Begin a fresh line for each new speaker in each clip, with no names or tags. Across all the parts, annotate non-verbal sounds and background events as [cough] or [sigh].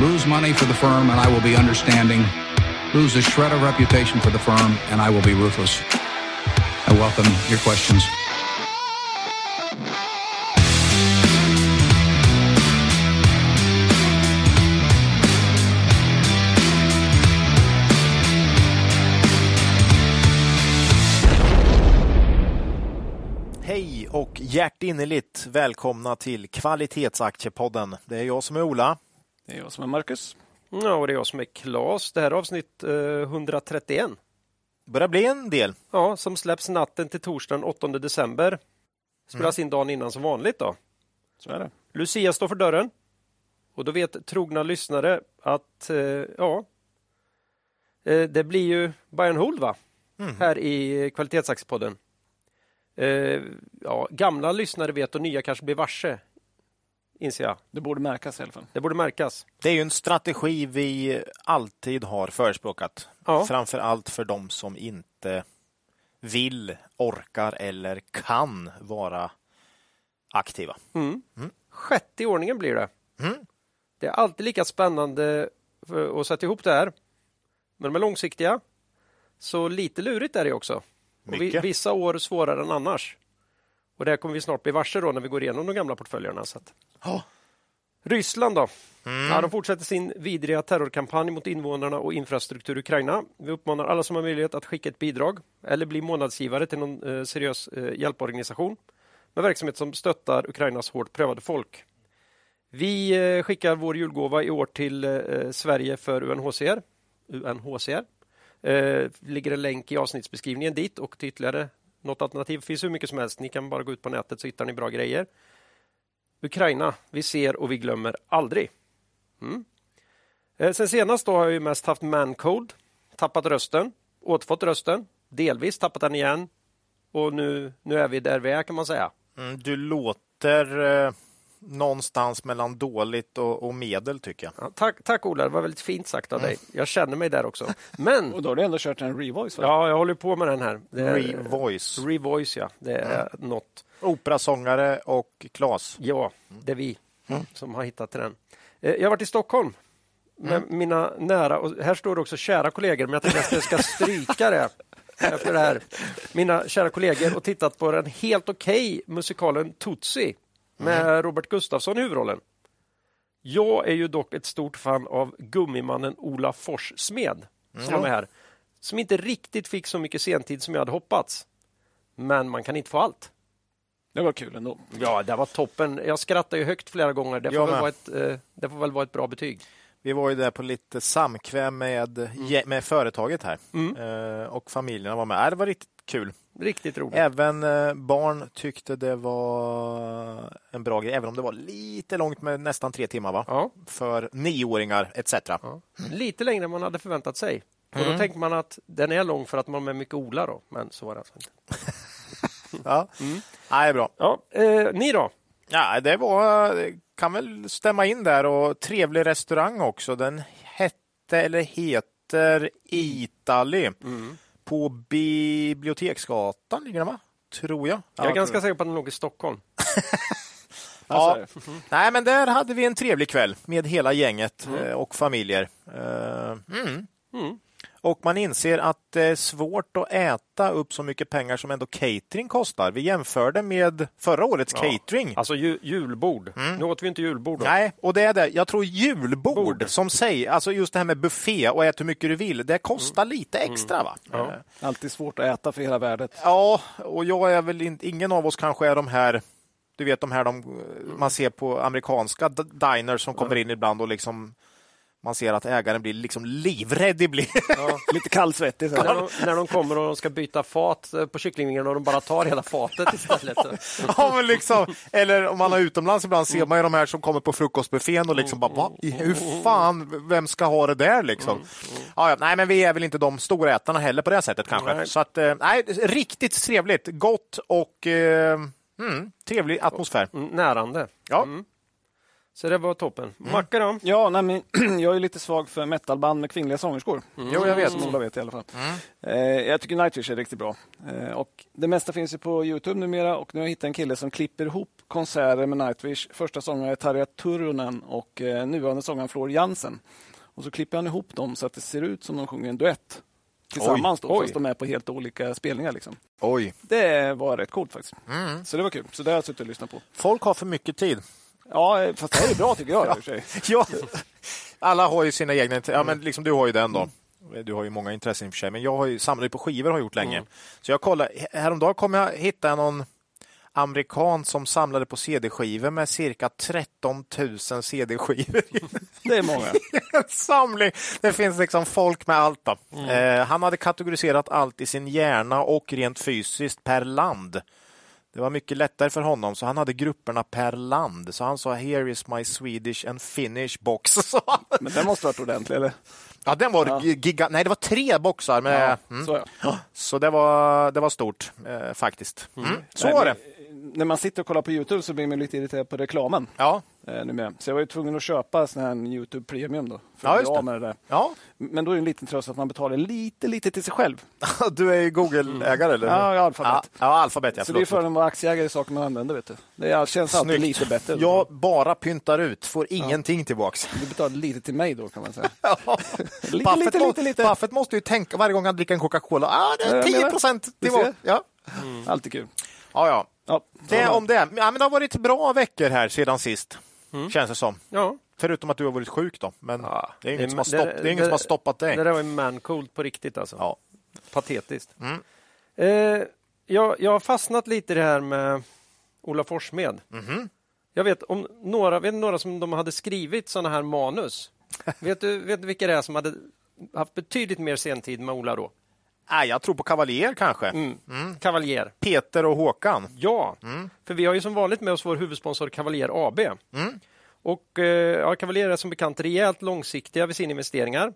Lose money for the firm, and I will be understanding. Lose a shred of reputation for the firm, and I will be ruthless. I welcome your questions.
Hej och hjärtinnerligt välkomna till Kvalitetsaktiepodden. Det är jag som är Ola.
Det är jag som är Marcus.
Ja, och det är jag som är Klas. Det här är avsnitt eh, 131
Det börjar bli en del.
ja, som släpps natten till torsdagen 8 december. Spelas in dagen innan som vanligt. då.
Så är det.
Lucia står för dörren och då vet trogna lyssnare att eh, ja, eh, det blir ju buy and hold va? här i Kvalitetsaktiepodden. Eh, ja, gamla lyssnare vet och nya kanske blir varse, inser jag.
Det borde märkas i alla fall.
Det borde märkas.
Det är ju en strategi vi alltid har förespråkat.
Ja.
Framför allt för de som inte vill, orkar eller kan vara aktiva.
60 Mm. i ordningen blir det. Det är alltid lika spännande för- att sätta ihop det här. Men de är långsiktiga, så lite lurigt är det också. Och vi,
Mycket.
vissa år svårare än annars. Och det här kommer vi snart bli varse då när vi går igenom de gamla portföljerna. Så att. Ryssland då? Ja, de fortsätter sin vidriga terrorkampanj mot invånarna och infrastruktur i Ukraina. Vi uppmanar alla som har möjlighet att skicka ett bidrag eller bli månadsgivare till någon eh, seriös eh, hjälporganisation med verksamhet som stöttar Ukrainas hårt prövade folk. Vi eh, skickar vår julgåva i år till eh, Sverige för UNHCR. UNHCR. Eh, ligger en länk i avsnittsbeskrivningen dit och till ytterligare något alternativ finns hur mycket som helst. Ni kan bara gå ut på nätet så hittar ni bra grejer. Ukraina, vi ser och vi glömmer aldrig. Mm. Eh, Sen senast då har jag ju mest haft mancode, tappat rösten, återfått rösten, delvis tappat den igen och nu, nu är vi där vi är kan man säga.
Mm, Du låter eh, någonstans mellan dåligt och, och medel tycker jag.
Ja, tack, tack Ola, det var väldigt fint sagt av dig. Jag känner mig där också.
[laughs]
Men,
Och då har du ändå kört en revoice? Va?
ja, jag håller på med den här. Det är-
Revoice.
Revoice, ja. Det är något.
Operasångare och Klas.
Ja, det är vi som har hittat till den. Eh, Jag har varit i Stockholm med mina nära, och här står det också kära kollegor, men jag tänkte att jag ska stryka det efter det här. Mina kära kollegor och tittat på den helt okej musikalen Tootsie med Robert Gustafsson i huvudrollen. Jag är ju dock ett stort fan av gummimannen Ola Forssmed
Mm.
som var med här, som inte riktigt fick så mycket sentid som jag hade hoppats. Men man kan inte få allt.
Det var kul ändå.
Ja, det var toppen. Jag skrattade ju högt flera gånger. Det får,
Jag
väl
med.
vara ett, eh, det får väl vara ett bra betyg.
Vi var ju där på lite samkväm med, ge- med företaget här
Mm.
Eh, och familjerna var med. Äh, Det var riktigt kul.
Riktigt roligt.
Även eh, barn tyckte det var en bra grej, även om det var lite långt med nästan tre timmar va?
Ja,
för nioåringar etc.
lite längre än man hade förväntat sig. Och då tänkte man att den är lång för att man är mycket Ola då, men så var det alltså inte.
Ja. Nej, bra.
Ja, eh, ni då?
Ja, det var, det kan väl stämma in där och trevlig restaurang också. Den hette eller heter Itali på Biblioteksgatan ligger den va? Tror jag.
Jag är ganska säker på att den låg i Stockholm.
Ja.
Ja.
Nej, men där hade vi en trevlig kväll med hela gänget eh, och familjer. Eh, Mm. Och man inser att det är svårt att äta upp så mycket pengar som ändå catering kostar. Vi jämförde med förra årets catering.
Alltså ju, julbord. Nu åt vi inte julbord. Då.
Nej, och det är det. Jag tror julbord som säger, alltså just det här med buffé och ät hur mycket du vill, det kostar lite extra va? Eh,
Alltid svårt att äta för hela värdet.
Ja, och jag är väl inte, ingen av oss kanske är de här du vet de här de, man ser på amerikanska d- diners som kommer in ibland och liksom man ser att ägaren blir liksom livrädd i blick. [laughs]
Lite kallsvettig. Så
När,
här.
de, när de kommer och de ska byta fat eh, på kycklingvingarna och de bara tar hela fatet istället. [laughs]
ja, men liksom, eller om man är utomlands ibland ser man ju de här som kommer på frukostbuffén och liksom bara, Va? I- hur fan, vem ska ha det där liksom? Ja, ja, nej, men vi är väl inte de stora ätarna heller på det sättet kanske.
Nej.
Så att, eh, nej, riktigt trevligt, gott och eh, mm, trevlig atmosfär.
Mm, Närande. Mm.
Ja. Mm.
Så det var toppen. Macka då?
Ja, nej, men [clears throat] jag är lite svag för metalband med kvinnliga sångerskor.
Mm.
Jo, jag vet.
Som Ola vet i alla fall. Eh, jag tycker Nightwish är riktigt bra. Eh, och det mesta finns ju på Youtube numera och nu har jag hittat en kille som klipper ihop konserter med Nightwish. Första sångaren är Tarja Turunen och eh, nuvarande sångaren Flor Jansen. Och så klipper han ihop dem så att det ser ut som de sjunger en duett tillsammans,
Oj,
då,
oj.
fast de är på helt olika spelningar. Liksom.
Oj.
Det var rätt coolt faktiskt.
Mm.
Så det var kul. Så det har jag suttit och lyssnat på.
Folk har för mycket tid.
Ja, eh, fast det här är bra tycker jag. i och för sig.
Ja. Alla har ju sina egna int- ja, men liksom Du har ju den då. Du har ju många intressen i och för sig, men jag har ju, samlar ju på skivor har jag gjort länge. Så jag kollade, häromdagen kom jag hitta någon amerikan som samlade på CD-skivor med cirka 13 000 CD-skivor i
Det är många.
en samling. Det finns liksom folk med allt. Då.
Mm.
Eh, han hade kategoriserat allt i sin hjärna och rent fysiskt per land. Det var mycket lättare för honom, så han hade grupperna per land. Så han sa “Here is my Swedish and Finnish box”. [laughs] sa han.
Men den måste ha varit ordentlig, eller?
Ja, den var ja. giga... Nej, det var tre boxar. Med... Mm.
Så, ja.
Så det var, det var stort, eh, faktiskt. Mm. Så
Nej,
var
men,
det.
eh, När man sitter och kollar på Youtube så blir man lite irriterad på reklamen.
Ja.
Eh, nu med. Så jag var ju tvungen att köpa sån här Youtube Premium då. För
Ja,
att
just
bli
det.
av med det där.
ja,
Men då är det en liten tröst att man betalar lite, lite till sig själv.
[laughs]
Alltså,
du är ju Google-ägare, eller
Ja, jag är alfabet.
Ja, ja, alfabet, ja.
så det är
Förlåt.
fördelen att vara aktieägare i saker man använder. Vet du. Det är- känns alltid
Snyggt.
lite bättre.
Jag bara pyntar ut, får ingenting tillbaks.
Du betalar lite till mig då kan
[laughs]
man säga.
lite,
lite, lite, lite.
Buffett måste ju tänka varje gång han dricker en Coca-Cola. Ah, det
Ja,
är
jag
10
menar.
procent
Du
tillbaka.
ser.
Ja.
Alltid kul.
Ja, ja.
Ja,
Det är om det. Ja, men det har varit bra veckor här sedan sist, känns det som.
Ja.
Förutom att du har varit sjuk då. Men Ah, det är inget, som, har
det-
stopp, det är inget som har stoppat dig.
Det där var ju mancold på riktigt alltså.
Ja. Mm.
Patetiskt. Eh, jag, jag har fastnat lite i det här med Ola Forssmed.
Mhm.
Jag vet om några, vet ni några som de hade skrivit sådana
[laughs]
här manus. vet, du, vet du vilka det är som hade haft betydligt mer sentid med Ola då?
Nej, jag tror på Kavaljer kanske. Mm.
Kavaljer.
Peter och Håkan.
Ja, för vi har ju som vanligt med oss vår huvudsponsor Cavalier AB. Och eh, ja, Cavalier är som bekant rejält långsiktiga vid sina investeringar.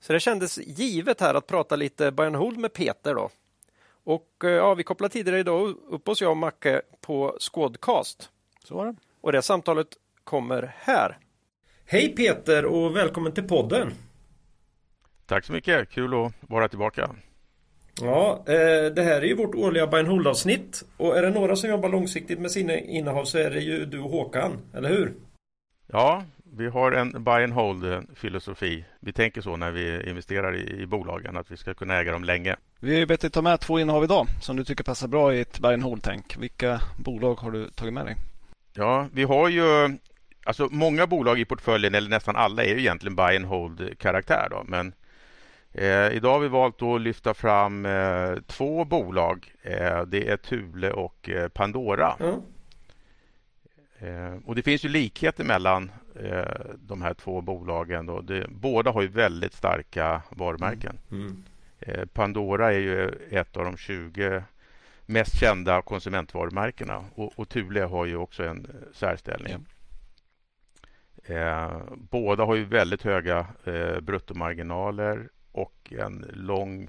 Så det kändes givet här att prata lite buy and hold med Peter då. Och eh, ja, vi kopplade tidigare idag upp oss jag och Macke på Squadcast.
så var det.
Och det samtalet kommer här. Hej Peter och välkommen till podden.
Tack så mycket, kul att vara tillbaka.
Ja, eh, det här är ju vårt årliga buy and hold avsnitt. Och är det några som jobbar långsiktigt med sina innehav så är det ju du och Håkan, eller hur?
Ja, vi har en buy and hold-filosofi. Vi tänker så när vi investerar i, i bolagen, att vi ska kunna äga dem länge.
Vi har ju bett dig ta med två innehav idag som du tycker passar bra i ett buy and hold-tänk. Vilka bolag har du tagit med dig?
Ja, vi har ju... Alltså många bolag i portföljen, eller nästan alla, är ju egentligen buy and hold-karaktär. Då, men eh, idag har vi valt att lyfta fram eh, två bolag. Eh, det är Thule och eh, Pandora.
Ja.
Eh, och Det finns ju likheter mellan eh, de här två bolagen. Då. Det, båda har ju väldigt starka varumärken.
Mm.
Eh, Pandora är ju ett av de 20 mest kända konsumentvarumärkena och, och Thule har ju också en eh, särställning. Eh, båda har ju väldigt höga eh, bruttomarginaler och en lång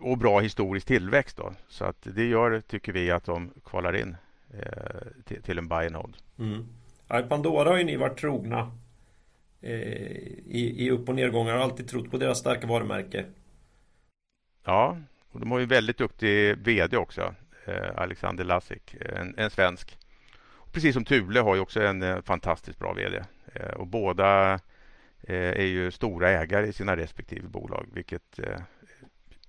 och bra historisk tillväxt. Då. Så att det gör, tycker vi, att de kvalar in eh, till, till en buy and hold.
Mm. Ja, i Pandora har ju ni varit trogna eh, i, i upp och nedgångar och alltid trott på deras starka varumärke.
Ja, och de har ju en väldigt duktig VD också, eh, Alexander Lassik, en, en svensk. Och precis som Thule har ju också en eh, fantastiskt bra VD. Eh, och båda eh, är ju stora ägare i sina respektive bolag, vilket eh,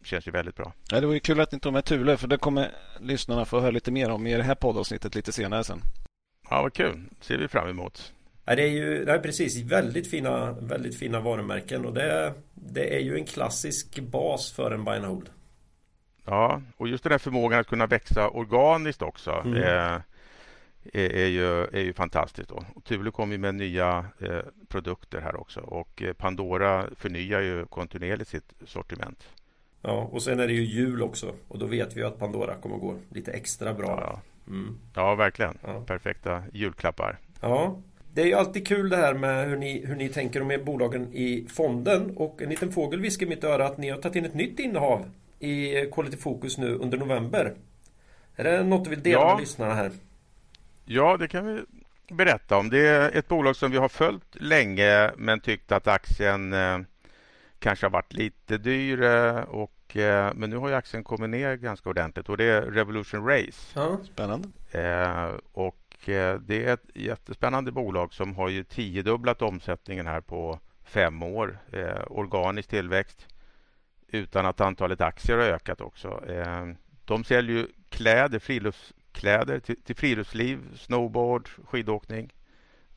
känns ju väldigt bra.
Ja, det var ju kul att ni tog med Thule för det kommer lyssnarna få höra lite mer om i det här poddavsnittet lite senare sen.
Ja, vad kul. ser vi fram emot.
Ja, det är ju det är precis väldigt fina, väldigt fina varumärken och det, det är ju en klassisk bas för en buy and hold.
Ja, och just den här förmågan att kunna växa organiskt också
Mm.
eh, är, är, ju, är ju fantastiskt. Då. Och Thule kommer ju med nya eh, produkter här också och eh, Pandora förnyar ju kontinuerligt sitt sortiment.
Ja, och sen är det ju jul också och då vet vi ju att Pandora kommer gå lite extra bra.
Ja,
Mm.
ja verkligen.
Ja.
Perfekta julklappar.
Ja, det är ju alltid kul det här med hur ni, hur ni tänker om er bolagen i fonden. Och en liten fågel viskar i mitt öra att ni har tagit in ett nytt innehav i Quality Focus nu under november. Är det något du vill dela
Ja.
med lyssnarna här?
Ja, det kan vi berätta om. Det är ett bolag som vi har följt länge men tyckt att aktien eh, kanske har varit lite dyr. eh, Och, eh, men nu har ju aktien kommit ner ganska ordentligt och det är Revolution Race.
Ja.
Spännande.
Eh, och Och eh, det är ett jättespännande bolag som har ju tiodubblat omsättningen här på fem år. Eh, organisk tillväxt utan att antalet aktier har ökat också. Eh, de säljer ju kläder, friluftskläder till, till friluftsliv, snowboard, skidåkning,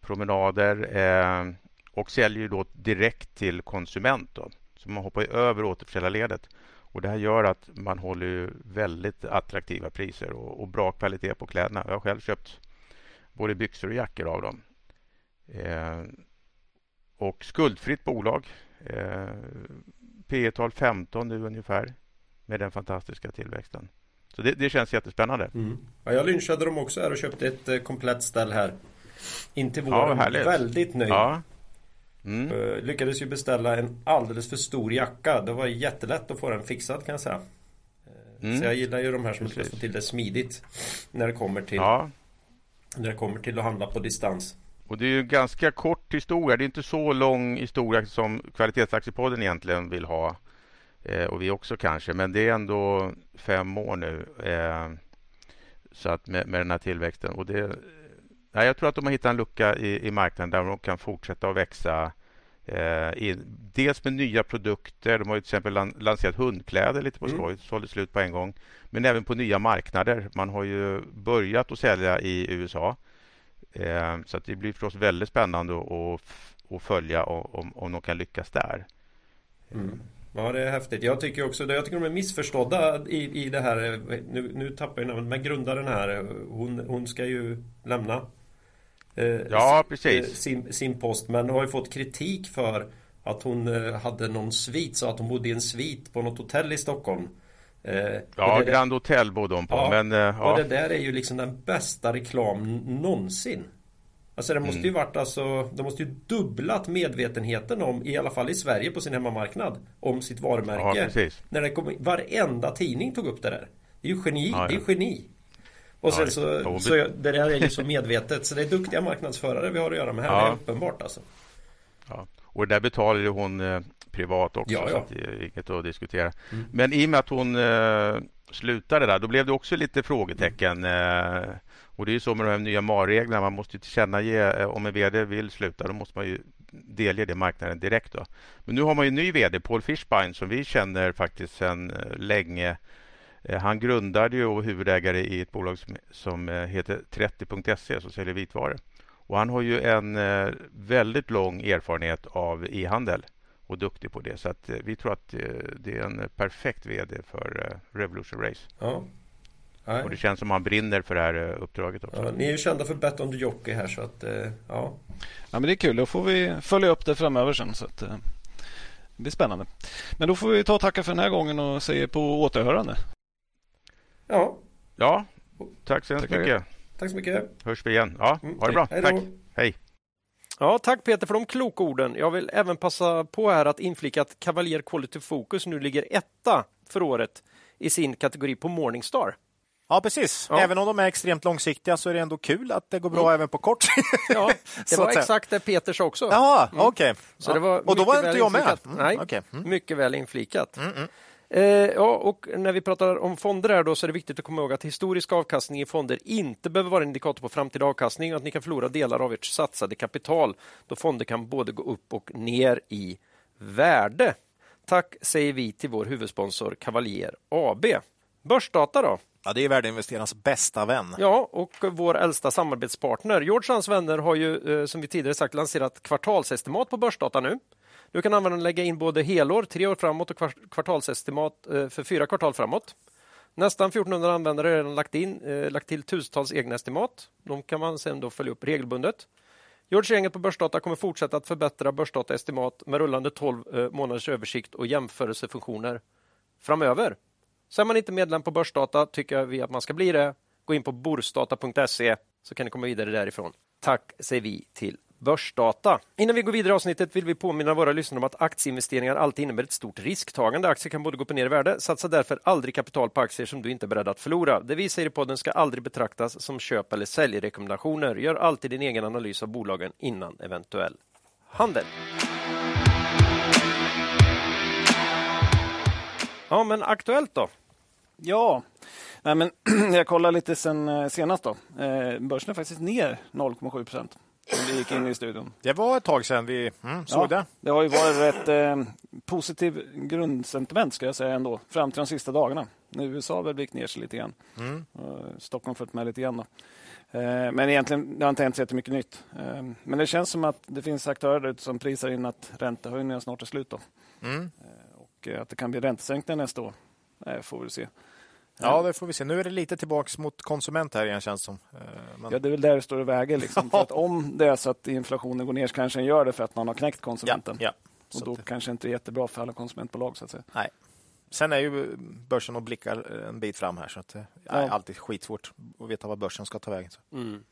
promenader eh, och säljer ju då direkt till konsument. Då. Så man hoppar ju över återförsäljarledet. Och det här gör att man håller ju väldigt attraktiva priser och, och, bra kvalitet på kläderna. Jag har själv köpt både byxor och jackor av dem. Eh, och skuldfritt bolag. Eh, P E tal 15 nu ungefär med den fantastiska tillväxten. Så det, det känns jättespännande.
Mm. Ja, jag lynchade dem också här och köpte ett eh, komplett ställ här. In till våren. Ja, Väldigt nöjd. Ja. Mm. Uh, lyckades ju beställa en alldeles för stor jacka. Det var jättelätt att få den fixad kan jag säga. Uh, mm. Så jag gillar ju de här som lyckas få till det smidigt. När det kommer till ja. När det kommer till att handla på distans.
Och det är ju en ganska kort historia. Det är inte så lång historia som Kvalitetsaktiepodden egentligen vill ha. Eh, och vi också kanske. Men det är ändå fem år nu. Eh, så att med, med, den här tillväxten. Och det, nej, jag tror att de har hittat en lucka i, i marknaden där de kan fortsätta att växa. Eh, i, dels med nya produkter. De har ju till exempel lan, lanserat hundkläder lite på skoj. Mm. Sålde slut på en gång. Men även på nya marknader. Man har ju börjat att sälja i USA. Eh, Så det blir förstås väldigt spännande att, att följa om, om de kan lyckas där.
Mm. Ja, det är häftigt. Jag tycker också jag tycker de är missförstådda i, i det här. Nu, nu tappar jag namnet, men grundaren här, hon, hon ska ju lämna
eh, ja, precis.
Sin, sin post, men har ju fått kritik för att hon eh, hade någon svit, så att hon bodde i en svit på något hotell i Stockholm.
Eh, ja, det, Grand Hotel bodde hon på. Ja, men, eh, ja.
Och det där är ju liksom den bästa reklam någonsin. Alltså det måste mm. ju varit alltså, de måste ju dubblat medvetenheten om, i alla fall i Sverige på sin hemmamarknad, om sitt varumärke.
Ja, precis.
När det kom, varenda tidning tog upp det där. Det är ju geni, ja, ja. det är geni. Och sen så, så, det där är ju så medvetet. Så det är duktiga marknadsförare vi har att göra med här, det är uppenbart alltså.
Ja. Och det där betalar ju hon eh privat också. Ja, ja. Så det är inget att diskutera. Mm. Men i och med att hon eh, slutade där, då blev det också lite frågetecken. Mm. Eh, och det är ju så med de här nya MAR-reglerna. Man måste ju tillkännage eh, om en VD vill sluta. Då måste man ju delge det marknaden direkt. Då. Men nu har man ju en ny VD, Paul Fischbein, som vi känner faktiskt sedan eh, länge. Eh, Han grundade ju och huvudägare i ett bolag som, som eh, heter 30.se som säljer vitvaror. Och han har ju en eh, väldigt lång erfarenhet av e-handel och duktig på det. Så att eh, vi tror att det är en perfekt VD för eh, Revolution Race.
Ja.
Och det känns som han brinner för det här eh, uppdraget också.
Ja, ni är ju kända för Bet on the Jockey här så att eh, ja.
Ja men det är kul. Då får vi följa upp det framöver sen. Så att, eh, det blir spännande. Men då får vi ta och tacka för den här gången och säga på återhörande.
Ja.
Ja. Tack så hemskt mycket.
Tack så mycket.
Hörs vi igen. Ja, mm. ha det bra.
Hej
Tack. Hej.
Ja, tack Peter för de kloka orden. Jag vill även passa på här att inflika att Cavalier Quality Focus nu ligger etta för året i sin kategori på Morningstar.
Ja, precis. Ja. Även om de är extremt långsiktiga så är det ändå kul att det går bra mm. även på kort
Ja, [laughs] Det var exakt det Peter
[laughs]
sa också.
Jaha, mm. okej.
Okay. Ja. Var
och då var inte jag
inflikat. med. Mm. Nej, okay. mm. mycket väl inflikat. Eh, ja, och när vi pratar om fonder här då så är det viktigt att komma ihåg att historisk avkastning i fonder inte behöver vara en indikator på framtida avkastning och att ni kan förlora delar av ert satsade kapital då fonder kan både gå upp och ner i värde. Tack säger vi till vår huvudsponsor Cavalier AB. Börsdata då?
Ja, det är värdeinvesterarnas bästa vän.
Ja, och vår äldsta samarbetspartner. George hans vänner har ju, eh, som vi tidigare sagt, lanserat kvartalsestimat på Börsdata nu. Du kan användaren lägga in både helår, tre år framåt och kvartalsestimat eh, för fyra kvartal framåt. Nästan 1400 användare har redan lagt, in, eh, lagt till tusentals egna estimat. De kan man sedan då följa upp regelbundet. George gänget på Börsdata kommer fortsätta att förbättra börsdataestimat med rullande 12 månaders översikt och jämförelsefunktioner framöver. Så är man inte medlem på Börsdata tycker vi att man ska bli det. Gå in på borsdata.se så kan ni komma vidare därifrån. Tack säger vi till Börsdata. Innan vi går vidare i avsnittet vill vi påminna våra lyssnare om att aktieinvesteringar alltid innebär ett stort risktagande. Aktier kan både gå upp och ner i värde. Satsa därför aldrig kapital på aktier som du inte är beredd att förlora. Det vi säger i podden ska aldrig betraktas som köp eller säljrekommendationer. Gör alltid din egen analys av bolagen innan eventuell handel. Ja, men aktuellt då?
Ja, Nej, men [clears throat] jag kollade lite sen eh, senast. då. Eh, Börsen är faktiskt ner 0,7 procent. Vi gick in i studion.
Det var ett tag sedan vi mm, såg det.
Det har ju varit ett eh, positiv grundsentiment ska jag säga ändå, fram till de sista dagarna. Nu USA har väl vikt ner sig lite grann.
Mm,
Eh, Stockholm följt med lite grann. Då. Eh, men egentligen det har inte hänt så jättemycket nytt. Eh, men det känns som att det finns aktörer där ute som prisar in att räntehöjningarna snart är slut. Då.
Mm.
Eh, och eh, att det kan bli räntesänkningar nästa år. Eh, får vi se.
Ja, det får vi se. Nu är det lite tillbaks mot konsument här igen känns som. Eh, Men,
Ja, det är väl där det står och
[laughs]
väger. Liksom. För att om det är så att inflationen går ner så kanske den gör det för att man har knäckt konsumenten.
ja.
Och
Så
då
att det-
kanske inte är jättebra för alla konsumentbolag. Så att säga.
Sen är ju börsen och blickar en bit fram här så att det är
Ja.
alltid skitsvårt att veta vad börsen ska ta vägen. Så.
Mm.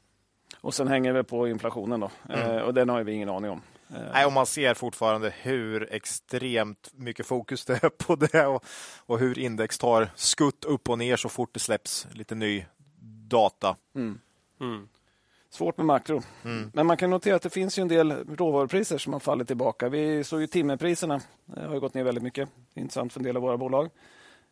Och sen hänger vi på inflationen då. Eh, och den har ju vi ingen aning om. Eh,
Mm. Nej, och man ser fortfarande hur extremt mycket fokus det är [laughs] på det och, och hur index tar skutt upp och ner så fort det släpps lite ny data.
mm.
Mm.
Svårt med makro.
Mm.
Men man kan notera att det finns ju en del råvarupriser som har fallit tillbaka. Vi såg ju timmerpriserna. Det har ju gått ner väldigt mycket. Det är intressant för en del av våra bolag.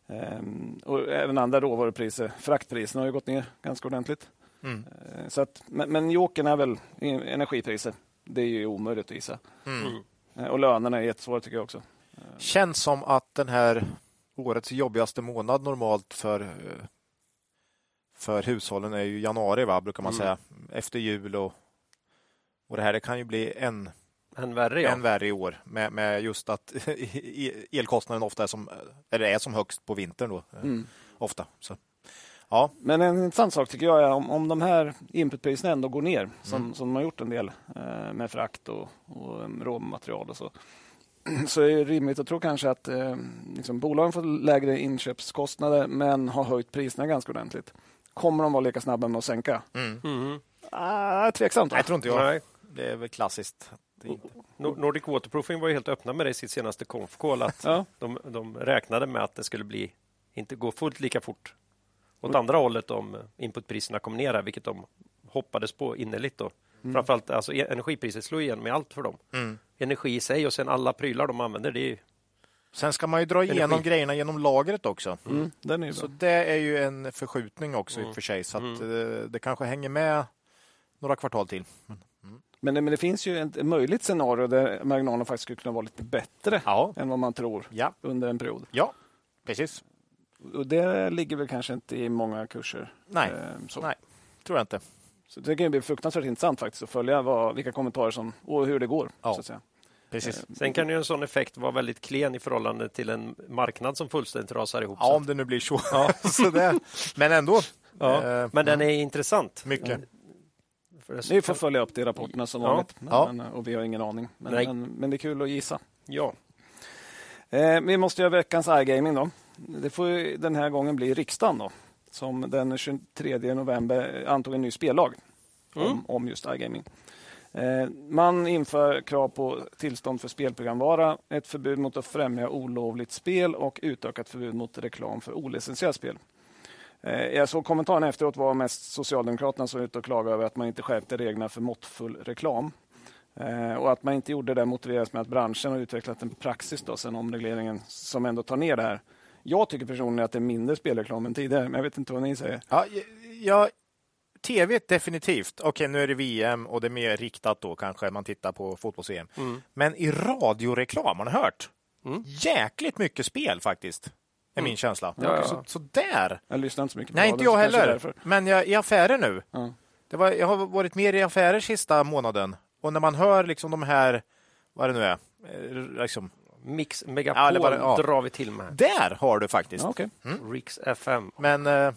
Ehm, och även andra råvarupriser. Fraktpriserna har ju gått ner ganska ordentligt.
Mm.
Eh, Så att, men, men jokern är väl en- energipriser. Det är ju omöjligt att gissa.
Mm.
Eh, Och lönerna är jättesvåra tycker jag också.
Känns som att den här årets jobbigaste månad normalt för, eh, för hushållen är ju januari, va, brukar man
Mm.
säga. Efter jul och, och det här. Det kan ju bli än,
Än värre ja.
än värre i år med, med just att [laughs] elkostnaden ofta är som, eller är som högst på vintern. Då, eh,
Mm.
Ofta. Så.
Men en intressant sak tycker jag är om, om de här inputpriserna ändå går ner, som,
Mm.
som de har gjort en del eh, med frakt och, och em, råmaterial och så, [clears throat] så är det rimligt att tro kanske att eh, liksom, bolagen får lägre inköpskostnader men har höjt priserna ganska ordentligt. Kommer de vara lika snabba med att sänka?
Mm.
Mhm.
Ah, tveksamt. Va?
Nej, tror inte jag.
Nej.
Det är väl klassiskt. Det är inte-
Nor- Nordic Waterproofing var ju helt öppna med det i sitt senaste konf [laughs] att
Ja.
de, de räknade med att det skulle bli inte gå fullt lika fort åt andra hållet om inputpriserna kom ner, här, vilket de hoppades på innerligt. Då. Framförallt alltså, e- energipriset slår igenom i allt för dem.
Mm.
Energi i sig och sen alla prylar de använder. Det är ju,
Sen ska man ju dra igenom
Energi.
grejerna genom lagret också.
Mm, den är ju
Så
bra.
det är ju en förskjutning också
Mm.
i och för sig, så att eh, det kanske hänger med några kvartal till.
Men, det- men det finns ju ett möjligt scenario där marginalen faktiskt skulle kunna vara lite bättre
Ja,
än vad man tror
ja,
under en period.
ja precis.
Och det ligger väl kanske inte i många kurser.
Nej,
Eh.
Ehm, så.
Nej. tror jag inte.
Så det kan ju bli fruktansvärt intressant faktiskt att följa vad, vilka kommentarer som och hur det går.
Ja.
Så att säga. Eh,
Precis.
sen kan ju en sån effekt vara väldigt klen i förhållande till en marknad som fullständigt rasar ihop.
Ja,
Så-
om det nu blir så. [laughs] så det. Men ändå.
Ja,
eh,
Men den är Mm. intressant.
Mycket.
För det-
Ni får följa upp det i rapporterna som
Ja.
vanligt.
Ja.
Men, eh, och vi har ingen aning. Men,
Nej.
men, men det är kul att gissa.
Ja.
Eh, vi måste göra veckans iGaming då. Det får ju den här gången bli riksdagen då. Som den 23 november antog en ny spellag om, om just iGaming. Eh, man inför krav på tillstånd för spelprogramvara, ett förbud mot att främja olovligt spel och utökat förbud mot reklam för olicensierat spel. Eh, jag såg kommentaren efteråt var mest Socialdemokraterna som var ute och klagade över att man inte skärpte reglerna för måttfull reklam. Eh, Och att man inte gjorde det motiveras med att branschen har utvecklat en praxis då, sen omregleringen som ändå tar ner det här. Jag tycker personligen att det är mindre spelreklam än tidigare, men jag vet inte vad ni säger.
Ja, ja, tv definitivt. Okej, nu är det VM och det är mer riktat då kanske man tittar på fotbolls-VM.
Mm.
Men i radioreklam, har ni hört? Jäkligt mycket spel faktiskt, är
Mm.
min känsla.
Ja, ja.
Så, så där.
Jag lyssnar inte så mycket på
Nej,
radion,
inte jag
så kanske
heller.
därför.
Men jag, i affärer nu.
Ja.
Det var, jag har varit mer i affärer sista månaden. Och när man hör liksom de här, vad det nu är, eh, liksom,
Mix
Ja,
Megapol
eller bara- ja.
drar vi till med.
där har du faktiskt.
Ja, okej.
Riks FM.
Men eh,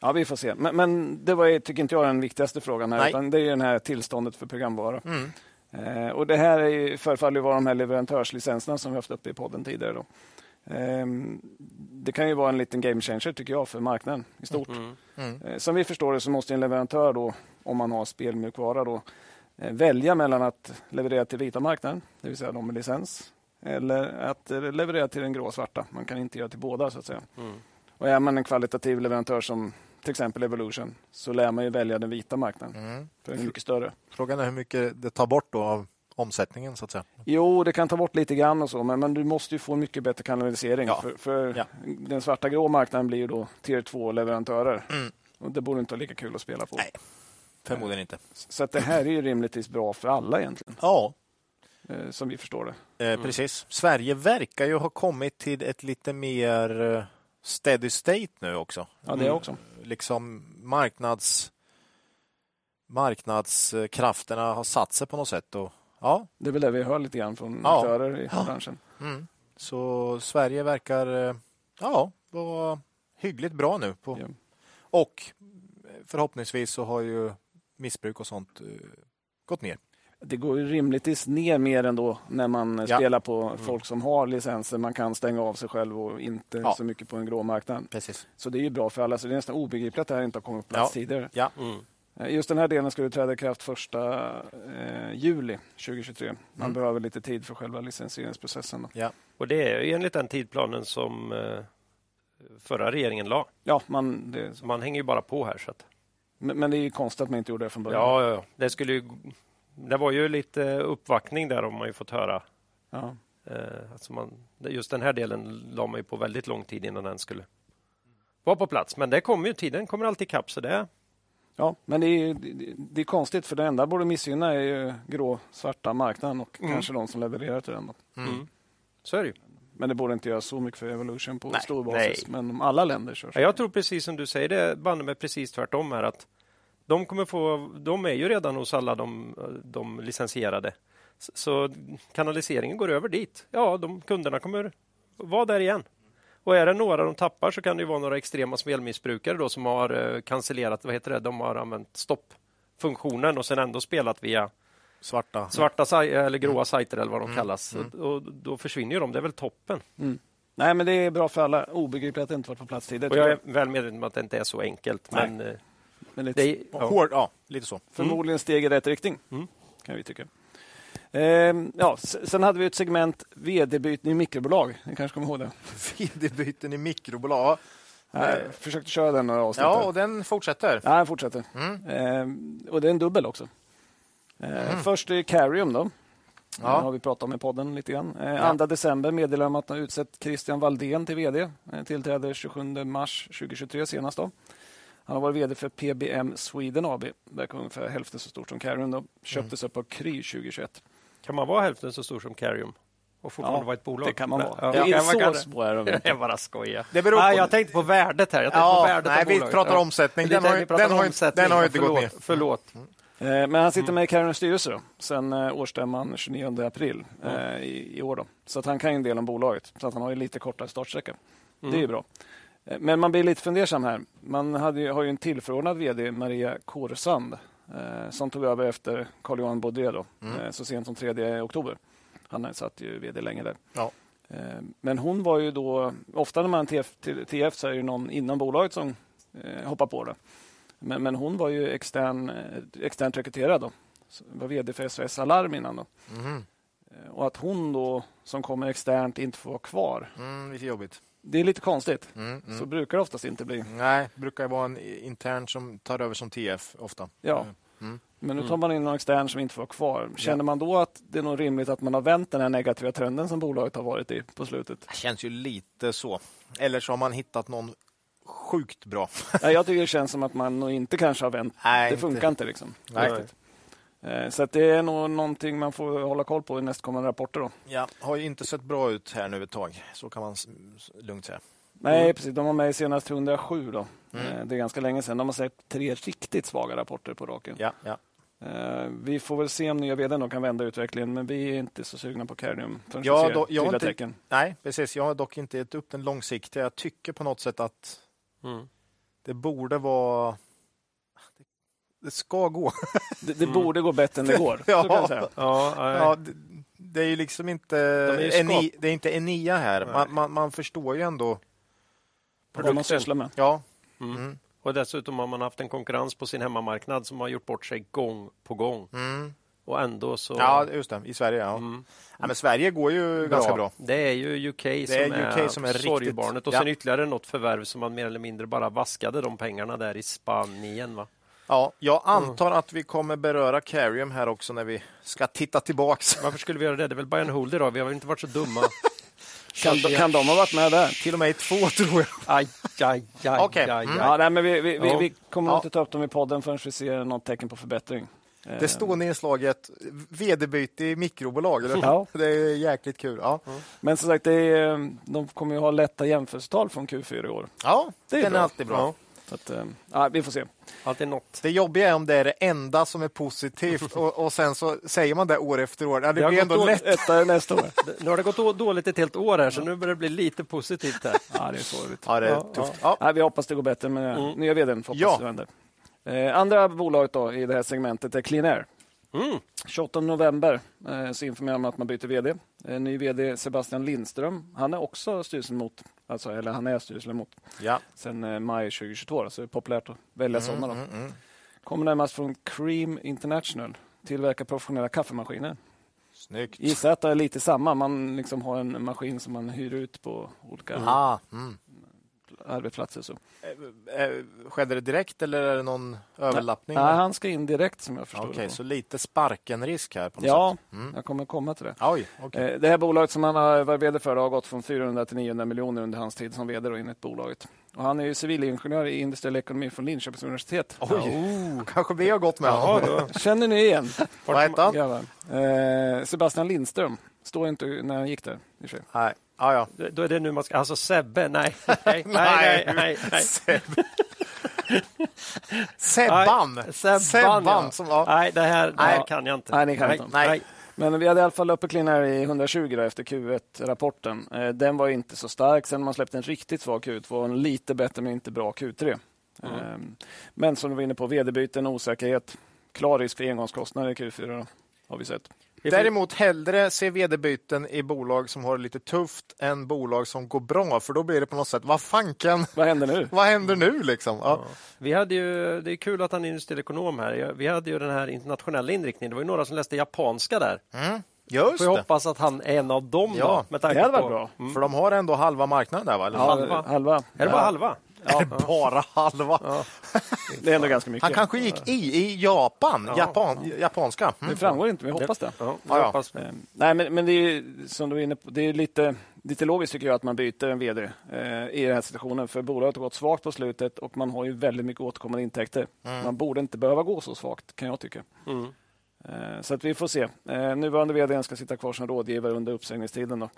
ja, vi får se. Men, men det var, ju, tycker inte jag, den viktigaste frågan här,
Nej.
utan det är ju det här tillståndet för programvara.
mm,
Eh, och det här är ju, förefaller ju vara de här leverantörslicenserna som vi haft uppe i podden tidigare. Då. Ehm, det kan ju vara en liten game changer, tycker jag, för marknaden i stort. Eh, Som vi förstår det så måste en leverantör, då, om man har spelmjukvara, då, eh, välja mellan att leverera till vita marknaden, det vill säga de med licens, eller att eh, leverera till den grå och svarta. Man kan inte göra till båda. så att säga. Och Är man en kvalitativ leverantör som till exempel Evolution
Mm.
så lär man ju välja den vita marknaden, för den är mycket större.
frågan är hur mycket det tar bort då av, omsättningen så att säga.
Jo, det kan ta bort lite grann och så, men, men du måste ju få en mycket bättre kanalisering.
Ja.
För, för
Ja.
den svarta grå marknaden blir ju då tier 2-leverantörer. Och det borde inte vara lika kul att spela på.
Mm. Nej. Förmodligen inte.
Så att det här är ju rimligtvis bra för alla egentligen,
Ja,
eh, som vi förstår det.
eh, precis. Sverige verkar ju ha kommit till ett lite mer eh, steady state nu också.
Ja, det också.
Liksom marknads marknadskrafterna har satt sig på något sätt. Och, ja,
Det är väl det vi hör lite grann från
Ja.
aktörer i
Ja.
branschen.
mm. Så Sverige verkar eh, ja, vara hyggligt bra nu. På.
Ja.
Och förhoppningsvis så har ju missbruk och sånt eh, gått ner.
Det går ju rimligtvis ner mer ändå när man eh,
Ja. Mm.
spelar på folk som har licenser. Man kan stänga av sig själv och inte
Ja.
så mycket på en grå marknad.
Precis.
Så det är ju bra för alla. Så det är nästan obegripligt att det här inte har kommit på plats
Ja.
tidigare.
Ja.
Mm.
Eh, Just den här delen ska ju träda i kraft första eh, juli 2023. Man
Mm.
behöver lite tid för själva licensieringsprocessen. Då.
Och det är ju enligt den tidplanen som eh, förra regeringen la.
Ja, man, det,
Så man hänger ju bara på här. Så att,
men men det är ju konstigt att man inte gjorde det från början.
ja, ja, ja. Det, skulle ju, det var ju lite uppvaktning där har man ju fått höra.
Ja.
Eh, alltså man, just den här delen la man ju på väldigt lång tid innan den skulle vara på plats. Men det kommer ju, tiden kommer alltid ikapp. Så det,
Ja, men det är, ju- det, det är konstigt för det enda borde missgynna är ju grå, svarta marknaden och
Mm.
kanske de som levererar till den. Då.
mm. Så är det ju.
Men det borde inte göra så mycket för Evolution på
Nej,
stor basis.
nej.
Men om alla länder kör så.
Ja, Jag tror precis som du säger, det är banne mig precis tvärtom här att de kommer få, de är ju redan hos alla de, de licensierade. S- Så kanaliseringen går över dit. Ja, de kunderna kommer vara där igen. Och är det några de tappar så kan det ju vara några extrema spelmissbrukare då som har eh, cancellerat, vad heter det, de har använt stoppfunktionen och sen ändå spelat via
Svarta.
svarta saj- eller gråa sajter eller
Mm.
vad de kallas. Och, och då försvinner ju de, det är väl toppen.
Nej, men det är bra för alla. Obegripligt att det inte varit på plats tidigare.
Och
tror
jag är
jag.
väl medveten om att det inte är så enkelt.
Nej.
Men eh,
Men lite-
det är,
Ja. Hård, ja, lite så. Mm.
Förmodligen steg i rätt riktning, kan vi tycka. Ehm, ja, s- sen hade vi ett segment vd-byten i mikrobolag. Ni kanske kommer ihåg [laughs] det?
Vd-byten i mikrobolag.
Jag försökte köra den några avsnitt.
Ja,
där.
och Mm. den fortsätter.
Nej, jag fortsätter. Ehm, och det är en dubbel också. Ehm, Först är Carium. Då.
Mm. Ja.
Den har vi pratat om i podden lite grann. Ehm, 2 december meddelar de att de har utsett Christian Walldén till vd. Ehm, Tillträder 27 mars 2023 senast. Då. Han har varit vd för PBM Sweden AB. Verkar ungefär hälften så stort som Carium. Då. Köptes
Mm.
upp av Kry 2021.
Kan man vara hälften så stor som Carium och fortfarande
Ja,
vara ett bolag?
Det kan man vara.
Ja,
Det är
ja,
så
man kan-
små är [laughs] de.
[laughs] Jag bara skojar.
Det beror
Nej,
på-
jag tänkte på värdet här. Jag tänkte på
Ja,
värdet
nej,
av
vi
bolaget.
pratar
Ja.
omsättning.
Det är
Den har,
det
ju-
vi pratar
den har, ju-
omsättning.
den har ju inte
förlåt,
gått ner.
Förlåt.
Eh, Men han sitter med i Karunens styrelse då, sen eh, årsstämman 29 april eh, i, i år. Då. Så att han kan ju en del om bolaget. Så att han har ju lite kortare startsträcka.
Mm.
Det är ju bra. Eh, Men man blir lite fundersam här. Man hade ju, har ju en tillförordnad vd, Maria Kåresand, eh, som tog över efter Carl-Johan Baudré då, eh, så sent som 3 oktober. Han har satt ju vd länge där.
Ja.
Eh, Men hon var ju då, ofta när man har en TF, till- TF så är det ju någon inom bolaget som eh, hoppar på det. Men, men hon var ju extern, eh, externt rekryterad då. Så Var vd för SOS Alarm innan då.
Mm.
Eh, Och att hon då som kommer externt inte får vara kvar.
Mm, lite jobbigt.
Det är lite konstigt.
Mm, mm.
Så brukar det oftast inte bli.
Nej, brukar ju vara en intern som tar över som TF ofta.
Ja.
Mm.
Men nu tar man in någon extern som inte får vara kvar. Känner man då att det är nog rimligt att man har vänt den här negativa trenden som bolaget har varit i på slutet?
[laughs] Det känns ju lite så. Eller så har man hittat någon sjukt bra.
Nej, jag tycker det känns som att man nog inte kanske har vänt.
Nej,
det funkar inte liksom.
Nej.
Riktigt. Eh, Så att det är nog någonting man får hålla koll på i nästkommande rapporter. Då.
Ja, har ju inte sett bra ut här nu ett tag. Så kan man s- s- lugnt säga.
Nej,
Mm.
precis. De var med i senast 107. Då. Eh, Det är ganska länge sedan. De har sett tre riktigt svaga rapporter på raken.
Ja, ja.
Eh, Vi får väl se om nya vdn då kan vända utvecklingen, men vi är inte så sugna på Carrium förrän
Ja,
vi ser
då- jag har
tydliga
inte-
tecken.
Nej, precis. Jag har dock inte gett upp den långsiktiga. Jag tycker på något sätt att
Mm.
det borde vara... Det ska gå.
Det, det borde gå bättre än det
[laughs]
går.
Ja.
så kan jag säga.
Ja,
Ja, det, det är ju liksom inte,
är ju
Eni, det är inte Enia här. Man, man, man förstår ju ändå.
Vad man sysslar med.
Ja,
Mm. Och dessutom har man haft en konkurrens på sin hemmamarknad som har gjort bort sig gång på gång.
mm.
Och ändå så...
ja just det. I Sverige, ja.
Mm.
ja men Sverige går ju ganska bra.
Det är ju UK, som,
är
är
UK som är riktigt-
sorgebarnet. Och sen
Ja.
ytterligare något förvärv som man mer eller mindre bara vaskade de pengarna där i Spanien. Va?
Ja, jag
Mm.
antar att vi kommer beröra Carium här också när vi ska titta tillbaks.
Varför skulle vi göra det? Det är väl buy and hold idag? Vi har väl inte varit så dumma?
Kan, de- kan de ha varit med där?
Till och med i två tror jag.
Aj, aj, aj,
Okej,
aj,
mm.
aj.
Ja, nej, men vi, vi, vi,
Ja.
vi kommer
Ja.
inte ta upp dem i podden förrän vi ser något tecken på förbättring. Eh,
Det står nedslaget vd-byte i mikrobolag. Eller?
Ja.
Det är jäkligt kul. Ja,
Mm.
Men som sagt, det är, eh, de kommer ju ha lätta jämförelsetal från Q4 i år.
ja
Det är
den
bra.
är alltid bra.
Ja.
Så att, eh, ja, vi får se.
Alltid något.
Det jobbiga är om det är det enda som är positivt och, och sen så säger man det år efter år. Ja, det
har
blir
gått
ändå
år-
lätt.
Etta är
[laughs]
nästa år.
Det- Nu har det gått å- dåligt ett helt år här, så nu börjar det bli lite positivt här.
Ja, det är sorgligt.
Ja, det är
Ja,
tufft. Ja.
Nej, vi hoppas det går bättre med mm. nya vdn. Hoppas
Ja.
det vänder. Eh, andra bolaget då i det här segmentet är Clean Air.
Mm.
28 november eh, så informerar man att man byter vd. Eh, ny vd Sebastian Lindström. Han är också styrelsemot. Alltså, eller han är styrelsemot
Ja.
sedan eh, maj 2022. Då, så det är populärt att välja
Mm,
sådana. Då. Kommer närmast från Cream International. Tillverkar professionella kaffemaskiner.
Snyggt.
Gissa att det är lite samma. Man liksom har en maskin som man hyr ut på olika
Ah, mm.
arbetsplatser. Så.
Eh, Skedde det direkt eller är det någon överlappning?
Nej, han ska in direkt som jag förstår
Okej,
det på.
så lite sparkenrisk här på något
Ja,
sätt. Mm.
jag kommer komma till det.
Oj, okej.
Eh, Det här bolaget som han har varit vd för har gått från 400 till 900 miljoner under hans tid som vd då, enligt bolaget. Och han är ju civilingenjör i industriell ekonomi från Linköpings universitet.
Oj, [laughs] kanske vi har gått med
Ja,
honom.
då.
Känner ni igen
Vad heter han?
grabbar? Eh, Sebastian Lindström. Står inte när han gick där. i och för sig.
Nej. Ja, ja.
då är det nu man ska... Alltså Sebbe, nej. Nej, nej, nej. nej, nej.
Seb- Sebban!
Nej, Sebban, ja.
som var...
Nej, det här, det här
Nej.
kan jag inte.
Nej, ni kan inte.
Nej.
Men vi hade i alla fall uppe Clean Air i 120 då, efter Q1-rapporten. Eh, Den var ju inte så stark. Sen man släppte en riktigt svag Q2 och en lite bättre men inte bra Q3. Eh, Men som du var inne på, vd-byten, osäkerhet, klar risk för engångskostnader i Q4 då, har vi sett.
Vi får-
Däremot hellre se vd-byten i bolag som har det lite tufft än bolag som går bra, för då blir det på något sätt, vad fanken, [laughs]
Vad händer nu?
vad händer nu liksom? Ja.
Vi hade ju, det är kul att han är industriell ekonom här. Jag- Vi hade ju den här internationella inriktningen. Det var ju några som läste japanska där.
Just
Får jag Mm.
det,
hoppas att han är en av dem
Ja,
då. Med tanke
det hade varit
på,
bra.
för de har ändå halva marknaden där, va? Eller?
Halva.
halva.
Är det bara halva?
[laughs] Eller bara halva?
Det är ändå ganska mycket.
Han kanske gick i, i Japan, Japan, japanska.
Det
Mm.
framgår inte, men jag hoppas det.
Ja,
Ja,
jag
ja.
hoppas.
Eh, Nej, men, men det är ju som du var inne på, det är ju lite, lite logiskt tycker jag att man byter en vd eh, i den här situationen. För bolaget har gått svagt på slutet och man har ju väldigt mycket återkommande intäkter. Man borde inte behöva gå så svagt kan jag tycka.
Mm.
Eh, så att vi får se. Eh, nuvarande vd ska sitta kvar som rådgivare under uppsägningstiden. Då.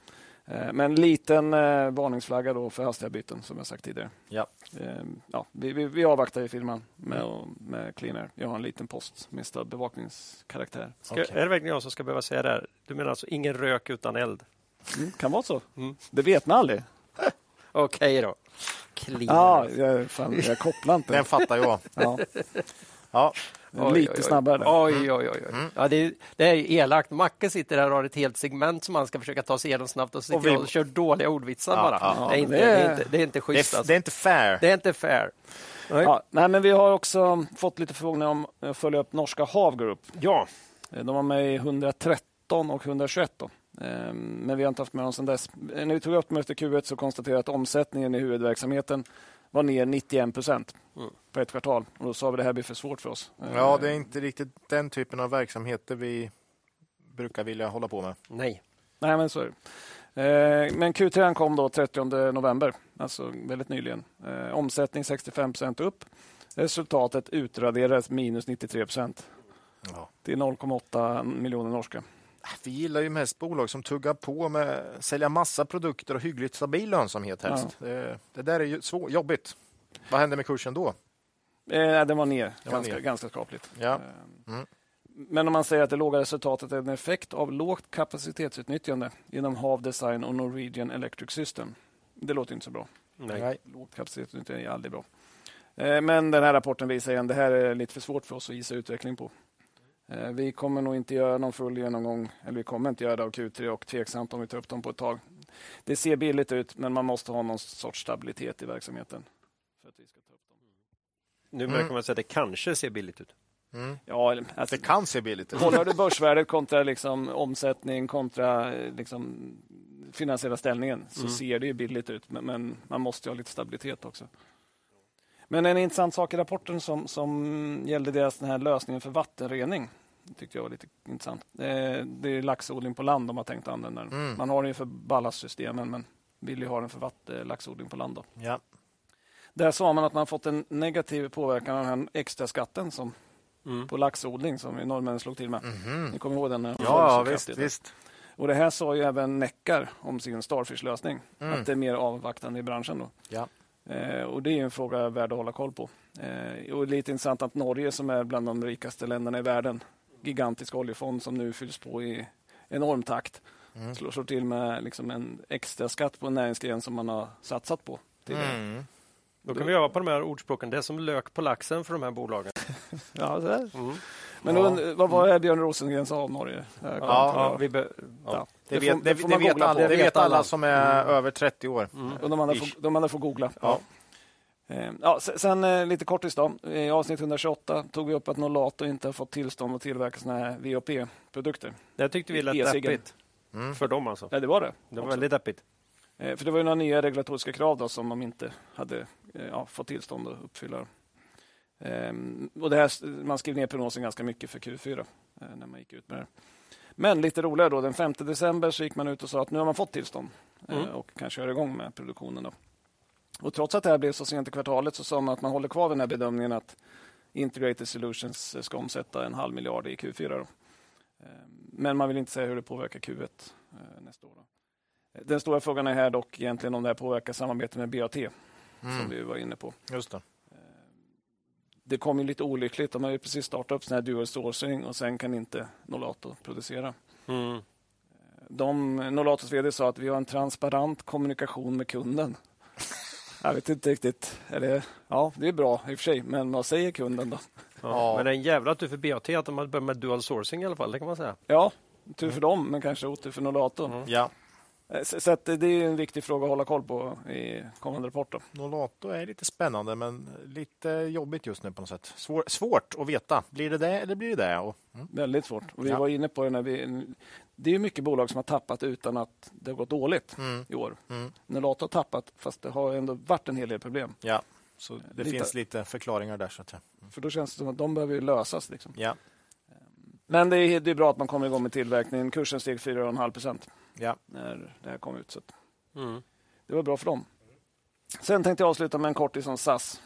Eh, men liten eh, varningsflagga då för hastiga byten som jag sagt tidigare.
Ja.
Eh, ja, vi, vi, vi avvaktar i firman med, med Clean Air. Jag har en liten post med stöd bevakningskaraktär.
Ska, Är det verkligen jag som ska behöva säga det här? Du menar alltså ingen rök utan eld?
Mm, kan vara så. Det vet man aldrig.
Okej då. Clean.
Ja, jag, fan, jag kopplar inte.
Den fattar jag.
Ja,
[laughs]
Ja.
Oj,
lite
oj, oj.
snabbare där.
Oj, oj, oj. oj. Ja, det, är, det är ju elakt. Macke sitter här och har ett helt segment som han ska försöka ta sig igenom snabbt och sitter och,
vi-
kör dåliga ordvitsar
Ja,
bara.
ja,
det, är
men
inte,
det
det...
är-
är inte, det är inte
Det,
schysst.
är,
alltså.
det är inte fair.
Det är inte fair.
Ja, nej, men vi har också fått lite förfrågningar om att följa upp norska Hav Group.
Ja,
Eh, De var med i 113 och 121. Då. Eh, Men vi har inte haft med dem sedan dess. Eh, När vi tog upp dem efter Q1 så konstaterade jag att omsättningen i huvudverksamheten var ner 91 procent på ett kvartal. Och då sa vi att det här blir för svårt för oss. Eh,
Mm. Ja, det är inte riktigt den typen av verksamheter vi brukar vilja hålla på med.
nej.
Nej, men så är det. Eh, Men Q3 kom då 30 november, alltså väldigt nyligen. Eh, Omsättning 65 upp. Resultatet utraderades minus 93
Ja.
Det är 0,8 miljoner norska. Eh,
Äh, Vi gillar ju mest bolag som tuggar på med sälja massa produkter och hyggligt stabil lönsamhet helst. Det, det där är ju svår, jobbigt. Vad händer med kursen då?
Eh, Den var ner,
var
ganska,
ner.
ganska skapligt.
Ja.
Eh,
Mm.
Men om man säger att det låga resultatet är en effekt av lågt kapacitetsutnyttjande inom HAV Design och Norwegian Electric System. Det låter inte så bra.
nej.
Lågt kapacitetsutnyttjande är aldrig bra. Eh, Men den här rapporten visar igen, det här är lite för svårt för oss att gissa utveckling på. Eh, Vi kommer nog inte göra någon full genomgång, eller vi kommer inte göra det av Q3 och tveksamt om vi tar upp dem på ett tag. Det ser billigt ut, men man måste ha någon sorts stabilitet i verksamheten. För att vi ska ta upp dem.
Nu märker man säga att det kanske ser billigt ut.
Ja, eller- alltså,
Mm. Det kan se billigt ut.
kollar du börsvärdet kontra liksom omsättning kontra eh, liksom finansiella ställningen så ser det ju billigt ut, men, men man måste ju ha lite stabilitet också. Men en intressant sak i rapporten som, som gällde deras den här lösningen för vattenrening. Det tyckte jag var lite intressant. Eh, Det är laxodling på land de har tänkt använda den.
Mm.
Man har den ju för ballastsystemen men vill ju ha den för vatt- eh, laxodling på land. Då.
Ja.
Där sa man att man fått en negativ påverkan av den här extra skatten som,
Mm.
på laxodling som vi norrmännen slog till med.
Mhm.
Ni kommer ihåg den? när den var så
ja, visst.
kraftigt.
visst.
Och Det här sa ju även Neckar om sin Starfish-lösning.
Mm.
Att det är mer avvaktande i branschen. Då.
Ja.
Eh, och Det är ju en fråga värd att hålla koll på. Eh, och Lite intressant att Norge som är bland de rikaste länderna i världen, gigantisk oljefond som nu fylls på i enorm takt,
Mm.
slår, slår till med liksom en extra skatt på en näringsgren som man har satsat på. tidigare.
Mm.
Då kan vi öva på de här ordspråken. Det är som lök på laxen för de här bolagen.
Ja, så där.
Mm.
Men
Ja.
und- vad var det Björn Rosengren sa om Norge? Jag kommer
Ja,
inte ihåg.
Ja, vi be-
Ja.
Det
Det,
får-
vet,
det
det,
får
det,
man
vet
googla på.
alla, det vet alla som är
Mm.
över 30 år.
Och de andra
Ish.
får, de andra får googla.
Ja.
Eh, Ja, se- sen eh, lite kortis då. I avsnitt 128 tog vi upp att Nolato inte har fått tillstånd att tillverka såna här VOP-produkter.
Det tyckte vi lät
E-ciggen.
deppigt.
Mm.
För dem alltså.
Ja, det var det.
Det var
också.
väldigt deppigt.
Eh, För det var ju några nya regulatoriska krav då som de inte hade eh, ja, fått tillstånd att uppfylla. Ehm, Och det här, man skrev ner prognosen ganska mycket för Q4 eh, när man gick ut med det. Men lite roligare då, den 5 december så gick man ut och sa att nu har man fått tillstånd eh,
Mm.
och kan köra igång med produktionen. Då. Och trots att det här blev så sent i kvartalet så sa man att man håller kvar den här bedömningen att Integrated Solutions eh, ska omsätta en halv miljard i Q4. Då. Eh, Men man vill inte säga hur det påverkar Q1 eh, nästa år. Då. Eh, Den stora frågan är här dock egentligen om det här påverkar samarbetet med BAT som Mm.
Mm.
vi var inne på. Eh,
Just det.
Det kom ju lite olyckligt. De har ju precis startat upp sån här dual sourcing och sen kan inte Nolato producera.
Mm.
De, Nolatos vd sa att vi har en transparent kommunikation med kunden. Jag vet inte riktigt. Är det, ja, det är bra i och för sig, men vad säger kunden då?
Ja.
Ja.
Men det är en jävla tur för BAT att de hade börjat med dual sourcing i alla fall. Det kan man säga.
Ja, tur för dem, men kanske otur för Nolato.
Ja.
Eh, Så, så att det är en viktig fråga att hålla koll på i kommande rapport. Då.
Nolato är lite spännande, men lite jobbigt just nu på något sätt. Svår, svårt att veta. Blir det det eller blir det det? Och, mm.
Väldigt svårt. Och vi
Ja.
var inne på det när vi... Det är mycket bolag som har tappat utan att det har gått dåligt
Mm.
i år.
Mm.
Nolato har tappat, fast det har ändå varit en hel del problem.
Ja. Så det
Eh, Lite-
finns lite förklaringar där. Så att, säga.
För då känns det som att de behöver ju lösas. Liksom.
ja.
Men det är, det är bra att man kommer igång med tillverkningen. Kursen steg 4,5 procent
Ja.
när det här kom ut. Så att
Mm.
det var bra för dem. Sen tänkte jag avsluta med en kortis om SAS.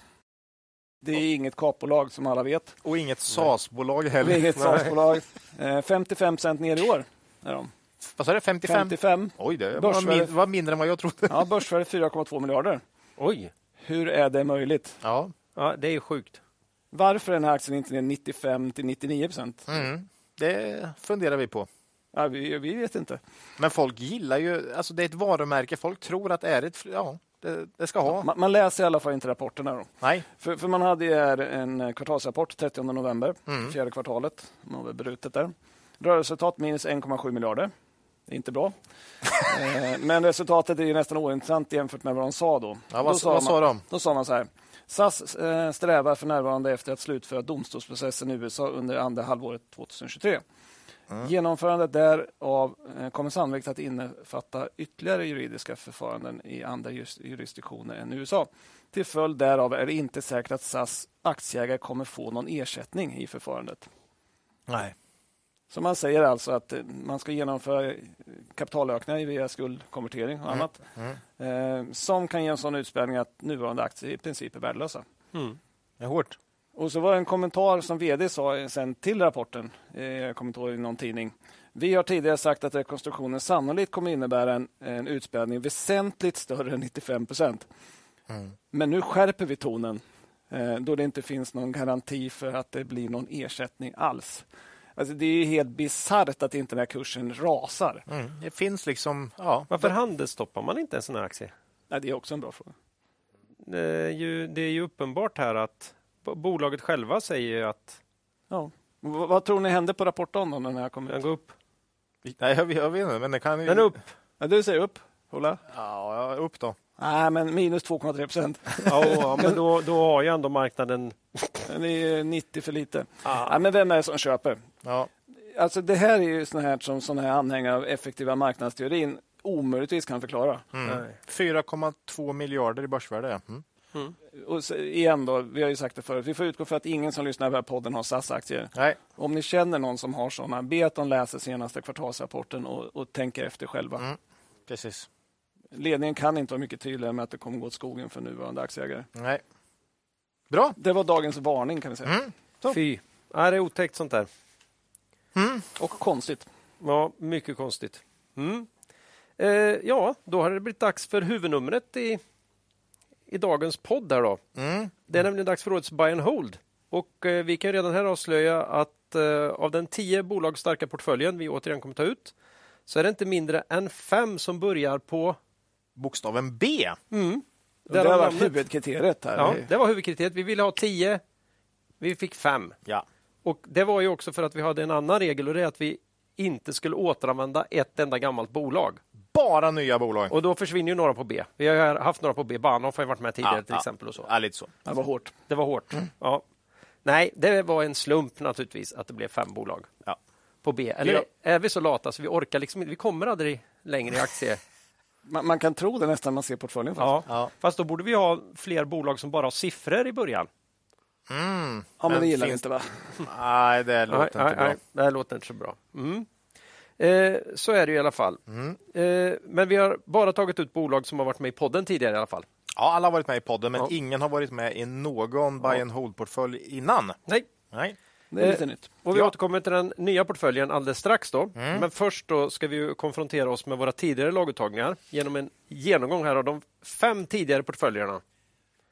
Det är inget kapbolag som alla vet.
Och inget SAS-bolag
Det
heller.
är inget
Nej.
SAS-bolag. Eh, 55 cent ner i år. Är de.
Vad sa du? 55?
55.
Oj, det var,
Börsvärde.
min, var mindre än vad jag trodde.
Ja, börsvärde 4,2 miljarder.
Oj,
Hur är det möjligt?
Ja.
ja, det är sjukt.
Varför är den här aktien inte ner 95 till 99 procent?
Mm. Det funderar vi på.
Ja, vi, vi vet inte.
Men folk gillar ju... Alltså det är ett varumärke. Folk tror att det är ett... Ja, det, det ska ha.
Man, man läser i alla fall inte rapporterna. Då.
Nej.
För, för man hade ju här en eh, kvartalsrapport 30 november,
Mm.
fjärde kvartalet. Man var brutet där. Rörelseresultat minus 1,7 miljarder. Det är
[laughs]
inte bra. Eh, Men resultatet är ju nästan ointressant jämfört med vad de sa då.
Ja,
då
vad,
sa
vad
man,
sa de?
då sa man så här. SAS eh, strävar för närvarande efter att slutföra domstolsprocessen i USA under andra halvåret 2023. Genomförandet därav eh, kommer sannolikt att innefatta ytterligare juridiska förfaranden i andra jus- jurisdiktioner än USA. Till följd därav är det inte säkert att SAS aktieägare kommer få någon ersättning i förfarandet.
Nej.
Så man säger alltså att eh, man ska genomföra eh, kapitalökningar via skuldkonvertering och annat
Mm.
eh, som kan ge en sån utspädning att nuvarande aktier i princip är värdelösa.
Det är hårt.
Och så var det en kommentar som vd sa sen till rapporten, eh, jag kommer inte ihåg i någon tidning. Vi har tidigare sagt att rekonstruktionen sannolikt kommer innebära en, en utspädning väsentligt större än 95 procent.
Mm.
Men nu skärper vi tonen eh, då det inte finns någon garanti för att det blir någon ersättning alls. Alltså det är ju helt bisarrt att inte den här kursen rasar.
Mm. Det finns liksom... Ja.
Varför handelsstoppar man inte en sån här aktie?
Nej, det är också en bra fråga.
Det är ju, det är ju uppenbart här att bo- bolaget själva säger ju att
Ja. V- vad tror ni hände på rapporten om den här kom
den
ut?
går upp.
Nej, jag, vet- jag vet inte, men det kan ju...
Den är upp.
Ja, du säger upp, Ola?
Ja, ja, upp då.
Nej, men minus 2,3 procent.
Ja, men då, då har ju ändå marknaden...
Den är ju 90 för lite. Ja, men vem är det som köper?
Ja.
Alltså det här är ju sånt här som såna här anhängare av effektiva marknadsteorin omöjligtvis kan förklara.
Mm. 4,2 miljarder i börsvärde. ja. Mm.
Och så, igen då, vi har ju sagt det förut, vi får utgå för att ingen som lyssnar på den här podden har SAS-aktier.
Nej.
Om ni känner någon som har sådana, be att de läser senaste kvartalsrapporten och, och tänker efter själva.
Mm. Precis.
Ledningen kan inte vara mycket tydligare med att det kommer gå åt skogen för nuvarande aktieägare.
Nej. Bra.
Det var dagens varning kan vi säga.
Mm.
Fy. Ja, det är otäckt sånt där.
Och konstigt.
Ja, mycket konstigt. Mm. Eh, ja, då har det blivit dags för huvudnumret i, i dagens podd. Här då.
Mm.
Det är nämligen dags för årets buy and hold. Och eh, vi kan redan här avslöja att eh, av den tio bolag starka portföljen vi återigen kommer ta ut så är det inte mindre än fem som börjar på...
Bokstaven B.
Mm,
Det
därav
har varit
namnet.
huvudkriteriet här.
Ja, det var huvudkriteriet. Vi ville ha tio, vi fick fem.
Ja.
Och Det var ju också för att vi hade en annan regel och det är att vi inte skulle återanvända ett enda gammalt bolag.
Bara nya bolag.
Och då försvinner ju några på B. Vi har ju haft några på B. Bahnhof har ju varit med tidigare
Ja,
till
ja.
exempel. och så.
Ja, lite så.
Det var hårt.
Det var hårt.
Mm.
Ja. Nej, det var en slump naturligtvis att det blev fem bolag
Ja.
på B. Eller
Ja.
är vi så lata så vi orkar liksom inte? Vi kommer aldrig längre i aktie.
Man, man kan tro det nästan när man ser portföljen. faktiskt.
[laughs]
Ja.
Ja.
Fast då borde vi ha fler bolag som bara har siffror i början.
Mm.
Ja, men det
Men
gillar vi
finns-
inte va?
Nej, det låter inte bra.
det här låter inte så bra. Mm. Eh, så är det ju i alla fall.
Mm.
Eh, men vi har bara tagit ut bolag som har varit med i podden tidigare i alla fall.
Ja, alla har varit med i podden, men
Ja.
ingen har varit med i någon buy and hold-portfölj innan.
Nej.
Nej.
Det är lite nytt.
Och vi
Ja. Mm.
återkommer till den nya portföljen alldeles strax. Då. Men först då ska vi ju konfrontera oss med våra tidigare laguttagningar genom en genomgång här av de fem tidigare portföljerna.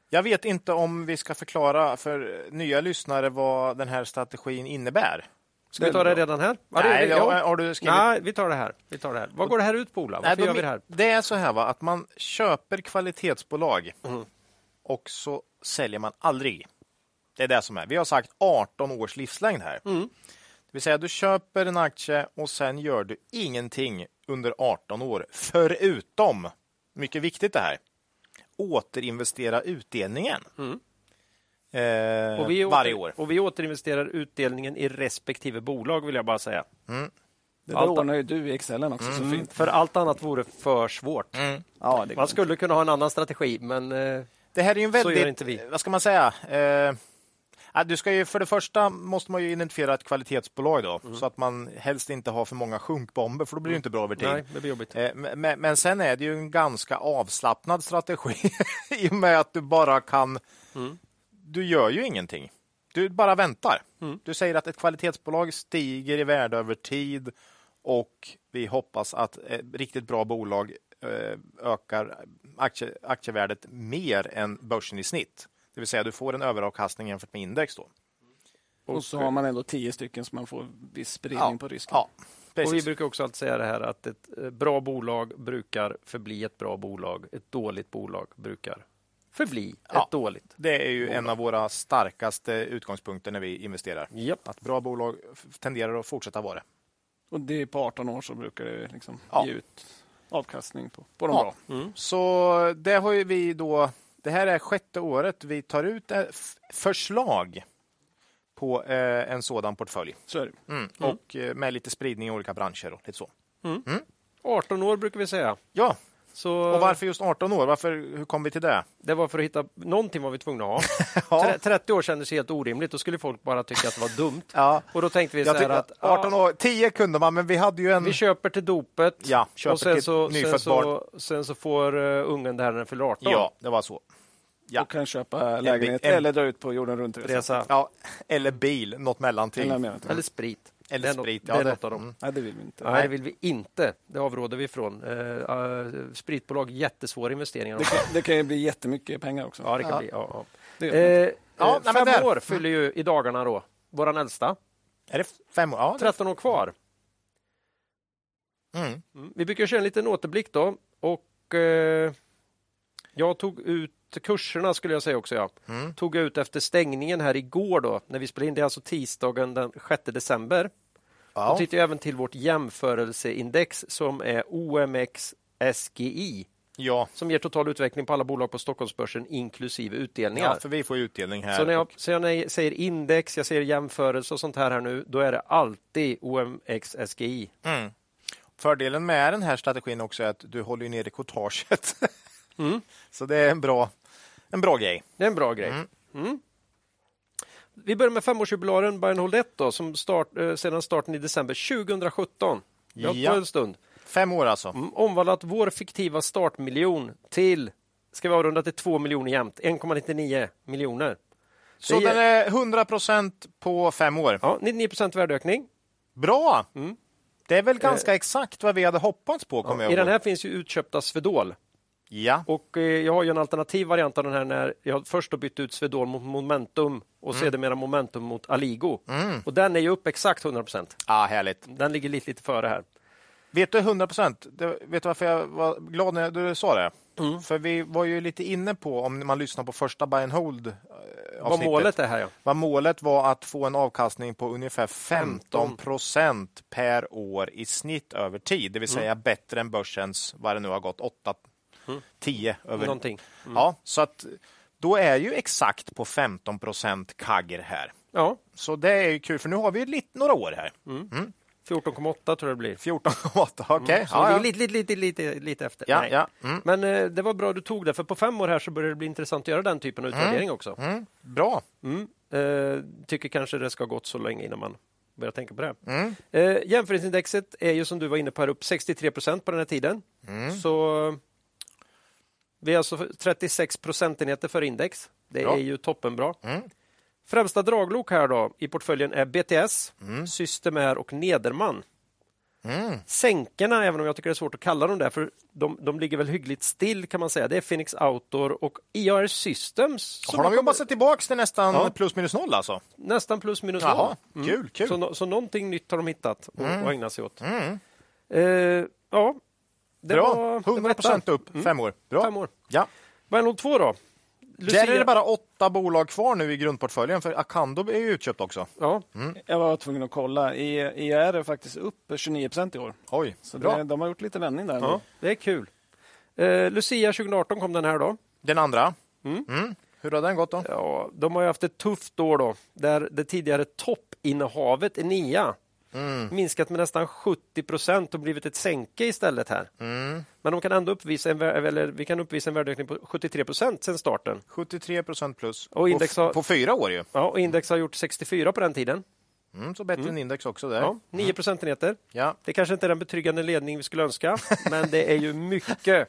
Jag vet inte om vi ska förklara för nya lyssnare vad den här strategin innebär.
Ska vi ta det redan här? Ja, det gör
Nej,
vi.
har,
Ja.
har du skrivit?
Nej, vi tar det här. Vi tar det här. Vad går det här ut på, Ola? Varför
Nej,
gör
de-
vi det här?
Det är så här va, att man köper kvalitetsbolag
Mm.
och så säljer man aldrig. Det är det som är. Vi har sagt 18 års livslängd här.
Mm.
Det vill säga, du köper en aktie och sen gör du ingenting under 18 år. Förutom, mycket viktigt det här, återinvestera utdelningen. Eh,
Mm. Och vi, åter-
varje år.
och vi återinvesterar utdelningen i respektive bolag, vill jag bara säga.
Det där
Allt-
ordnar ju du i Excelen också så
Mm.
fint.
För allt annat vore för svårt.
Ja, det
Man skulle kunna ha en annan strategi, men... eh,
Det här är ju en
Så
väldigt...
gör inte vi.
Vad ska man säga? Eh, ja, du ska ju, för det första måste man ju identifiera ett kvalitetsbolag då,
Mm.
så att man helst inte har för många sjunkbomber, för då blir det inte bra över tid.
Nej, det blir jobbigt.
Eh, Men, men sen är det ju en ganska avslappnad strategi [laughs] i och med att du bara kan...
Mm.
Du gör ju ingenting. Du bara väntar.
Mm.
Du säger att ett kvalitetsbolag stiger i värde över tid och vi hoppas att eh, riktigt bra bolag eh, ökar aktie, aktievärdet mer än börsen i snitt. Det vill säga du får en överavkastning jämfört med index. Då.
Och så har man ändå tio stycken så man får viss spridning
Ja.
på risken.
Ja,
Och vi
precis.
brukar också alltid säga det här att ett eh, bra bolag brukar förbli ett bra bolag. Ett dåligt bolag brukar förbli
Ja.
ett dåligt.
Det är ju en av våra starkaste utgångspunkter när vi investerar.
Japp.
Att bra bolag f- tenderar att fortsätta vara det.
Och det är på 18 år så brukar det liksom
Ja.
ge ut avkastning på, på de
Ja.
bra.
Så det har ju vi då. Det här är sjätte året vi tar ut eh, f- förslag på eh, en sådan portfölj.
Så är det.
Mm. Och eh, med lite spridning i olika branscher och lite så.
18 år brukar vi säga.
Ja,
Så
och varför just 18 år? Varför, hur kom vi till det?
Det var för att hitta... Någonting var vi tvungna att ha.
[laughs] Ja,
Tre- 30 år kändes helt orimligt. Då skulle folk bara tycka att det var dumt.
ja.
Och då tänkte vi så
Jag
här
tyckte
att
att 18 år, 10 kunde man, men vi hade ju en...
vi köper till dopet
Ja, köper
och sen
till
så, sen
nyfött
så, sen så får eh, ungen det här när den fyller 18.
Ja, det var så. Ja.
Och kan köpa lägenhet
en-
eller dra ut på jorden runt resa.
Resa.
Ja, eller bil, något mellanting.
Eller menar jag inte.
Eller sprit.
Eller
det är, nå-
sprit,
det
ja, det-
är
mm.
något av dem.
Nej, det vill vi inte.
Nej, det vill vi inte. Det avråder vi ifrån. Eh, eh, spritbolag, jättesvåra investeringar.
Det, kan, det kan ju bli jättemycket pengar också.
Ja, det kan bli. Ja, ja.
Det
Eh,
gör det.
eh,
Ja, nej, men
fem
där.
år fyller ju i dagarna då, våran äldsta.
Är det fem år? Ja, det...
13 år kvar.
Mm.
Mm. Vi brukar köra en liten återblick då. Och eh, jag tog ut kurserna skulle jag säga också. Ja.
Mm.
Tog jag ut efter stängningen här igår då, när vi spelade in. Det är alltså tisdagen den 6 december. Då
Ja.
tittar jag även till vårt jämförelseindex som är OMX SGI.
Ja.
som ger total utveckling på alla bolag på Stockholmsbörsen inklusive utdelningar.
ja, för vi får ju utdelning här.
så när jag, så jag nej- säger index, jag säger jämförelse och sånt här, här nu, då är det alltid OMX SGI.
Mm. Fördelen med [laughs]
Mm.
den här strategin också är att du håller ju nere courtaget. Så det är en bra en bra grej.
Det är en bra grej. Mm. Vi börjar med femårsjubilaren Bernhold 1 då, som start, eh, sedan starten i december 2017. Vi har hållit på
Ja.
en stund.
Fem år alltså.
Mm, Omvandlat vår fiktiva startmiljon till, ska vi avrunda till 2 miljoner jämnt, 1,99 miljoner.
Så
Det är-
den är 100 procent på fem år.
Ja, 99 procent värdeökning.
Bra! Det är väl ganska exakt vad vi hade hoppats på, kommer
Eh. I
jag
den
ihåg.
här finns ju utköpta Swedol.
Ja.
Och eh, jag har ju en alternativ variant av den här när jag först har bytt ut Swedol mot Momentum och
Mm.
sedermera Momentum mot Aligo. Och den är ju upp exakt 100 procent.
Ah, härligt.
Den ligger lite, lite före här.
Vet du 100 procent? Vet du varför jag var glad när du sa det?
Mm.
För vi var ju lite inne på, om man lyssnar på första buy and hold eh,
Vad
avsnittet,
målet är här ja.
vad målet var att få en avkastning på ungefär 15 procent per år i snitt över tid, det vill säga
Mm.
bättre än börsens, vad det nu har gått, 8, 10 över.
Någonting. Mm.
Ja, så att då är ju exakt på 15 procent kagger här.
Ja,
Så det är ju kul, för nu har vi ju lite, några år här.
Mm. 14,8 tror jag det
[laughs]
blir.
14,8, okej.
Mm. Så
Ja,
vi
ja.
är lite, lite, lite, lite, lite efter.
Ja,
Nej.
ja. Mm.
Men eh, det var bra du tog det, för på fem år här så börjar det bli intressant att göra den typen av utvärdering också.
Mm, bra.
Mm. Eh, tycker kanske det ska ha gått så länge innan man börjar tänka på det.
Mm.
Eh, jämförelseindexet är ju som du var inne på här upp 63 procent på den här tiden.
Mm.
Så vi är alltså 36 procentenheter för index. Det
Bra.
är ju toppenbra.
Mm.
Främsta draglok här då i portföljen är BTS,
Mm.
Systemair och Nederman. Sänkarna, även om jag tycker det är svårt att kalla dem där, för de, de ligger väl hyggligt still kan man säga. Det är Phoenix Outdoor och IR Systems. som
har de
kommer-
jobbat sig tillbaka till nästan plus minus noll alltså?
Nästan plus minus
Jaha,
noll. Mm.
kul, kul. Mm.
Så, nå- så någonting nytt har de hittat och, och ägna sig åt. Eh, ja, det
Bra,
var... det var
100 procent
ettan.
upp, fem år. Bra.
Fem år.
Ja.
Bernhold 2 då? Lucia-
Där är det bara åtta bolag kvar nu i grundportföljen, för Acando är ju utköpt också.
Ja,
Mm.
Jag var tvungen att kolla. I- IR är faktiskt upp 29 procent i år.
Oj,
Så
bra.
det, de har gjort lite vändning där.
ja,
Ja.
det är kul. Eh, Lucia 2018 kom den här då.
Den andra. Mm. Hur har den gått då?
Ja, de har ju haft ett tufft år då, där det tidigare toppinnehavet i NIA
Mm.
minskat med nästan 70 procent och blivit ett sänke istället här.
Mm.
Men de kan ändå uppvisa en, vär- eller vi kan uppvisa en värdeökning på 73 procent sedan starten.
73 procent plus.
Och index
på, f-
har-
på fyra år ju.
Ja, och index har gjort 64 på den tiden.
Mm, så bättre än index också där.
Ja, 9 procentenheter.
Ja.
Det kanske inte är den betryggande ledning vi
[laughs]
skulle önska, men det är ju mycket,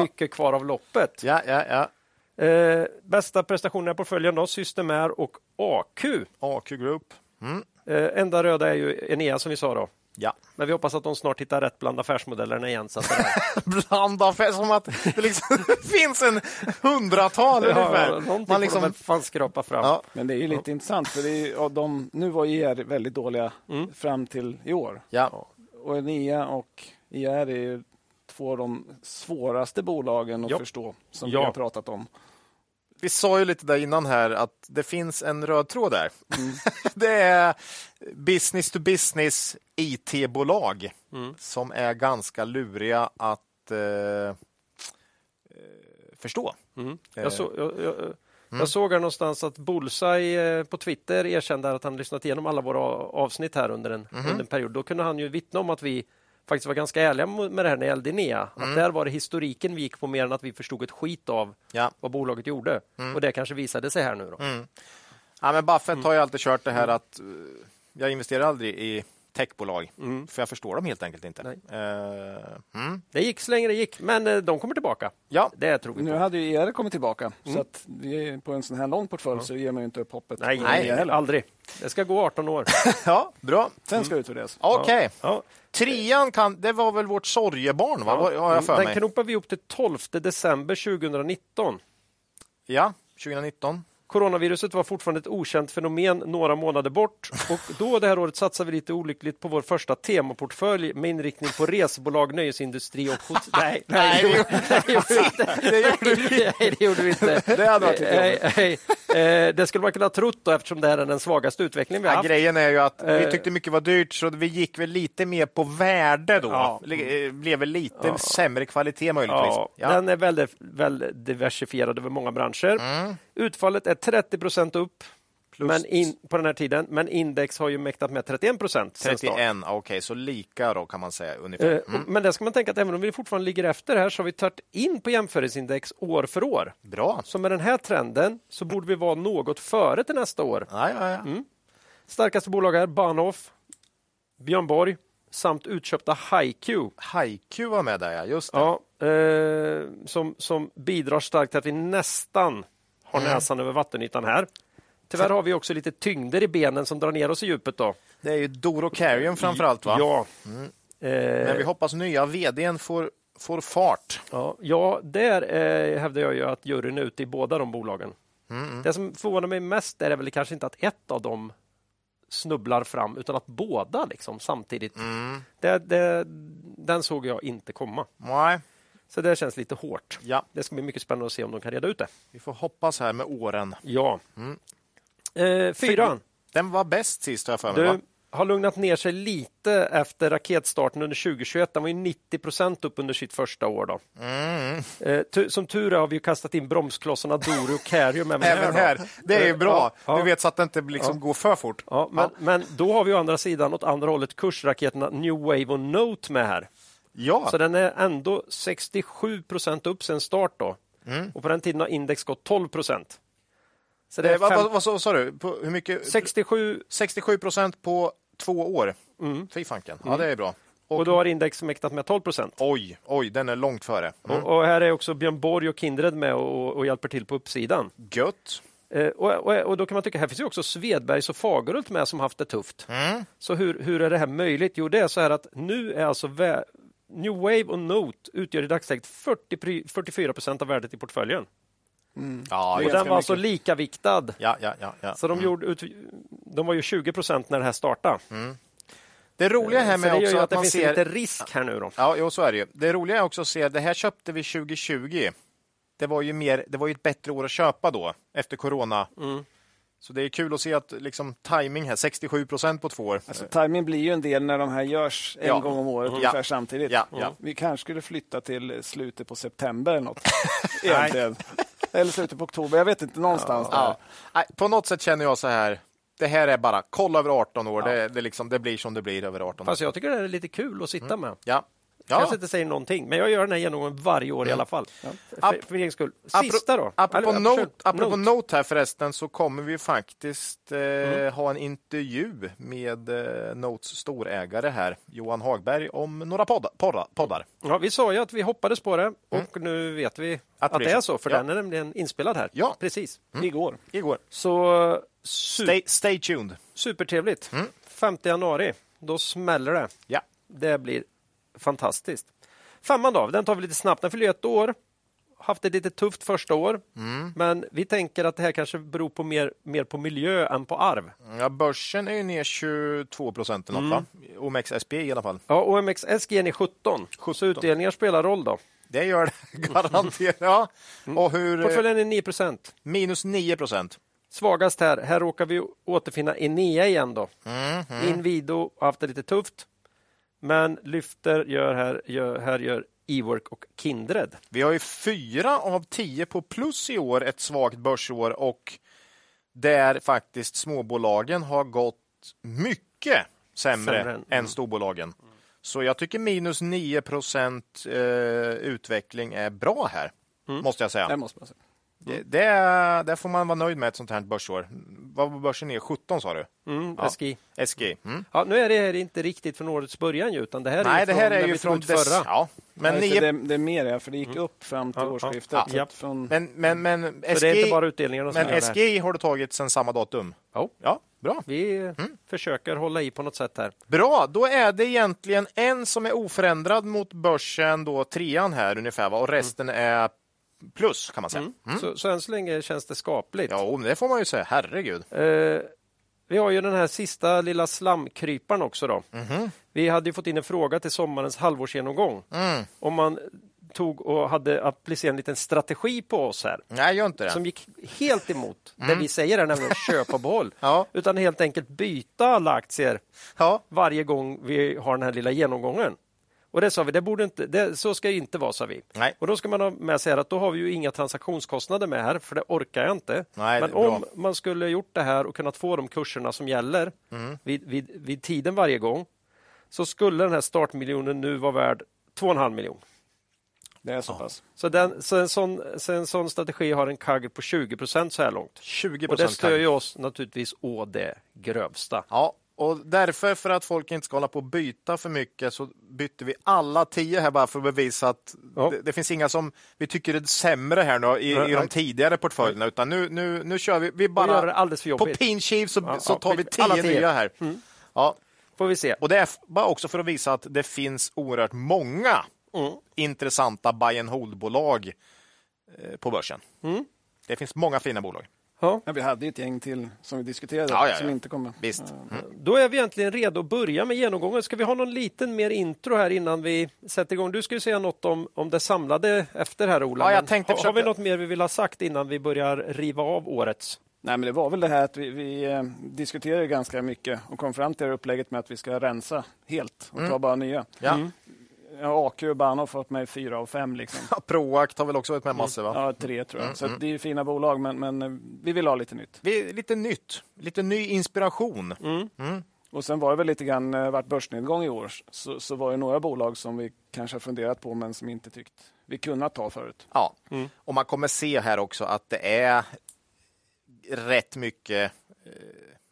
mycket kvar av loppet.
Ja, ja, ja.
Eh, bästa prestationerna på portföljen då, Systemair och AQ.
AQ Group. Mm.
Eh, enda röda är ju Enea som vi sa då.
Ja. [laughs]
Men vi hoppas att de snart hittar rätt bland affärsmodellerna igen. Så att det här-
Bland affärer, som att det liksom [laughs] finns en hundratal [laughs] ungefär.
någonting
Man
får de
liksom...
väl fan skrapa fram.
Ja.
Men det är ju lite intressant för det är, ju- ja, de, nu var IR väldigt dåliga
Mm.
fram till i år.
Ja.
Och NIA och IR är ju två av de svåraste bolagen att
Ja.
förstå som
Ja.
vi har pratat om.
Vi sa ju lite där innan här att det finns en röd tråd där.
Mm.
[laughs] det är business to business IT-bolag
Mm.
som är ganska luriga att eh, eh, förstå.
Mm.
Eh.
Jag, så, jag, jag,
Mm.
jag såg här någonstans att Bullseye eh, på Twitter erkände att han lyssnat igenom alla våra avsnitt här under en,
Mhm.
under en period. Då kunde han ju vittna om att vi faktiskt var ganska ärliga mo- med det här när det gällde Enea.
Mm.
Att där var det historiken vi gick på mer än att vi förstod ett skit av
Ja.
vad bolaget gjorde.
Mm.
Och det kanske visade sig här nu. Då.
Ja, men Buffett
Mm.
har ju alltid kört det här att eh, jag investerar aldrig i techbolag, för jag förstår dem helt enkelt inte.
Mm. Nej.
Eh, mm.
Det gick så länge det gick, men eh, de kommer tillbaka. [laughs]
Ja,
Det tror vi
Nu
på.
hade ju IR kommit tillbaka
Mm.
så att vi är på en sån här lång portfölj så ger man ju inte upp hoppet.
Nej,
på
nej,
IR heller.
aldrig. Det ska gå
[laughs]
18 år.
ja bra.
Sen ska det utvärderas.
Okej.
Ja.
Trean kan, det var väl vårt sorgebarn, va? Vad har jag för
Mm, Den
mig?
knopar vi upp till 12 december 2019.
Ja, 2019.
Coronaviruset var fortfarande ett okänt fenomen några månader bort och då det här året satsade vi lite olyckligt på vår första temaportfölj med inriktning på resebolag, nöjesindustri och [laughs] hotell. Nej, nej, det gjorde- det gjorde vi inte. [laughs] Nej, [laughs] det gjorde vi inte.
Det hade
Eh,
varit lite
Nej, nej. Eh, Det skulle man kunna ha trott då, eftersom det här är den svagaste utvecklingen vi har
Ja,
haft.
grejen är ju att vi
Eh.
tyckte mycket var dyrt, så vi gick väl lite mer på värde då.
Ja.
Le- eh, Blev väl lite sämre kvalitet möjligtvis.
Ja,
Ja.
Den är Mm. väldigt väl diversifierad över många branscher. Utfallet är 30 procent upp
Plus
Men in, på den här tiden. Men index har ju mäktat med 31 procent sen
31,
start.
okej, så lika då kan man säga ungefär.
Eh, och- Men där ska man tänka att även om vi fortfarande ligger efter här så har vi tagit in på jämförelseindex år för år.
Bra. alltså.
Så med den här trenden så borde vi vara något före till nästa år.
Ja, ja, ja.
Mm. Starkaste bolag är Bahnhof, Björn Borg samt utköpta HiQ.
Haiku var med där, ja. Just det.
Ja, eh, som, som bidrar starkt till att vi nästan har
Mm.
näsan över vattenytan här. Tyvärr har vi också lite tyngder i benen som drar ner oss i djupet. Då.
Det är ju Doro Carrion framför allt, va? Mm.
Ja. Eh,
Men vi hoppas nya vdn får, får fart.
Ja, ja där eh, hävdar jag ju att juryn är ute i båda de bolagen.
Mm,
Det som förvånar mig mest är väl kanske inte att ett av dem snubblar fram, utan att båda liksom, samtidigt.
Mm.
Det, det, den såg jag inte komma.
Nej,
Så det känns lite hårt.
ja.
Det ska bli mycket spännande att se om de kan reda ut det.
Vi får hoppas här med åren.
Ja. Eh, fyran.
Den var bäst sist, har jag för mig.
Du
va?
har lugnat ner sig lite efter raketstarten under 2021. Den var ju 90 procent upp under sitt första år. Då.
Mm.
Eh, tu- som tur är har vi ju kastat in bromsklossarna Dory och Carium även,
Även
då.
här. Det är ju
Eh,
bra.
ja,
Du
ja.
vet så att det inte liksom går för fort.
Ja, men, men då har vi å andra sidan åt andra hållet kursraketerna New Wave och Note med här.
Ja,
Så den är ändå 67 procent upp sedan start. då. Och på den tiden har index gått 12 procent. Så det
Mm. Eh, vad,
är fem,
vad, vad, sa- vad sa du? På, hur mycket?
67
67 procent på två år.
Mm.
Fy fanken. Ja, det är bra. Och,
och då har index mäktat med 12 procent.
Oj, oj, den är långt före.
Och, och här är också Björn Borg och Kindred med och, och hjälper till på uppsidan.
Gött.
Eh, och, och, och då kan man tycka, här finns ju också Svedbergs och Fagerhult med som haft det tufft.
Mm.
Så hur, hur är det här möjligt? Jo, det är så här att nu är alltså vä- New Wave och Note utgör i dagsläget 40, pri- 44 procent av värdet i portföljen.
Ja,
och
just
den var
det.
alltså likaviktad.
ja, ja, ja, ja. Mm.
Så de, gjorde ut, de var ju 20 procent när det här startade.
Det roliga Mm. här
så
med
det gör
också
ju att
att
det
man
finns
ser...
lite risk här nu. Då.
Ja, jo, så är det ju. Det roliga är också att se att det här köpte vi 2020. Det var ju, mer, det var ju ett bättre år att köpa då, efter corona.
Mm.
Så det är kul att se att liksom, timing här, 67 procent på två år.
Alltså, timing blir ju en del när de här görs en
Ja.
gång om året
Ja.
ungefär samtidigt.
Ja, ja.
Vi kanske skulle flytta till slutet på september
[laughs]
eller något. Egentligen. eller slutet på oktober, jag vet inte, någonstans där.
Ja. Eh, Nej, på något sätt känner jag så här, det här är bara kolla över 18 år, det, det, liksom, det blir som det blir över 18 år.
Fast jag tycker det här är lite kul att sitta med.
Ja.
Kanske
Ja.
inte säger någonting, men jag gör den här genomgången varje år i alla fall. För,
Ap-
för min egen skull. Sista då?
Apropå,
Eller,
note,
försök-
apropå note. här förresten så kommer vi faktiskt eh, ha en intervju med eh, Notes storägare här, Johan Hagberg, om några podda, porra, poddar.
Ja, vi sa ju att vi hoppades på det och nu vet vi att,
Mm. blir
det är
så.
så, för
Ja.
den är nämligen inspelad här.
Ja.
Precis.
Igår.
Igår.
Så su-
Stay, stay tuned.
supertrevligt. 5 januari, då smäller det.
Ja.
Det blir fantastiskt. Femman då, den tar vi lite snabbt. Den fyller ju ett år. Haft ett lite tufft första år,
Mm.
men vi tänker att det här kanske beror på mer, mer på miljö än på arv.
ja, börsen är ju ner 22 procent eller något, va? OMXSP i alla fall.
Ja, OMXSG är 17, 17, så utdelningar spelar roll då.
Det gör det [laughs] garanterat. Ja. Och hur? eh,
Portföljen är 9 procent.
Minus 9 procent.
Svagast här, här råkar vi återfinna Enea igen då.
Mhm.
Invido har haft det lite tufft, men lyfter gör här, gör, här gör Ework och Kindred.
Vi har ju fyra av tio på plus i år, ett svagt börsår och där faktiskt småbolagen har gått mycket sämre,
Sämre Mm. än-
än, storbolagen. Så jag tycker minus 9 procent eh, utveckling är bra här,
Mm.
måste jag säga.
Det måste man säga.
Det, det, är- där får man vara nöjd med ett sånt här börsår. Vad var börsen ner? 17 sa du?
Mm,
Ja.
SGI.
SG. Mm.
Ja, nu är det här inte riktigt från årets början ju, utan det här är
Nej,
ju
det
från
här är
när
ju
vi
från
tog ut
dess...
förra.
Ja, men,
Nej,
nio,
så det, det är mer, ja, för det gick upp fram till
Ja, ja.
årsskiftet.
Ja.
så att Från,
men, men, men
Så det är inte
SGI
bara utdelningarna som gör
men
det här.
SGI har du tagit sedan samma datum?
Ja.
Ja, bra.
Vi
Mm.
försöker hålla i på något sätt här.
Bra, då är det egentligen en som är oförändrad mot börsen, då trean här ungefär, va? och resten
Mm.
är plus kan man säga.
Så, så än så länge känns det skapligt.
Mm. Ja, och det får man ju säga, herregud.
Eh, vi har ju den här sista lilla slamkryparen också. Då. Vi hade ju fått in en fråga till sommarens halvårsgenomgång. Om man tog och hade applicerat en liten strategi på oss här
Nej, gör inte det.
som gick helt emot det vi säger, här, nämligen köp och behåll.
Ja.
Utan helt enkelt byta alla aktier
Ja,
varje gång vi har den här lilla genomgången. Och det sa vi, det borde inte, det, så ska det inte vara, sa vi.
Nej.
Och då ska man ha med sig här att då har vi ju inga transaktionskostnader med här, för det orkar jag inte.
Nej,
Men
det är
om
bra.
man skulle gjort det här och kunnat få de kurserna som gäller
Mm.
vid, vid, vid tiden varje gång, så skulle den här startmiljonen nu vara värd 2,5 miljon.
Det är så pass.
Så, den, så, en sån, så en sån strategi har en CAGR på 20 procent så här långt.
20
Och det
procent.
stör ju oss naturligtvis å det grövsta.
Ja, och därför för att folk inte ska hålla på och byta för mycket så bytte vi alla tio här bara för att bevisa att
Ja.
det, det finns inga som vi tycker är sämre här nu i,
Nej,
i de
nej.
tidigare portföljerna utan nu, nu, nu kör vi. Vi
Bara, gör det
bara
alldeles för
på
jobbigt.
pinchiv så,
Ja,
så
ja,
tar vi
alla
tio,
tio. Mm.
nya här. Ja,
Får vi se.
och det är f- bara också för att visa att det finns oerhört många intressanta buy and hold-bolag eh, på börsen. Det finns många fina bolag.
Ja.
Ja, vi hade ju ett gäng till som vi diskuterade
Ja, ja, ja.
som inte kommer.
Visst.
Då är vi egentligen redo att börja med genomgången. Ska vi ha någon liten mer intro här innan vi sätter igång? Du ska ju säga något om, om det samlade efter här, Ola.
Ja, jag
Men
tänkte
har, har
försöka-
vi något mer vi vill ha sagt innan vi börjar riva av årets?
Nej, men det var väl det här att vi, vi eh, diskuterade ju ganska mycket och kom fram till det här upplägget med att vi ska rensa helt och ta bara nya.
Mm.
Mm.
Ja.
Ja, AQ och Banan har fått mig fyra av fem. Liksom.
Proact har väl också varit med massor? Va?
Ja, tre tror
Mm,
jag. Så att det är ju fina bolag, men, men eh, vi vill ha lite nytt.
Vi, lite nytt, lite ny inspiration.
Och sen var det väl lite grann, eh, vart börsnedgång i år, så, så var det några bolag som vi kanske har funderat på men som inte tyckt vi kunnat ta förut.
Ja. Och man kommer se här också att det är rätt mycket eh,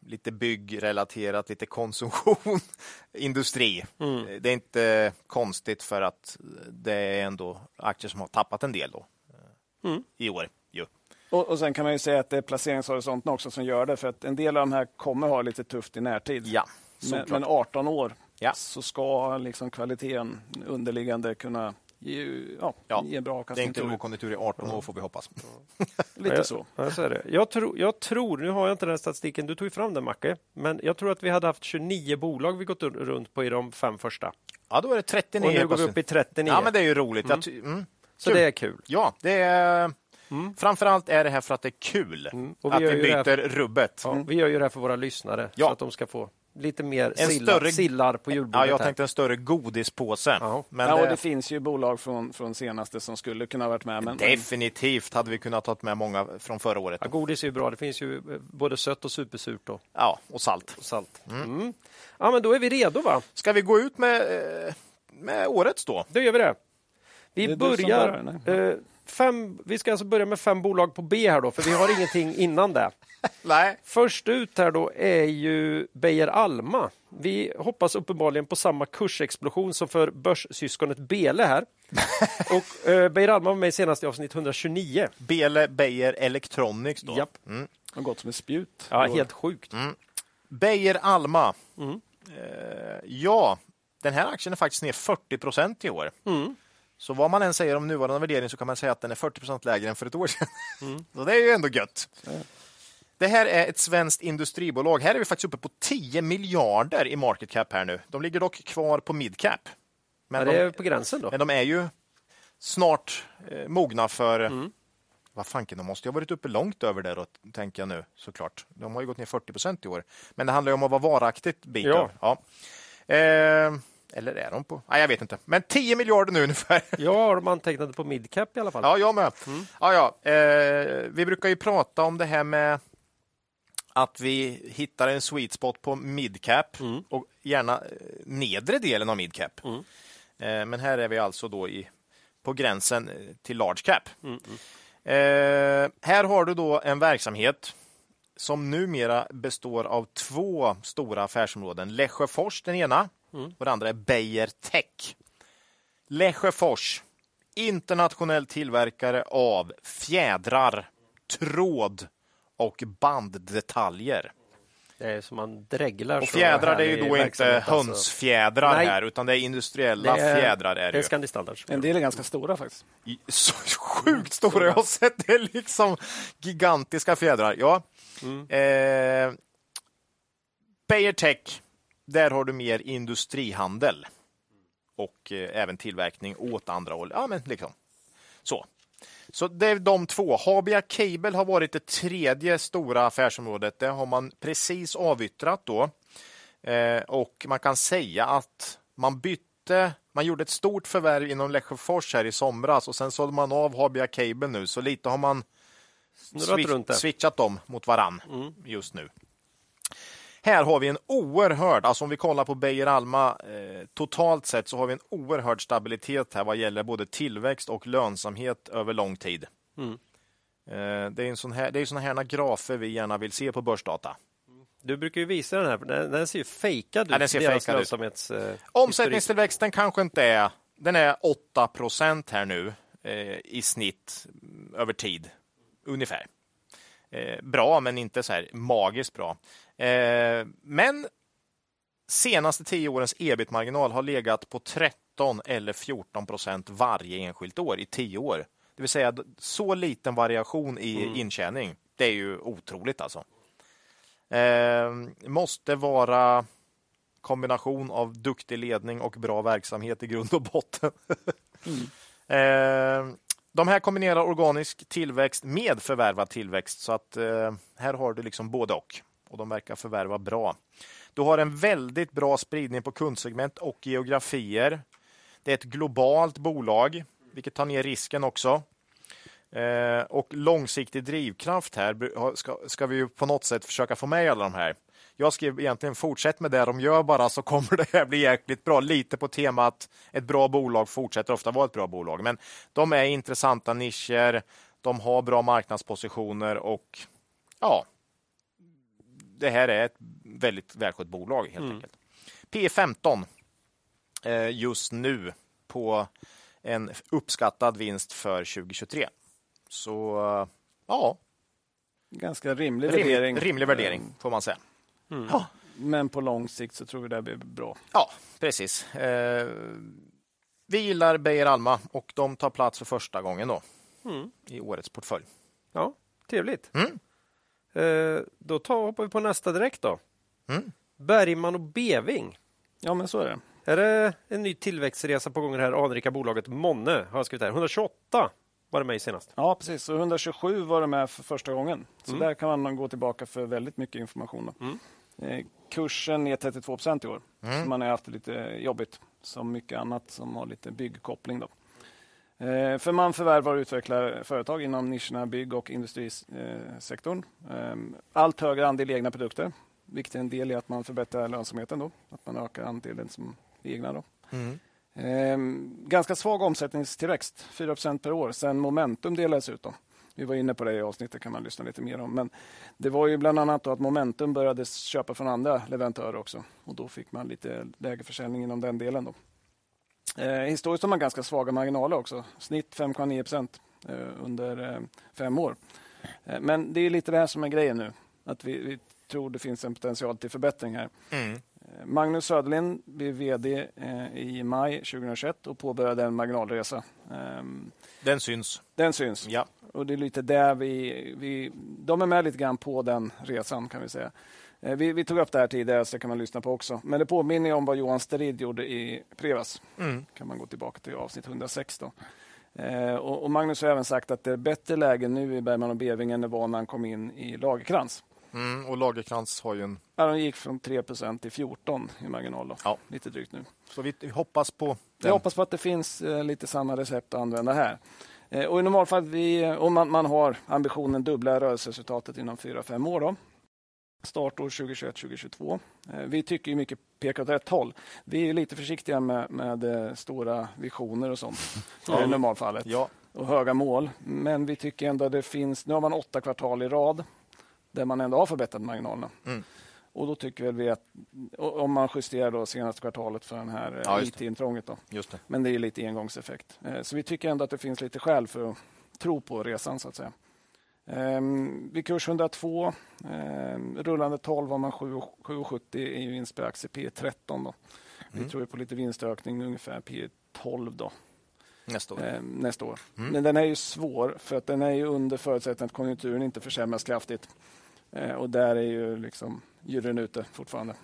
lite byggrelaterat, lite konsumtion, [laughs] industri. Eh, Det är inte konstigt för att det är ändå aktier som har tappat en del då eh, i år. Ju.
Och, och sen kan man ju säga att det är placeringshorisonten också som gör det, för att en del av de här kommer ha lite tufft i närtid.
Ja,
men,
såklart.
men 18 år
Ja.
så ska liksom kvaliteten underliggande kunna ge, ja,
Ja,
ge bra
det är
avkastning.
inte
tror jag.
låg konjunktur i 18 år får vi hoppas.
Lite
Ja,
så.
Ja, så är det. Jag, tror, jag tror, nu har jag inte den här statistiken, du tog ju fram den Macke, men jag tror att vi hade haft 29 bolag vi gått r- runt på i de fem första.
Ja, då är det
Och
39.
nu går vi
plötsligt.
upp i 39,
Ja, men det är ju roligt. Jag ty- mm.
så
kul.
det är kul.
Ja, det är... Framförallt är det här för att det är kul
Mm. Och vi
att
gör
vi
ju det här-
byter rubbet.
Ja, Vi gör ju det här för våra lyssnare,
Mm. Ja.
så att de ska få lite mer
En
sillar,
större-
sillar på
Ja,
julbordet.
jag
här.
tänkte en större godispåse.
Ja.
Men
ja, och
det,
det finns ju bolag från, från senaste som skulle kunna ha varit med. Men, men
definitivt hade vi kunnat ta med många från förra året.
Ja, godis är ju bra, det finns ju eh, både sött och supersurt och
Ja, och salt.
salt. Mm. Ja, men då är vi redo va?
Ska vi gå ut med, eh, med årets då?
Då gör vi det.
Det
Vi
är du som
börjar...
börjar,
eh, fem, vi ska alltså börja med fem bolag på B här då, för vi har ingenting innan det.
Nej.
Först ut här då är ju Beijer Alma. Vi hoppas uppenbarligen på samma kursexplosion som för börssyskonet
[laughs]
Bele här. Och eh, Beijer Alma var med senast i avsnitt 129.
Bele Beijer Electronics då. Mm.
Japp.
det har gått som ett spjut.
Ja, helt sjukt.
Beijer Alma.
Mm.
Eh, ja, den här aktien är faktiskt ner 40 procent i år.
Mm.
Så vad man än säger om nuvarande värdering så kan man säga att den är 40 procent lägre än för ett år sedan.
Mm.
[laughs] Så det är ju ändå gött. Det här är ett svenskt industribolag. Här är vi faktiskt uppe på 10 miljarder i market cap här nu. De ligger dock kvar på mid cap.
Ja,
Men,
det är
de,
på gränsen då.
men de är ju snart eh, mogna för... Vad fanken, de måste ju ha varit uppe långt över det då, tänker jag nu såklart. De har ju gått ner 40 procent i år. Men det handlar ju om att vara varaktigt biten.
Ja.
Ja. Eh, eller är de på... Nej, jag vet inte. Men 10 miljarder nu [laughs] ungefär.
Jag har de antecknade på midcap i alla fall.
Ja, jag med. Ja, ja. Eh, vi brukar ju prata om det här med att vi hittar en sweet spot på midcap
Mm.
och gärna eh, nedre delen av midcap. Eh, men här är vi alltså då i, på gränsen eh, till large cap. Eh, här har du då en verksamhet som numera består av två stora affärsområden. Lesjöfors den ena och det andra är Beijer Tech. Lesjöfors, internationell tillverkare av fjädrar, tråd och banddetaljer.
Det är eh, som man dreglar.
Och
så
fjädrar det är
härlig
ju då inte
verksamhet, alltså.
hönsfjädrar
Nej.
här, utan det är
Det
industriella
är-
fjädrar. Är
Det
det
är
ju.
Scandi Standards.
En del är ganska stora faktiskt.
I- Så sjukt stora. Jag har sett det liksom gigantiska fjädrar. Ja.
Mm.
Eh, Beijer Tech, där har du mer industrihandel och eh, även tillverkning åt andra håll. Ja, men liksom. Så. Så det är de två. Habia Cable har varit det tredje stora affärsområdet. Det har man precis avyttrat då. Eh, och man kan säga att man bytte köpte, man gjorde ett stort förvärv inom Lesjöfors här i somras och sen sålde man av Habia Cable nu, så lite har man
Snurrat
swi-
runt Mm. det.
switchat dem mot varann just nu. Här har vi en oerhörd, alltså om vi kollar på Beijer Alma eh, totalt sett så har vi en oerhörd stabilitet här vad gäller både tillväxt och lönsamhet över lång tid.
Mm.
Eh, det är ju sådana här, det är såna här grafer vi gärna vill se på börsdata.
Du brukar ju visa den här, för den, den ser ju fejkad ut.
Ja, den ser
deras
fejkad ut.
lönsamhets, eh, historik.
Omsättningstillväxten kanske inte är... Den är 8 procent här nu eh, i snitt mm, över tid, ungefär. Eh, bra, men inte så här magiskt bra. Eh, men senaste tio årens ebit-marginal har legat på 13 eller 14 procent varje enskilt år i tio år. Det vill säga d- så liten variation i intjäning. Det är ju otroligt alltså. Eh, måste vara kombination av duktig ledning och bra verksamhet i grund och botten.
Mm.
Eh, De här kombinerar organisk tillväxt med förvärvad tillväxt. Så att eh, här har du liksom både och. Och de verkar förvärva bra. Du har en väldigt bra spridning på kundsegment och geografier. Det är ett globalt bolag, vilket tar ner risken också. Eh, Och långsiktig drivkraft här bru- har- ska, ska vi ju på något sätt försöka få med i alla de här. Jag skrev egentligen fortsätt med det de gör bara så kommer [laughs] det här bli jäkligt bra. Lite på temat ett bra bolag fortsätter ofta vara ett bra bolag. Men de är intressanta nischer, de har bra marknadspositioner och ja, det här är ett väldigt välskött bolag helt enkelt. P 15 eh, just nu på en uppskattad vinst för 2023. Så eh, ja,
Ganska rimlig värdering. Eh,
rimlig, rimlig värdering eh, mm. får man säga.
Men på lång sikt så tror vi det här blir bra.
Ja, precis. Eh, vi gillar Beijer Alma och de tar plats för första gången då i årets portfölj.
Ja, trevligt.
Mm.
Eh, då tar, hoppar vi på nästa direkt då.
Mm.
Bergman och Beving.
Ja, men så är det.
Är det en ny tillväxtresa på gång i det här anrika bolaget Monne? Har jag skrivit här. 128 var det med i senast.
Ja, precis. Så 127 var de med för första gången. Så
Mm.
där kan man gå tillbaka för väldigt mycket information. Då. Eh, Kursen är 32 procent i år.
Mm.
Så man har haft det lite jobbigt, som mycket annat som har lite byggkoppling. Då. Eh, För man förvärvar och utvecklar företag inom nischerna bygg och industrisektorn. Ehm, Allt högre andel egna produkter, vilket är en del i att man förbättrar lönsamheten. Då. Att man ökar andelen som är egna. Då.
Mm.
Ehm, ganska svag omsättningstillväxt, 4 per år, sen Momentum delades ut. Då. Vi var inne på det i avsnittet, kan man lyssna lite mer om. Men det var ju bland annat då att Momentum började köpa från andra leverantörer också. Och då fick man lite lägre försäljning inom den delen. Då. Eh, historiskt har man ganska svaga marginaler också. Snitt 5,9 procent eh, under eh, fem år. Eh, men det är lite det här som är grejen nu. Att vi, vi tror det finns en potential till förbättring här.
Mm.
Eh, Magnus Söderlind blev vd eh, i maj 2021 och påbörjade en marginalresa. Ehm,
Den syns.
Den syns.
Ja.
Och det är lite där vi, vi... De är med lite grann på den resan kan vi säga. Eh, Vi, vi tog upp det här tidigare så det kan man lyssna på också. Men det påminner ju om vad Johan Sterid gjorde i Prevas.
Mm.
kan man gå tillbaka till avsnitt 106. Då. Eh, och, och Magnus har även sagt att det är bättre läge nu i Bergman och Beving än det var när han kom in i Lagerkrans.
Mm, och Lagerkrans har ju en...
Ja, de gick från 3 till 14 i marginal. Då.
Ja.
Lite drygt nu.
Så vi vi hoppas på
Jag
den.
hoppas på att det finns eh, lite samma recept att använda här. Eh, och I normalfallet, vi, om man, man har ambitionen dubbla rörelseresultatet inom 4-5 år. Då. Startår 2021-2022. Eh, vi tycker ju mycket pekar åt rätt håll. Vi är ju lite försiktiga med, med eh, stora visioner och sånt eh, i normalfallet
Ja,
och höga mål. Men vi tycker ändå att det finns... Nu har man åtta kvartal i rad där man ändå har förbättrat marginalerna.
Mm.
Och då tycker väl vi att och- om man justerar då senaste kvartalet för den här eh,
Ja, just det.
IT-intrånget. Då.
just det.
Men det är ju lite engångseffekt. Eh, Så vi tycker ändå att det finns lite skäl för att tro på resan så att säga. Ehm, Vid kurs 102, ehm, rullande 12 var man 7 och- 7,70 i vinst per aktie P 13. Då. Vi tror ju på lite vinstökning ungefär P 12 då,
Nästa år.
eh, nästa år. Men den är ju svår för att den är ju under förutsättning att konjunkturen inte försämras kraftigt. Eh, Och där är ju liksom juryn ute fortfarande.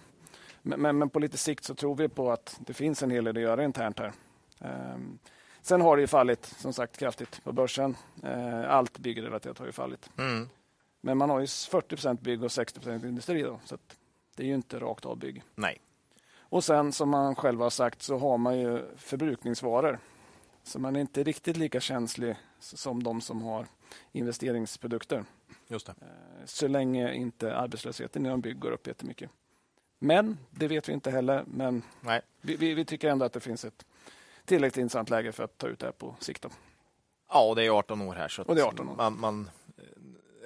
Men, men, men på lite sikt så tror vi på att det finns en hel del att göra internt här. Ehm, sen har det ju fallit som sagt kraftigt på börsen. Eh, allt byggrelaterat har ju fallit.
Mm.
Men man har ju 40 bygg och 60 industri. Då, så att det är ju inte rakt av bygg.
Nej.
Och sen som man själv har sagt så har man ju förbrukningsvaror. Så man är inte riktigt lika känslig s- som de som har investeringsprodukter.
Just det.
Så länge inte arbetslösheten inom bygg går upp jättemycket. Men det vet vi inte heller. Men
Nej.
vi, vi, vi tycker ändå att det finns ett tillräckligt intressant läge för att ta ut det här på sikt. Då.
Ja, och det är 18 år här. Så att
Och det är 18 år.
Man, man,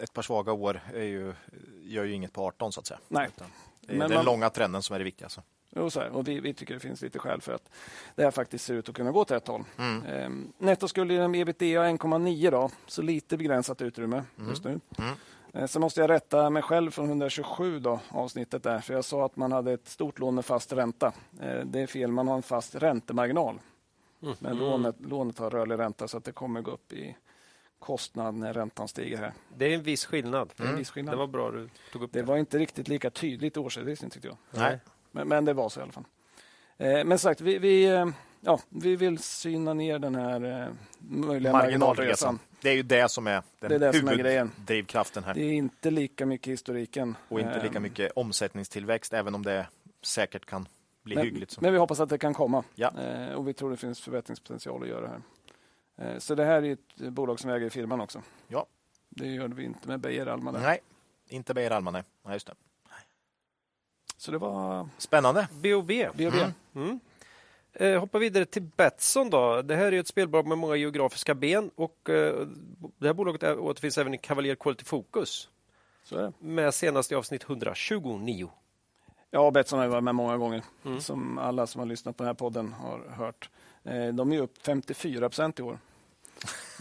ett par svaga år är ju, gör ju inget på 18 så att säga.
Nej.
Utan det är
Men
den
man-
långa trenden som är det viktiga. Så.
Och, så här, och vi, vi tycker det finns lite skäl för att det här faktiskt ser ut att kunna gå åt rätt håll.
Mm.
Ehm, nettoskuld inom ebitda 1,9 då, så lite begränsat utrymme just nu.
Mm.
Eh, så måste jag rätta mig själv från 127 då, avsnittet där, för jag sa att man hade ett stort lån med fast ränta. Eh, det är fel, man har en fast räntemarginal.
Mm.
Men lånet, lånet har rörlig ränta så att det kommer gå upp i kostnad när räntan stiger här.
Det är en viss skillnad.
Det är en viss skillnad.
Det var bra du tog upp det.
Mm. Det var inte riktigt lika tydligt i årsredovisningen tyckte jag.
Nej.
Men, men det var så i alla fall. Eh, men som sagt, vi, vi, eh, ja, vi vill syna ner den här eh, möjliga marginalresan.
Marginalresan. Det är ju det som är den
Det är det som är grejen.
huvuddrivkraften här.
Det är inte lika mycket historiken.
Och inte
Eh,
lika mycket omsättningstillväxt, även om det säkert kan bli
men,
hyggligt. Så.
Men vi hoppas att det kan komma.
Ja.
Eh, och vi tror det finns förbättringspotential att göra här. Eh, så det här är ett bolag som vi äger i firman också.
Ja.
Det gör vi inte med Beijer Alma. Där.
Nej, inte Beijer Alma, nej. nej just det.
Så det var
Spännande.
BOB.
BB.
Mm. Eh, hoppa vidare till Betsson då. Det här är ju ett spelbolag med många geografiska ben och eh, det här bolaget är- återfinns även i Cavalier Quality Focus
Så är det.
med senast i avsnitt 129.
Ja, Betsson har ju varit med många gånger, som alla som har lyssnat på den här podden har hört. Eh, De är ju upp 54 procent i år.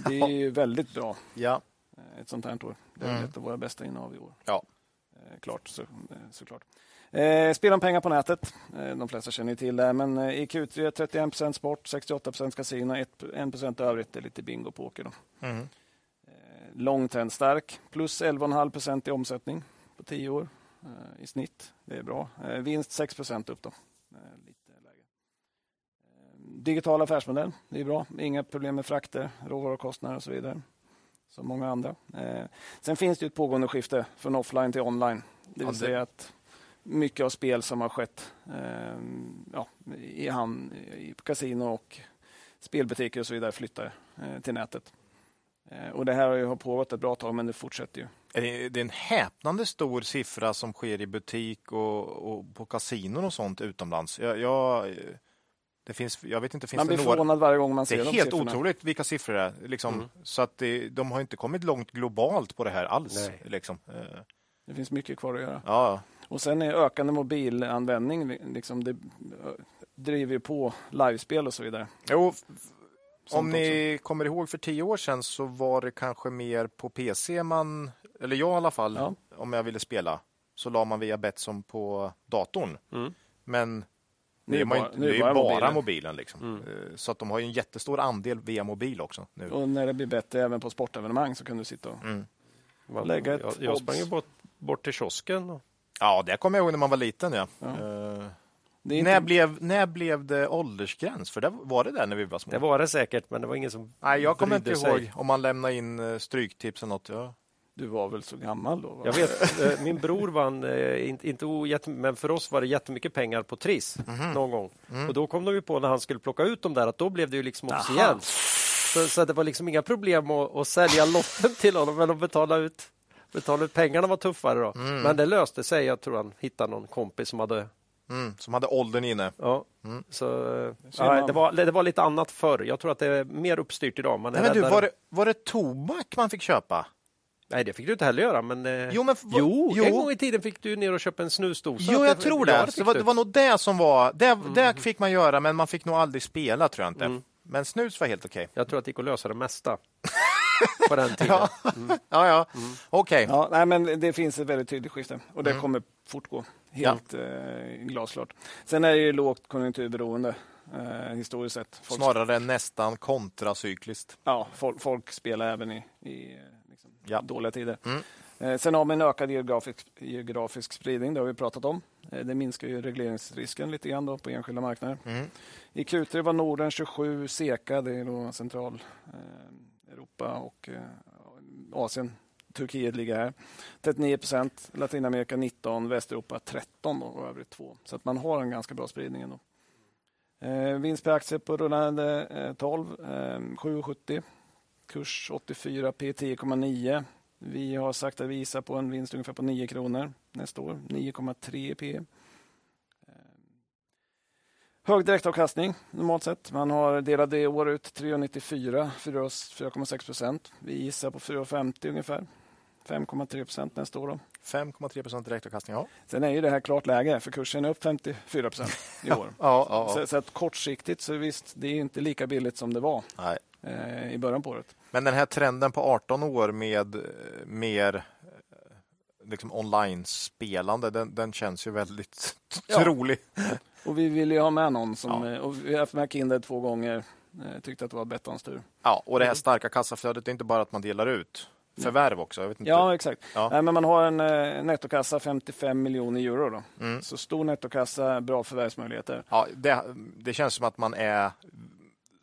Det är ju väldigt bra,
Ja.
eh, ett sånt här år. Det är väl ett av våra bästa innehav i år.
Ja.
Eh, Klart, så, eh, såklart. Eh, Spel om pengar på nätet. Eh, De flesta känner ju till det, men eh, i Q3 31 procent sport, 68 procent kasino, 1 procent övrigt. Det är lite bingo och poker. Då.
Mm.
Eh, Lång trend stark, plus 11,5 procent i omsättning på 10 år eh, i snitt. Det är bra. Eh, Vinst 6 procent upp då. Eh, Lite lägre. Eh, Digital affärsmodell, det är bra. Inga problem med frakter, råvarukostnader och så vidare. Som många andra. Eh, Sen finns det ju ett pågående skifte från offline till online. Det
Ja, det-
vill säga att mycket av spel som har skett eh, ja, i, hamn, i kasino och spelbutiker och så vidare flyttar eh, till nätet. Eh, Och det här har ju har pågått ett bra tag, men det fortsätter ju.
Är Det det är en häpnande stor siffra som sker i butik och, och på kasinon och sånt utomlands. Jag, jag, det finns, jag vet inte, finns
man
det
blir
några?
förvånad varje gång man
Det
ser
är
de
helt
siffrorna.
otroligt vilka siffror det är. Liksom,
Mm.
Så att det, de har inte kommit långt globalt på det här alls.
Nej.
Liksom. Eh,
Det finns mycket kvar att göra.
Ja,
Och sen är ökande mobilanvändning, liksom det eh, driver ju på livespel och så vidare.
Jo, f- om
Sånt
ni kommer ihåg för tio år sedan så var det kanske mer på PC man, eller jag i alla fall,
Ja.
om jag ville spela, så la man via Betsson på datorn.
Mm.
Men
Nu
nu
är
är, man, ju
bara-
inte-
nu är
det är ju bara
bara
mobilen.
mobilen.
liksom. Eh, Så att de har ju en jättestor andel via mobil också. Nu.
Och när det blir bättre även på sportevenemang så kan du sitta och... Lägga ett
jag, jag
odds.
sprang ju bort, bort till kiosken. Och,
Ja, det kommer jag ihåg när man var liten. Ja.
Ja.
Eh,
Det är inte...
när, blev, när blev det åldersgräns? För det var det där när vi var små.
det var det säkert, men det var ingen som
Nej, jag kommer inte
brydde sig.
ihåg om man lämnade in eh, stryktips eller något. Ja.
Du var väl så gammal då? Va?
Jag vet, eh, min bror vann, eh, inte, inte o- jätte- men för oss var det jättemycket pengar på Triss
Mhm.
någon gång.
Mm.
Och då kom de ju på när han skulle plocka ut dem där att då blev det ju liksom officiellt. Så, så att det var liksom inga problem att, att sälja lotten till honom, men att betala ut, betala ut pengarna var tuffare då. Men det löste sig. Jag tror han hittade någon kompis som hade...
Mm, som hade åldern inne.
Ja,
Mm.
så, eh,
ser
nej,
man.
det, var, det var lite annat förr. Jag tror att det är mer uppstyrt idag. Man är
Nej, men du,
räddare.
var, det, var det tobak man fick köpa?
nej, det fick du inte heller göra. Men, eh,
Jo, men vad-
jo,
jo.
en gång i tiden fick du ner och köpa en snusdosa. Mm.
jo, jag
Det-
tror
ja,
det. Så
fick
det, var,
du.
det var nog det som var... Det, det fick man göra, men man fick nog aldrig spela, tror jag inte.
Mm.
Men snus var helt okej.
Jag tror att det gick att lösa
[laughs]
det mesta på den tiden. Mm.
Ja. ja, ja. Mm. Okej.
Ja, nej, men det finns ett väldigt tydligt skifte och det
Mm.
kommer fortgå. Helt eh, glasklart. Sen är det ju lågt konjunkturberoende eh, historiskt sett. Folk,
Snarare nästan kontracykliskt.
ja, folk, folk spelar även i, i eh, liksom,
Ja.
dåliga tider.
Mm.
Eh, sen har vi en ökad geografisk, geografisk spridning, det har vi pratat om. Eh, det minskar ju regleringsrisken lite grann då, på enskilda marknader.
Mm.
I Q3 var Norden 27, SEKA, det är då central eh, Europa och eh, Asien Turkiet ligger här. 39 procent, Latinamerika 19, Västeuropa 13 då, och övrigt 2. Så att man har en ganska bra spridning ändå. Eh, vinst per aktie på rullande eh, 12, eh, 7,70. Kurs 84, P 10,9. Vi har sagt att vi gissar på en vinst ungefär på 9 kronor nästa år, 9,3 P. Eh, Hög direktavkastning normalt sett. Man har delat det i år ut 394, 4,6 procent. Vi gissar på 4,50 ungefär. 5,3 procent nästa år. Då.
5,3 procent direktavkastning. Ja.
Sen är ju det här klart läge, för kursen är upp 54 procent
[laughs]
i år.
Ja, ja, ja.
så, så att kortsiktigt så visst, det är inte lika billigt som det var
Nej.
eh, i början på året.
Men den här trenden på 18 år med eh, mer eh, liksom online-spelande, den, den känns ju väldigt
Ja.
trolig.
Och vi ville ju ha med någon som... eh, Och vi har haft med Kindred två gånger. Eh, tyckte att det var Bettans tur.
Ja, och det här starka kassaflödet, det är inte bara att man delar ut förvärv också. Jag vet inte.
Ja, exakt.
Ja.
Nej, men man har en eh, nettokassa 55 miljoner euro.
Mm.
Då. Så stor nettokassa, bra förvärvsmöjligheter.
Ja, det, det känns som att man är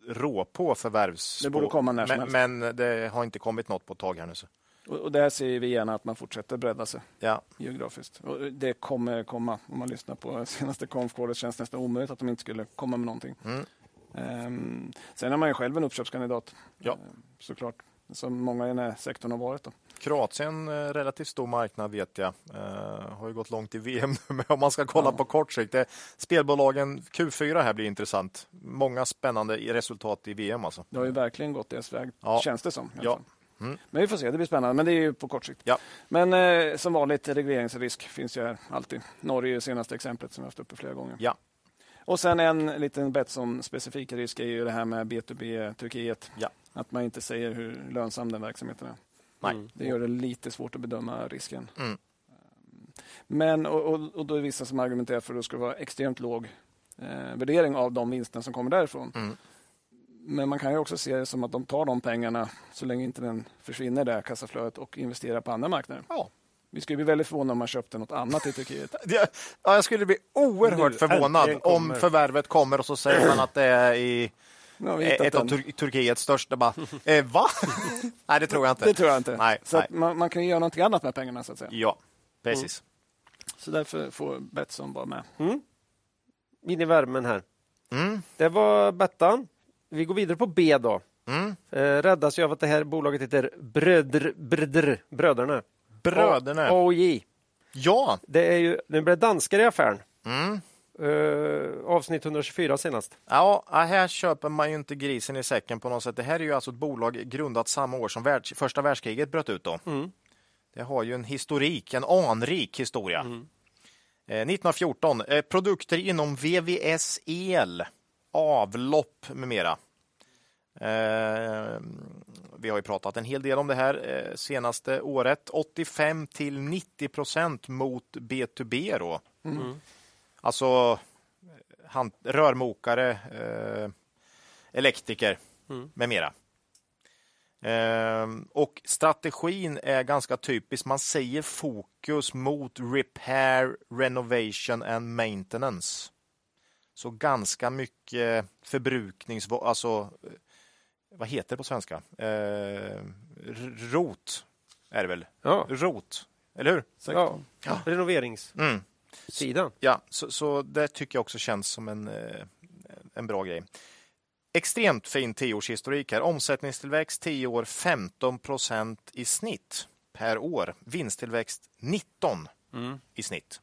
rå på förvärvs...
Det borde komma när som
men, men det har inte kommit något på ett tag här nu. Så.
Och, och där ser vi gärna att man fortsätter bredda sig
Ja.
geografiskt. Och det kommer komma. Om man lyssnar på [laughs] senaste konfkålet känns det nästan omöjligt att de inte skulle komma med någonting.
Mm.
Ehm, sen är man ju själv en uppköpskandidat.
Ja.
Ehm, såklart. Som många i den här sektorn har varit. Då.
Kroatien, eh, relativt stor marknad vet jag, eh, har ju gått långt i VM nu, [laughs] men om man ska kolla på kort sikt. Det, spelbolagen Q4 här blir intressant. Många spännande i- resultat i VM alltså.
Det har ju verkligen gått deras väg,
Ja.
känns det som. i alla
Ja.
fall.
Mm.
Men vi får se, det blir spännande. Men det är ju på kort sikt.
Ja.
Men eh, som vanligt, regleringsrisk finns ju här alltid. Norge är det senaste exemplet som vi haft uppe flera gånger.
Ja.
Och sen en liten Betsson-specifik risk är ju det här med B2B Turkiet.
Ja.
Att man inte säger hur lönsam den verksamheten är.
Nej.
Det gör det lite svårt att bedöma risken. Ehm,
Mm.
Men, och, och, och då är det vissa som argumenterar för att det ska vara extremt låg eh, värdering av de vinsterna som kommer därifrån.
Mm.
Men man kan ju också se det som att de tar de pengarna så länge inte den försvinner där kassaflödet och investerar på andra marknader.
Ja.
Vi skulle bli väldigt förvånade om man köpte något annat
[laughs]
i Turkiet.
Ja, jag skulle bli oerhört
Nu,
förvånad
äntligen
om
kommer-
förvärvet kommer och så säger man att det är [clears throat] i
Nu har vi hittat
ett av
den.
Tur- Turkiets största. [laughs] Bara, eh, va? Nej, det tror jag inte.
Det tror jag inte.
Nej,
så
nej.
Att man, man kan ju göra någonting annat med pengarna. så att säga.
Ja, precis.
Så därför får Betsson vara med.
In i värmen här.
Mm.
Det var Bettan. Vi går vidare på B då.
Mm.
Eh, räddas jag av att det här bolaget heter Brödr, Brödr, Bröderna.
Bröderna.
AOJ.
Ja.
Det är ju, nu blir det danskar i affären.
Mm.
Eh, avsnitt 124 senast.
Ja, här köper man ju inte grisen i säcken på något sätt. Det här är ju alltså ett bolag grundat samma år som världs- första världskriget bröt ut. Då. Det har ju en historik, en anrik historia. Eh, 1914, eh, produkter inom VVS, el, avlopp med mera. Eh, vi har ju pratat en hel del om det här eh, senaste året. 85 till 90 procent mot B2B då. Alltså han, rörmokare, eh, elektriker med mera. Ehm, och strategin är ganska typisk. Man säger fokus mot repair, renovation and maintenance. Så ganska mycket förbruknings... Alltså, eh, vad heter det på svenska? Eh, r- rot är det väl?
Ja,
Rot, eller hur?
ja.
Ja.
renoveringssidan.
Mm. Ja, så, så det tycker jag också känns som en, eh, en bra grej. Extremt fin tioårshistorik här. Omsättningstillväxt 10 år 15 procent i snitt per år. Vinsttillväxt 19 i snitt.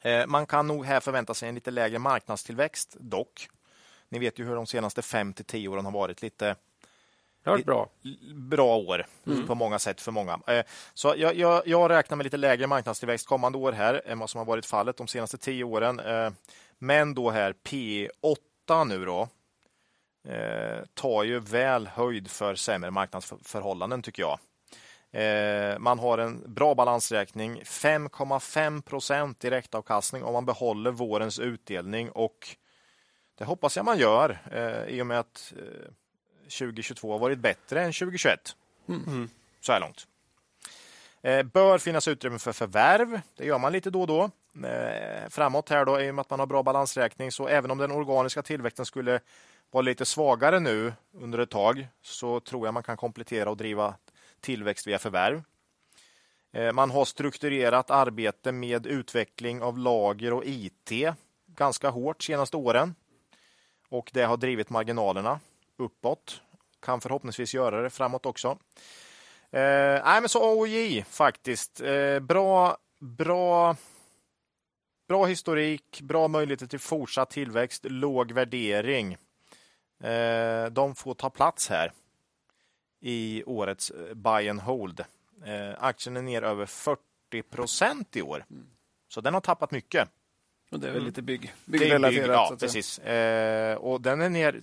Eh, Man kan nog här förvänta sig en lite lägre marknadstillväxt dock. Ni vet ju hur de senaste 5 till 10 åren har varit lite
Det har varit bra.
l- bra år
Mm.
på många sätt för många. Eh, Så jag, jag, jag räknar med lite lägre marknadstillväxt kommande år här än vad som har varit fallet de senaste tio åren. Eh, Men då här P8 nu då eh, tar ju väl höjd för sämre marknadsförhållanden tycker jag. Eh, Man har en bra balansräkning, 5,5 procent direktavkastning om man behåller vårens utdelning och det hoppas jag man gör eh, i och med att eh, 2022 har varit bättre än 2021. Så här långt. Eh, bör finnas utrymme för förvärv. Det gör man lite då och då. Eh, framåt här då, i och med att man har bra balansräkning, så även om den organiska tillväxten skulle vara lite svagare nu under ett tag, så tror jag man kan komplettera och driva tillväxt via förvärv. Eh, Man har strukturerat arbete med utveckling av lager och IT ganska hårt senaste åren. Och det har drivit marginalerna uppåt. Kan förhoppningsvis göra det framåt också. Eh, nej, men så AOJ faktiskt. Eh, bra, bra, bra historik, bra möjligheter till fortsatt tillväxt, låg värdering. Eh, de får ta plats här i årets eh, buy and hold. Eh, aktien är ner över 40 procent i år, så den har tappat mycket.
Och det är väl lite bygg,
Mm. Det är bygg-
byggrelaterat. så
Ja,
att säga.
precis. Eh, och den är ner,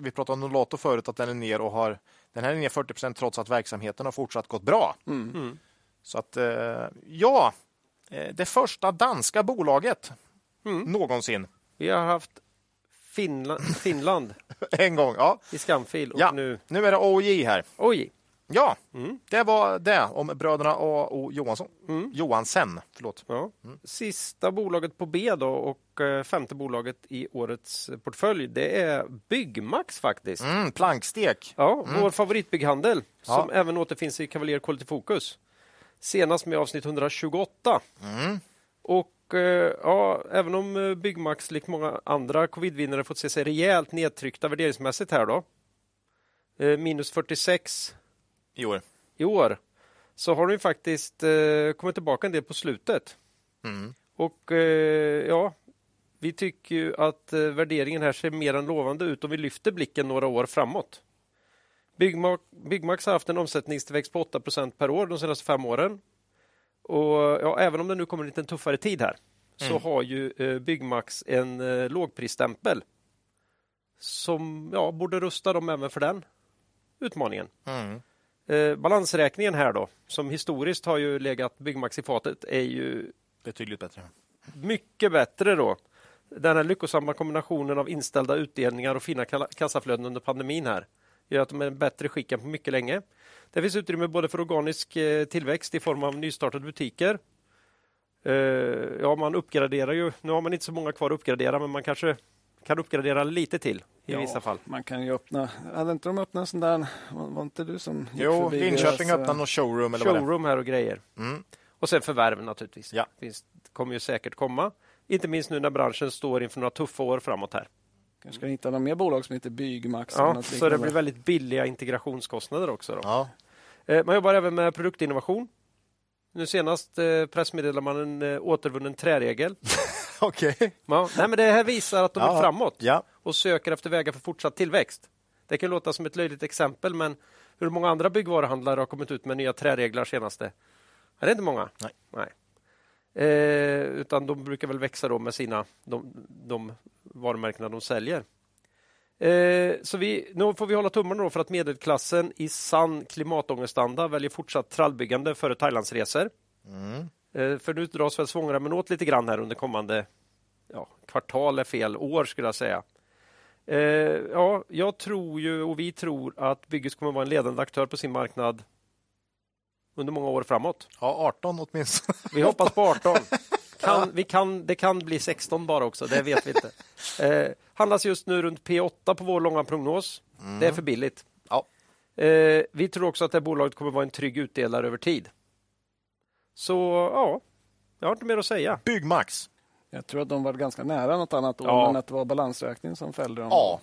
vi pratade om Nolato förut, att den är ner och har, den här är ner 40 procent trots att verksamheten har fortsatt gått bra.
Mm.
Så att, eh, ja, eh, det första danska bolaget någonsin. [laughs]
Vi har haft Finland, Finland
en gång, ja.
i skamfil och
ja.
nu...
är det AOJ här.
Oj!
Ja, det var det om bröderna A.O. Johansson. Johansen. Förlåt.
Ja. Mm. Sista bolaget på B då och eh, femte bolaget i årets portfölj, det är Byggmax faktiskt.
Mm, plankstek.
Ja, vår favoritbygghandel
Ja.
som även återfinns i Cavalier Quality Focus. Senast med avsnitt 128.
Mm,
Och eh, ja, även om eh, Byggmax likt många andra covidvinnare fått se sig rejält nedtryckta värderingsmässigt här då. eh, Minus 46
I år.
i år så har de ju faktiskt eh, kommit tillbaka en del på slutet.
Mm.
Och eh, ja, vi tycker ju att eh, värderingen här ser mer än lovande ut om vi lyfter blicken några år framåt. Byggmax, Byggmax har haft en omsättningstillväxt på 8 per år de senaste fem åren. Och ja, även om det nu kommer en liten tuffare tid här så har ju eh, Byggmax en eh, lågprisstämpel som ja, borde rusta dem även för den utmaningen.
Mm.
Eh, balansräkningen här då, som historiskt har ju legat Byggmax i fatet, är ju
Betydligt bättre.
mycket bättre då. Den här lyckosamma kombinationen av inställda utdelningar och fina kala- kassaflöden under pandemin här gör att de är bättre skick än på mycket länge. Det finns utrymme både för organisk eh, tillväxt i form av nystartade butiker. Eh, Ja, man uppgraderar ju. Nu har man inte så många kvar att uppgradera, men man kanske kan uppgradera lite till i
Ja,
vissa fall.
Man kan ju öppna, hade inte de öppnat en sån där, var, var inte du som gick
Jo,
förbi
Linköping
deras, eh,
öppnade någon showroom eller vad det är.
Showroom här och grejer.
Mm.
Och sen förvärv naturligtvis.
Ja.
Finns, kommer ju säkert komma. Inte minst nu när branschen står inför några tuffa år framåt här.
Kanske ska hitta några mer bolag som heter Bygmax. eller
Ja,
något
så det
liknande.
blir väldigt billiga integrationskostnader också. Då.
Ja.
Eh, Man jobbar även med produktinnovation. Nu senast eh, pressmeddelade man en eh, återvunnen träregel.
[laughs] Okej.
Ja. Nej, men det här visar att de
Ja.
är framåt
Ja.
och söker efter vägar för fortsatt tillväxt. Det kan låta som ett löjligt exempel, men hur många andra byggvaruhandlare har kommit ut med nya träregler senaste? Ja, det är inte många.
Nej.
Eh, utan de brukar väl växa då med sina, de, de varumärkena de säljer. Eh, så vi, nu får vi hålla tummarna då för att medelklassen i sann klimatångestanda väljer fortsatt trallbyggande före Thailandsresor.
Mm.
Eh, för nu dras väl svångremmen åt lite grann här under kommande ja, kvartal är fel år skulle jag säga. Eh, ja, jag tror ju och vi tror att Bygghus kommer vara en ledande aktör på sin marknad under många år framåt.
ja, 18 åtminstone.
Vi hoppas på 18. Kan, vi kan, det kan bli 16 bara också, det vet vi inte. Eh, handlas just nu runt P8 på vår långa prognos.
Mm.
Det är för billigt.
Ja.
Eh, vi tror också att det här bolaget kommer vara en trygg utdelare över tid. Så ja, jag har inte mer att säga.
Byggmax.
Jag tror att de var ganska nära något annat år,
Ja.
men att det var balansräkningen som fällde dem.
Ja,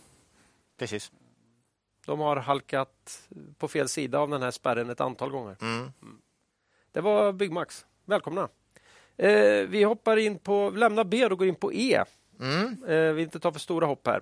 precis.
De har halkat på fel sida av den här spärren ett antal gånger.
Mm.
Det var Byggmax. Välkomna! Eh, vi hoppar in på, lämnar B och går in på E.
Mm.
Eh, vill inte ta för stora hopp här.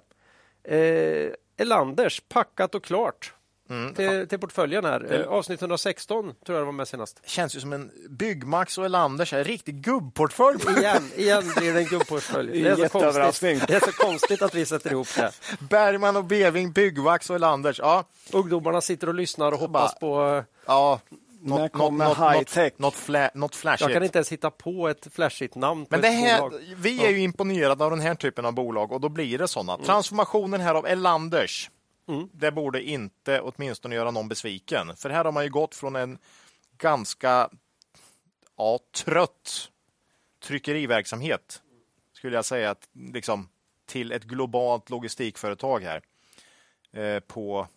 Eh, Elanders, packat och klart
Mm.
till, till portföljen här. Eh, avsnitt 116 tror jag det var med senast.
Känns ju som en Byggmax och Elanders, en riktig gubbportfölj.
Igen, igen blir det en gubbportfölj. Det är, så
Jätteöverraskning.
konstigt. det är så konstigt att vi sätter ihop det.
[laughs] Bergman och Beving, Byggmax och Elanders. Ja,
Ungdomarna sitter och lyssnar och hoppas på... eh,
ja.
När kommer high
något,
tech?
något, något, flä, något flashigt.
Jag kan inte ens hitta på ett flashigt namn på
Men
ett
det här,
bolag.
vi är ju imponerade av den här typen av bolag och då blir det sådana.
Mm.
Transformationen här av Elanders, det borde inte åtminstone göra någon besviken. För här har man ju gått från en ganska ja, trött tryckeriverksamhet, skulle jag säga, att, liksom, till ett globalt logistikföretag här eh, på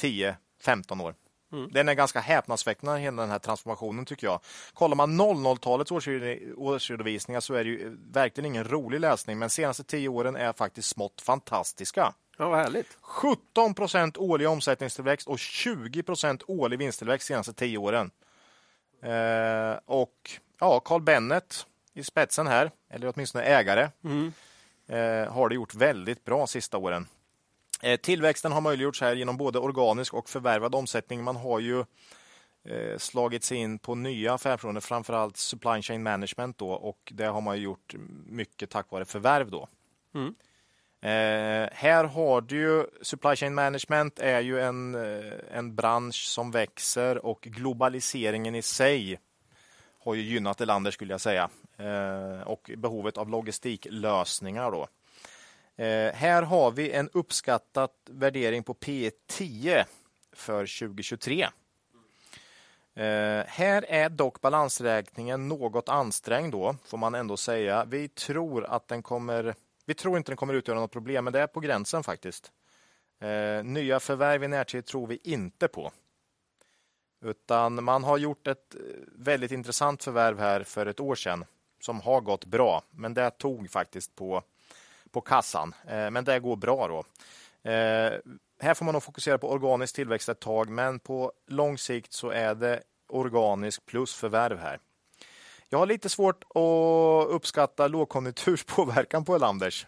10-15 år.
Mm.
Den är ganska häpnadsväckande, hela den här transformationen tycker jag. Kollar man 00-talets årsredovi- årsredovisningar så är det ju eh, verkligen ingen rolig läsning, men senaste tio åren är faktiskt smått fantastiska.
Ja, vad härligt.
17 procent årlig omsättningstillväxt och 20 procent årlig vinsttillväxt de senaste tio åren. Eh, och ja, Carl Bennet i spetsen här, eller åtminstone ägare,
Mm.
eh, har det gjort väldigt bra sista åren. Eh, tillväxten har möjliggjorts här genom både organisk och förvärvad omsättning. Man har ju eh, slagit sig in på nya affärsområden, framförallt supply chain management då, och det har man ju gjort mycket tack vare förvärv då. Eh, här har du ju supply chain management är ju en, eh, en bransch som växer och globaliseringen i sig har ju gynnat Elander skulle jag säga. Eh, och behovet av logistiklösningar då. Eh, här har vi en uppskattad värdering på P 10 för 2023. Eh, här är dock balansräkningen något ansträngd då, får man ändå säga. Vi tror att den kommer vi tror inte den kommer utgöra något problem, men det är på gränsen faktiskt. Eh, nya förvärv i närtid tror vi inte på. Utan man har gjort ett eh, väldigt intressant förvärv här för ett år sedan som har gått bra, men det tog faktiskt på, på kassan. Eh, men det går bra då. Eh, här får man nog fokusera på organisk tillväxt ett tag, men på lång sikt så är det organisk plus förvärv här. Jag har lite svårt att uppskatta lågkonjunkturs påverkan på Elanders.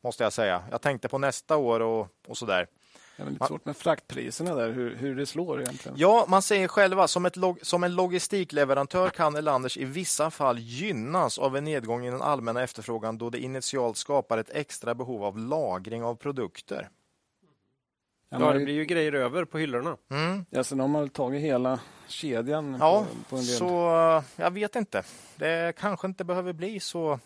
Måste jag säga. Jag tänkte på nästa år och, och sådär.
Det är väl lite svårt med fraktpriserna där, hur, hur det slår egentligen.
Ja, man säger själva som, ett log- som en logistikleverantör kan Elanders i vissa fall gynnas av en nedgång i den allmänna efterfrågan då det initialt skapar ett extra behov av lagring av produkter.
Ja,
Ja,
man,
det blir ju grejer över på hyllorna.
Mm.
ja, sen har man väl tagit hela kedjan
Ja,
på, på en del.
så jag vet inte. Det kanske inte behöver bli så,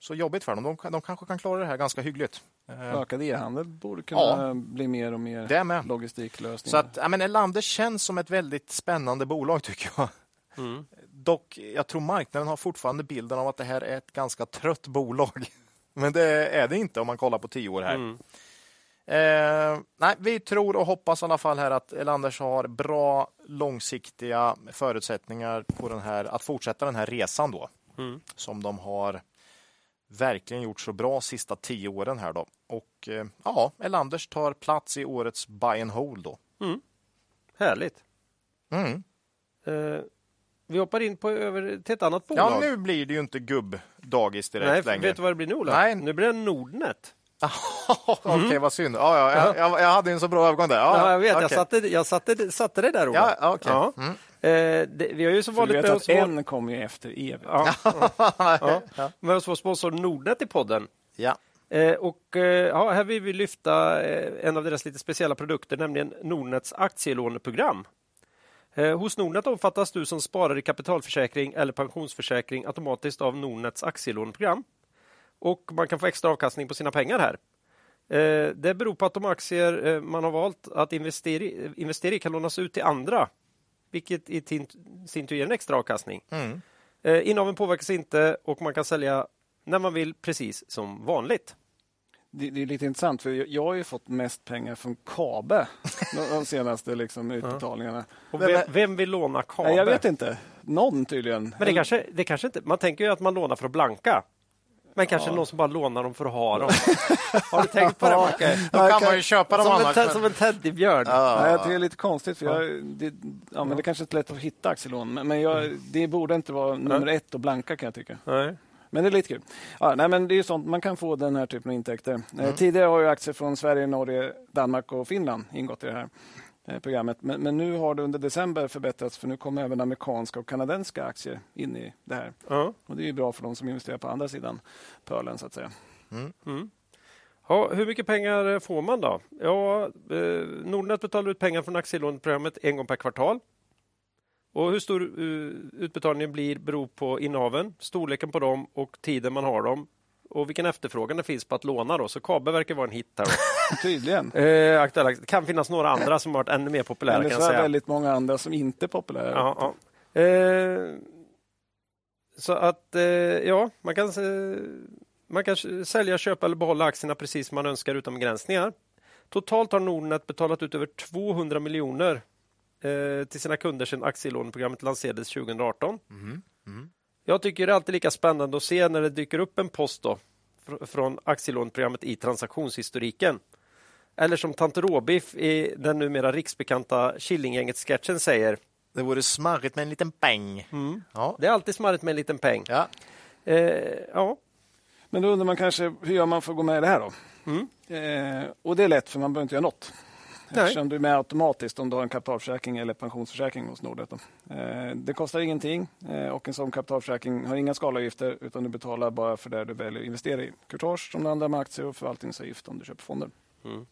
så jobbigt för dem. De, kan- de kanske kan klara det här ganska hyggligt. Eh,
Ökad e-handel borde kunna
Ja.
bli mer och mer
Det med.
logistiklösningar.
Så att, ja, men Elander känns som ett väldigt spännande bolag tycker jag.
Mm.
Dock, jag tror marknaden har fortfarande bilden av att det här är ett ganska trött bolag. [laughs] Men det är det inte om man kollar på tio år
Mm.
här. Eh, nej, vi tror och hoppas i alla fall här att Elanders har bra långsiktiga förutsättningar på den här, att fortsätta den här resan då.
Mm.
Som de har verkligen gjort så bra sista tio åren här då. Och eh, ja, Elanders tar plats i årets buy and hold då.
Härligt.
Mm.
Eh, vi hoppar in på, över till ett annat bolag.
Ja, nu blir det ju inte gubbdagis direkt
Nej,
längre.
vet du vad det blir nu Ola?
Nej.
Nu blir det Nordnet.
[laughs] Okej, vad synd. Ja, Mhm. ja, jag, jag, jag hade ju en så bra övergång där. Ja,
Ja, jag vet, jag,
okej.
satte, jag satte, satte det där Ola.
Ja, okej. Mm.
Ja. Eh, det, vi har ju som
För du
vanligt
vet
med
att
oss, vår,
en kommer ju efter e.
ja, ja, med oss vår sponsor Nordnet i podden.
Ja.
Eh, och, eh, ja, här vill vi lyfta eh, en av deras lite speciella produkter, nämligen Nordnets aktielåneprogram. Eh, hos Nordnet omfattas du som sparar i kapitalförsäkring eller pensionsförsäkring automatiskt av Nordnets aktielåneprogram. Och man kan få extra avkastning på sina pengar här. Eh, det beror på att de aktier eh, man har valt att investera i, investera i kan lånas ut till andra, vilket i tin- sin tur ger en extra avkastning.
Mm.
Eh, innehaven påverkas inte och man kan sälja när man vill, precis som vanligt.
Det, det är lite intressant, för jag, jag har ju fått mest pengar från KABE de, de senaste liksom, utbetalningarna.
Och
Men-
vem, vem vill låna kabel?
Nej, jag vet inte. Någon tydligen.
Men det kanske, det kanske inte, man tänker ju att man lånar för att blanka. Men kanske någon som bara lånar dem för att
[laughs]
ha dem. Har du tänkt på det Macke?
Då kan man ju köpa dem
Som en,
annars.
te-
men-
som en teddybjörn.
Nej, jag tycker det är lite konstigt, för jag, det, ja, men det kanske inte är lätt att hitta aktielån. Men, men
Mm.
jag, det borde inte vara nummer ett att blanka kan jag tycka.
Nej.
Men det är lite kul. Ja, nej, men det är ju sånt, man kan få den här typen av intäkter.
Mm.
Eh, tidigare har ju aktier från Sverige, Norge, Danmark och Finland ingått i det här eh, programmet. Men, men nu har det under december förbättrats för nu kommer även amerikanska och kanadensiska aktier in i det här.
Ja.
Och Det är ju bra för de som investerar på andra sidan pölen så att säga.
Ja, hur mycket pengar eh, får man då? Ja, eh, Nordnet betalar ut pengar från aktielåneprogrammet en gång per kvartal. Och hur stor eh, utbetalningen blir beror på innehaven, storleken på dem och tiden man har dem och vilken efterfrågan det finns på att låna. Då. Så KABE verkar vara en hit. Där. då. [laughs]
Tydligen.
Eh, aktuella, det kan finnas några andra som har varit ännu mer populära.
Eller
Kan jag
så är det
säga.
väldigt många andra som inte är populära.
Ja, ja. Eh, så att, eh, ja, man kan, eh, man kan s- sälja, köpa eller behålla aktierna precis som man önskar utan begränsningar. Totalt har Nordnet betalat ut över 200 miljoner eh, till sina kunder sedan aktielåneprogrammet lanserades 2018.
Mm.
Jag tycker det är alltid lika spännande att se när det dyker upp en post då, fr- från aktielåneprogrammet i transaktionshistoriken. Eller som Tante Råbiff i den numera riksbekanta Killinggänget-sketchen säger.
Det vore smarrigt med en liten peng. Ja.
Det är alltid smarrigt med en liten peng.
Ja.
Eh, ja.
Men då undrar man kanske, hur gör man för att gå med i det här då? Eh, och det är lätt, för man behöver inte göra något.
Nej.
Eftersom du är med automatiskt om du har en kapitalförsäkring eller pensionsförsäkring hos Nordnet. då. Eh, det kostar ingenting eh, och en sån kapitalförsäkring har inga skalavgifter utan du betalar bara för det du väljer att investera i. Courtage som det andra med aktier och förvaltningsavgift om du köper fonder.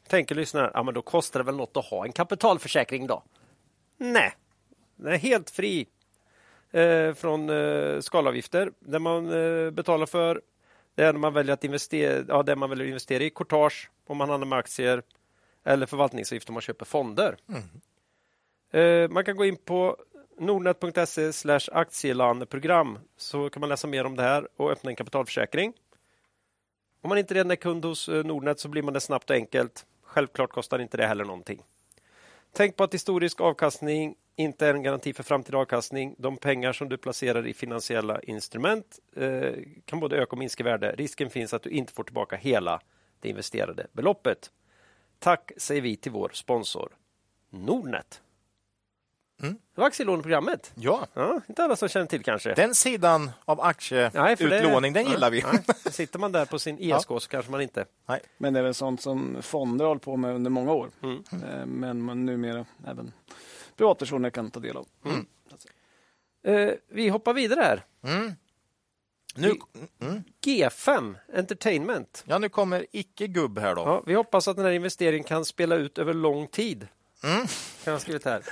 Tänker lyssnaren, ja men då kostar det väl något att ha en kapitalförsäkring då? Nej, den är helt fri eh, från eh, skalavgifter. Det man eh, betalar för det är när man väljer att investera, ja, det man väljer att investera i, courtage om man handlar med aktier eller förvaltningsavgift om man köper fonder. Eh, man kan gå in på nordnet.se slash aktielandprogram så kan man läsa mer om det här och öppna en kapitalförsäkring. Om man inte redan är kund hos eh, Nordnet så blir man det snabbt och enkelt. Självklart kostar inte det heller någonting. Tänk på att historisk avkastning inte är en garanti för framtida avkastning. De pengar som du placerar i finansiella instrument eh, kan både öka och minska i värde. Risken finns att du inte får tillbaka hela det investerade beloppet. Tack säger vi till vår sponsor Nordnet. Det var aktielåneprogrammet.
ja.
Ja, inte alla som känner till kanske.
Den sidan av
Nej, för det-
aktieutlåning, den
Nej,
gillar [laughs] vi.
nej. Sitter man där på sin ESK så kanske man inte
Men det är väl sånt som fonder har hållit på med under många år. Eh, men man numera även privatpersoner kan ta del av.
Eh, vi hoppar vidare här.
Mm. Nu,
G5 Entertainment.
ja, nu kommer icke-gubb här då.
Ja, vi hoppas att den här investeringen kan spela ut över lång tid.
Mm.
Kan jag ha
[laughs]
skrivit här.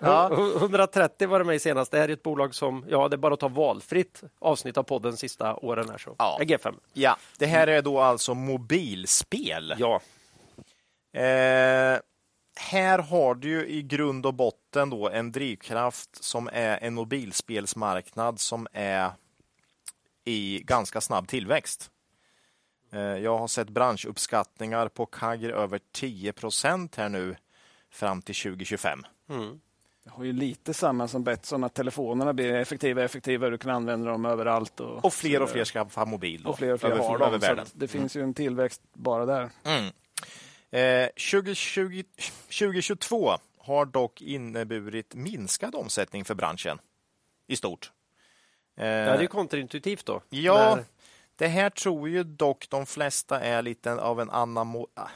Ja.
Hu- 130 var det med i senast. Det här är ett bolag som, ja, det är bara att ta valfritt avsnitt av podden sista åren här. Så.
Ja.
Eh, G5.
Ja, det här är då alltså mobilspel.
Ja.
Eh, här har du ju i grund och botten då en drivkraft som är en mobilspelsmarknad som är i ganska snabb tillväxt. Eh, jag har sett branschuppskattningar på CAGR över 10 procent här nu fram till 2025.
Det har ju lite samma som Betsson, att telefonerna blir effektivare och effektivare. Du kan använda dem överallt. Och,
Och fler och fler skaffar mobil då,
och fler, och fler
över,
har dem.
över
så
världen.
att det finns ju en tillväxt bara där.
Mm. Eh, 2020, 2022 har dock inneburit minskad omsättning för branschen i stort. Eh,
Det här är ju kontraintuitivt då.
ja,
När-
det här tror ju dock de flesta är lite av en anamo, ah,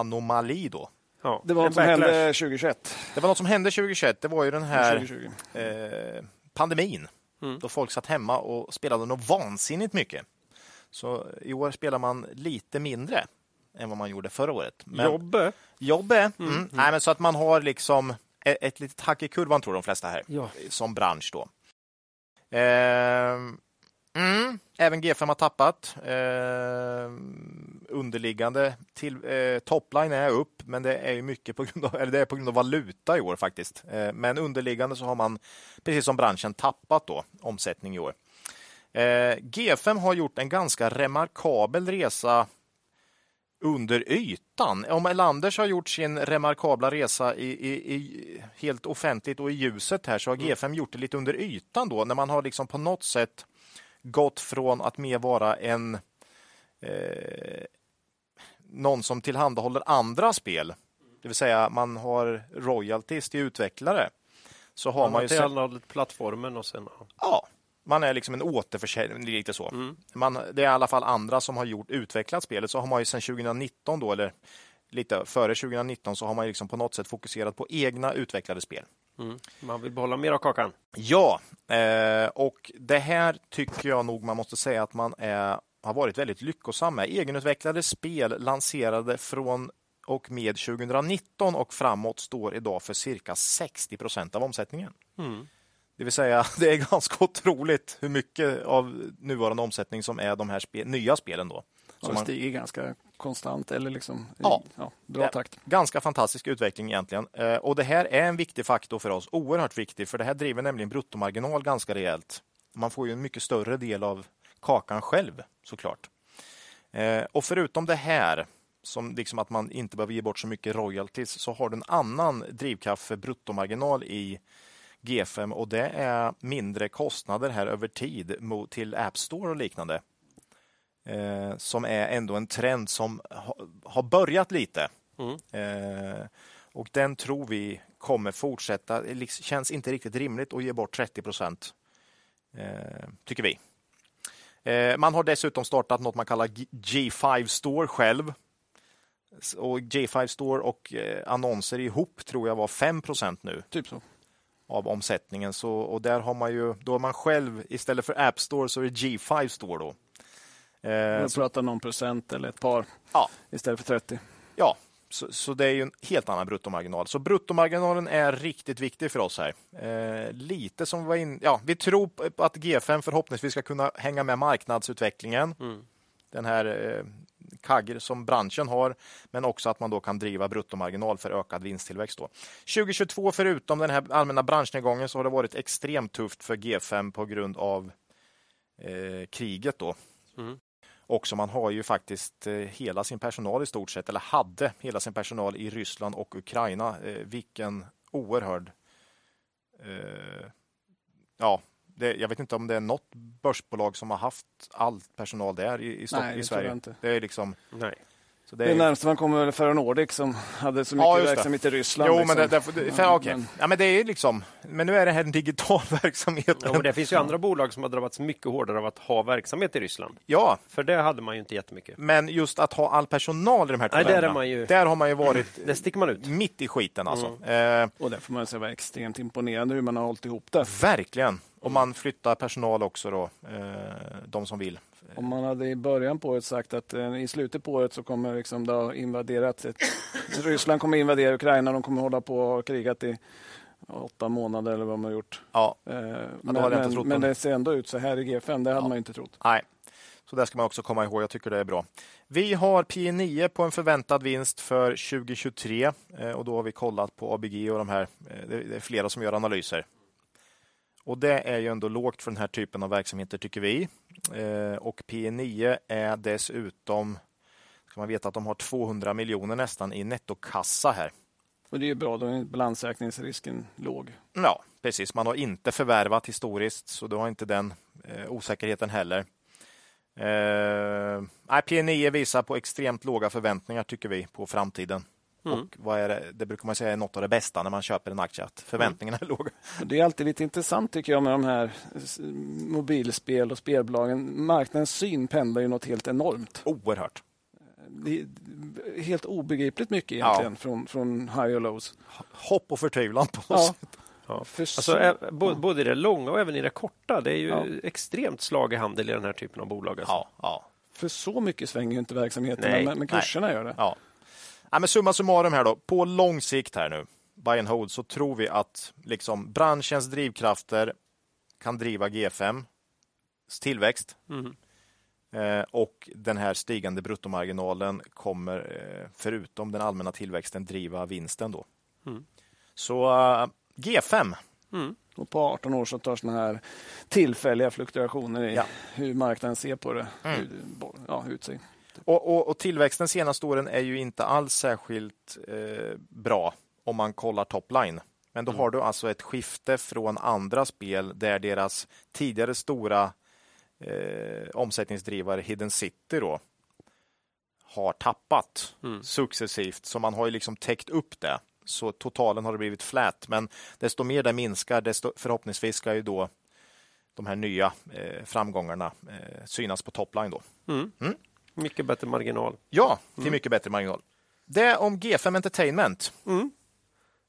anomali då.
ja,
Det var
en
något som
backlash.
hände 2021.
Det var något som hände 2021, det var ju den här
2020.
eh, pandemin
Mm.
då folk satt hemma och spelade något vansinnigt mycket. Så i år spelar man lite mindre än vad man gjorde förra året. Men-
Jobbe.
Jobbe. Mm. Nej, men så att man har liksom ett, ett litet hack i kurvan tror de flesta här
Ja.
som bransch då. Ehm, mm. Även G5 har tappat. Ehm, underliggande till, eh, topline är upp, men det är ju mycket på grund av, eller det är på grund av valuta i år faktiskt. Eh, men underliggande så har man, precis som branschen, tappat då omsättning i år. Eh, G5 har gjort en ganska remarkabel resa under ytan. Om Elanders har gjort sin remarkabla resa i, i, i, helt offentligt och i ljuset här så har G5 gjort det lite under ytan då när man har liksom på något sätt gått från att mer vara en eh, någon som tillhandahåller andra spel, det vill säga man har royalties till utvecklare. Så har
Ja,
man
man
ju sett-
tillhandahållit plattformen och sen... ja. Mm.
Ja, man är liksom en återförsäljare, lite så. Man, det är i alla fall andra som har gjort, utvecklat spelet. Så har man ju sedan 2019 då, eller lite före 2019, så har man ju liksom på något sätt fokuserat på egna utvecklade spel.
Mm. Man vill behålla mer av kakan.
Ja, eh, och det här tycker jag nog man måste säga att man är, har varit väldigt lyckosam med. Egenutvecklade spel lanserade från och med 2019 och framåt står idag för cirka 60 procent av omsättningen.
Mm.
Det vill säga, [laughs] det är ganska otroligt hur mycket av nuvarande omsättning som är de här spe, nya spelen. Då.
Så
Som
det
man-
stiger ganska konstant eller liksom i-
Ja.
ja, bra
Ja.
takt.
Ganska fantastisk utveckling egentligen. Eh, Och det här är en viktig faktor för oss, oerhört viktig, för det här driver nämligen bruttomarginal ganska rejält. Man får ju en mycket större del av kakan själv såklart. Eh, Och förutom det här som liksom att man inte behöver ge bort så mycket royalties, så har du en annan drivkaffe bruttomarginal i G5 och det är mindre kostnader här över tid mot, till App Store och liknande. Eh, som är ändå en trend som ha, har börjat lite.
Mm.
Eh, och den tror vi kommer fortsätta. Det liksom känns inte riktigt rimligt att ge bort 30 procent, eh, tycker vi. Eh, man har dessutom startat något man kallar G- G5 Store själv. S- Och G5 Store och eh, annonser ihop tror jag var 5 procent nu
Typ så.
av omsättningen. Så, och där har man ju, då är man själv, istället för App Store så är det G5 Store då. Eh,
Jag
så,
pratar någon procent eller ett par
Ja.
istället för 30.
ja, så, så det är ju en helt annan bruttomarginal. Så bruttomarginalen är riktigt viktig för oss här. Eh, lite som vi var in, ja, vi tror på på att G5 förhoppningsvis ska kunna hänga med marknadsutvecklingen.
Mm.
Den här eh, kagg som branschen har, men också att man då kan driva bruttomarginal för ökad vinsttillväxt. Då. 2022, förutom den här allmänna branschnedgången, så har det varit extremt tufft för G5 på grund av eh, kriget. Då.
Mm.
Också man har ju faktiskt eh, hela sin personal i stort sett, eller hade hela sin personal i Ryssland och Ukraina. Eh, vilken oerhörd... Eh, ja, det, jag vet inte om det är något börsbolag som har haft all personal där i, i, Stock,
Nej,
i
det tror
Sverige.
jag inte.
Det är liksom...
Nej.
Så
Det närmaste man kommer väl Ferronordic som hade så mycket
Ja, just det.
verksamhet i Ryssland.
Jo,
liksom.
men, det, det, för,
Ja,
okej.
men-
Ja, men det är ju liksom... Men nu är det här en digital [laughs] verksamhet.
Ja, och det finns ju andra bolag som har drabbats mycket hårdare av att ha verksamhet i Ryssland.
Ja,
För det hade man ju inte jättemycket.
men just att ha all personal i de här två
Nej, där är
länderna,
man ju-
där har man ju varit
Det sticker man ut. Mm.
mitt i skiten. Alltså. Eh,
Och det får man säga var extremt imponerande hur man har hållit ihop det.
verkligen. Och man flyttar personal också, då, eh, de som vill.
Om man hade i början på året sagt att eh, i slutet på året så kommer liksom det ha
[laughs]
invaderat ett, Ryssland kommer invadera Ukraina, de kommer hålla på och ha krigat i åtta månader eller vad de har gjort.
Ja,
Eh, men,
hade jag inte trott
men,
om.
men det ser ändå ut så här i G5, det hade man ju inte trott.
nej. Så där ska man också komma ihåg. Jag tycker det är bra. Vi har P 9 på en förväntad vinst för 2023 eh, och då har vi kollat på ABG och de här. eh, Det det är flera som gör analyser. Och det är ju ändå lågt för den här typen av verksamheter tycker vi. Eh, Och P 9 är dessutom, ska man veta att de har 200 miljoner nästan i nettokassa här.
Och det är ju bra, då är balansräkningsrisken låg.
Ja, precis. Man har inte förvärvat historiskt, så du har inte den eh, osäkerheten heller. Eh, nej, P9 visar på extremt låga förväntningar, tycker vi, på framtiden.
Mm.
Och vad är det? det brukar man säga är något av det bästa när man köper en aktie, att förväntningarna är låga.
Och det är alltid lite intressant tycker jag med de här s- mobilspel och spelbolagen. Marknadens syn pendlar ju något helt enormt.
Oerhört.
Det är helt obegripligt mycket egentligen från, från high och lows.
Hopp och förtvivlan på oss.
Ja.
Ja.
För
Alltså,
så-
ä- bo- både i det långa och även i det korta. Det är ju
Ja.
extremt slag i handel i den här typen av bolag. Alltså.
Ja, ja,
För så mycket svänger ju inte verksamheten,
Nej,
men, men kurserna gör det.
ja. Nej, men summa summarum här då, på lång sikt här nu, buy and hold, så tror vi att liksom, branschens drivkrafter kan driva G5 s tillväxt
Mm.
Eh, Och den här stigande bruttomarginalen kommer, eh, förutom den allmänna tillväxten, driva vinsten. Då.
Mm.
Så eh, G5,
Mm.
Och på 18 år så tar sådana här tillfälliga fluktuationer i
Ja.
hur marknaden ser på det
Mm.
hur, ja, ut sig.
och, och, och tillväxten senaste åren är ju inte alls särskilt eh, bra om man kollar topline. Men då har du alltså ett skifte från andra spel där deras tidigare stora eh, omsättningsdrivare Hidden City då, har tappat.
Mm.
successivt, så man har ju liksom täckt upp det. Så totalen har det blivit flat, men desto mer det minskar, desto förhoppningsvis ska ju då de här nya eh, framgångarna eh, synas på topline då.
Mm.
Mm.
Mycket bättre marginal.
Ja, till mycket bättre marginal. Det om G5 Entertainment.
Mm.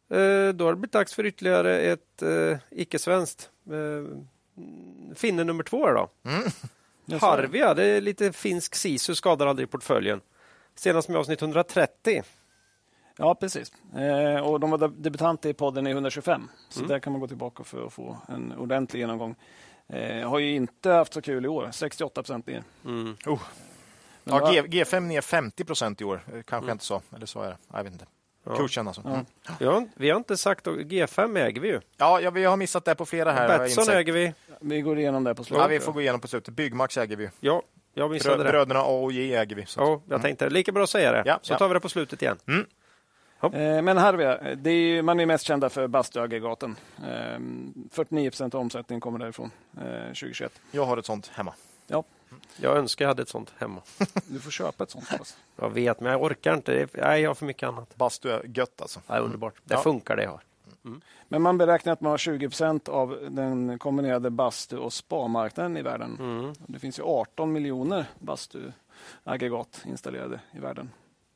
Eh, Då har det blivit dags för ytterligare ett eh, icke-svenskt. Eh, finne nummer två här då.
Mm.
Harvia, det är lite finsk sisu, skadar aldrig portföljen. Senast med avsnitt 130.
Ja, precis. Eh, och de var deb- debutanter i podden i 125, så
Mm.
där kan man gå tillbaka för att få en ordentlig genomgång. Eh, har ju inte haft så kul i år, 68 procent ner.
Mm.
Men det
Ja,
var-
G, G5 ner 50 procent i år, Eh, kanske jag inte så, eller så är det. Jag vet inte.
Mm. Ja.
Kursen alltså.
Ja.
Mm.
Vi, har, vi har inte sagt, och G5 äger vi ju.
Ja, ja, vi har missat det på flera här. har jag
Betsson
insett.
äger vi.
Vi går igenom det på slutet.
ja, vi får gå igenom på slutet. Byggmax äger vi.
Ja, Jag missade
Brö-
det.
Bröderna A och J äger vi. Så. att-
Ja, jag tänkte lika bra att säga det.
Ja,
så
ja.
tar vi det på slutet igen.
Eh, Men Harvia, det är ju, man är mest kända för bastuaggregaten. Eh, 49 procent av omsättningen kommer därifrån eh, 2021.
Jag har ett sånt hemma.
Jag önskar jag hade ett sånt hemma.
Du får köpa ett sånt. Thomas.
Jag vet, men jag orkar inte. Det är, nej, jag har för mycket annat.
Bastu är gött alltså.
Det är underbart. Det
Ja.
funkar det jag har.
[laughs] Men man beräknar att man har 20 procent av den kombinerade bastu och spa-marknaden i världen.
Mm.
Mm.
Det finns ju 18 miljoner bastuaggregat installerade i världen.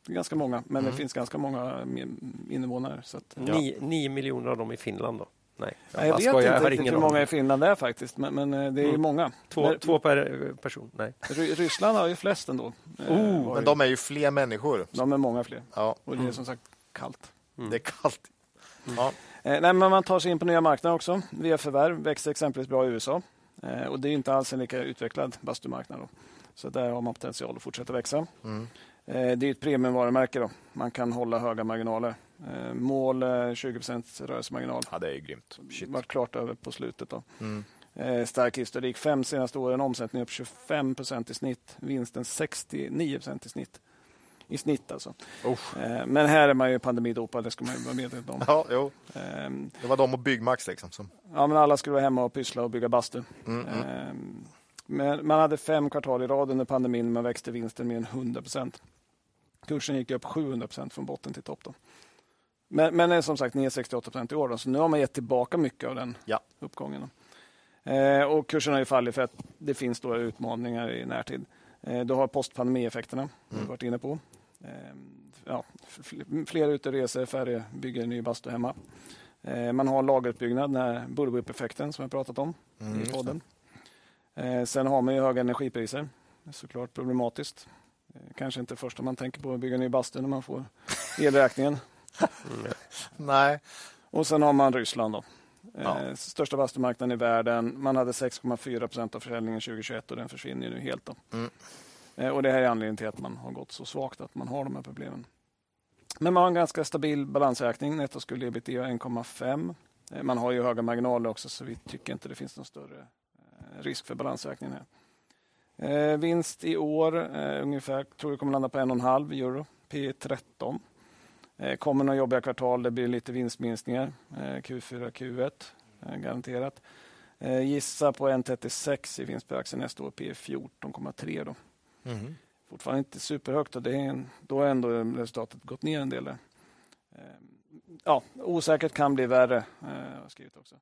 Det är ganska många, men det finns ganska många mm, invånare. Så att,
Ni, nio miljoner av dem i Finland då? Nej,
Nej, jag
bara
vet
skojar.
inte
har
riktigt
ingen
hur många
aning.
i Finland det är faktiskt, men, men eh, det är ju många.
Två,
Men
två per eh, person? Nej.
Ry- Ryssland har ju flest ändå. Eh,
Oh,
Men de är ju fler människor.
De är många fler.
Ja,
Och det är som sagt kallt.
det är kallt. Ja.
Eh, nej, men man tar sig in på nya marknader också. Via förvärv växer exempelvis bra i USA. Eh, och det är inte alls en lika utvecklad bastumarknad. Då. Så där har man potential att fortsätta växa.
Mm.
Eh, det är ett premiumvarumärke. Då. Man kan hålla höga marginaler. Eh, mål eh, 20 rörelsemarginal.
ja, det är ju grymt. Shit.
Varit klart över på slutet. Då.
Mm.
Eh, stark historik. Fem senaste åren omsättning upp 25 i snitt. Vinsten 69 i snitt. I snitt alltså.
Usch.
Eh, Men här är man ju pandemidopad, det ska man ju vara
[laughs]
medveten om.
Ja, jo.
Ehm,
Det var de och Byggmax liksom. Som... Mm,
Ja, men alla skulle vara hemma och pyssla och bygga bastu. Ehm, Men man hade fem kvartal i rad under pandemin, man växte vinsten mer än 100 procent. Kursen gick upp 700 procent från botten till topp. Då. Men, men det är som sagt ner 68 procent i år, då, så nu har man gett tillbaka mycket av den
Ja.
uppgången. Då. Eh, och kursen har ju fallit för att det finns stora utmaningar i närtid. Eh, du har postpandemieffekterna, som vi varit inne på. Ehm, ja, fl- fler uteresor, färre bygger ny bastu hemma. Eh, Man har lagerutbyggnad, den här bullwhip-effekten som jag pratat om
Mm,
i podden. Eh, Sen har man ju höga energipriser, Det är såklart problematiskt. Eh, Kanske inte första man tänker på att bygga ny bastu när man får elräkningen.
Mm,
Nej.
Och sen har man Ryssland. Då. Eh,
Ja.
Största bastumarknaden i världen. Man hade 6,4 procent av försäljningen 2021 och den försvinner ju nu helt. Då. Eh, Och det här är anledningen till att man har gått så svagt, att man har de här problemen. Men man har en ganska stabil balansräkning. Nettoskuld ebitda 1,5. Eh, Man har ju höga marginaler också, så vi tycker inte det finns någon större eh, risk för balansräkningen här. Eh, vinst i år eh, ungefär, tror jag kommer landa på 1,5 euro, P E 13. Eh, kommer några jobbiga kvartal, det blir lite vinstminskningar, eh, Q4, Q1 eh, garanterat. Eh, gissa på 1,36 i vinst per aktie nästa år, P 14,3 då.
Mhm.
Fortfarande inte superhögt och det är en, då har ändå resultatet gått ner en del. där. Eh, ja, osäkert kan bli värre, eh, har jag skrivit också.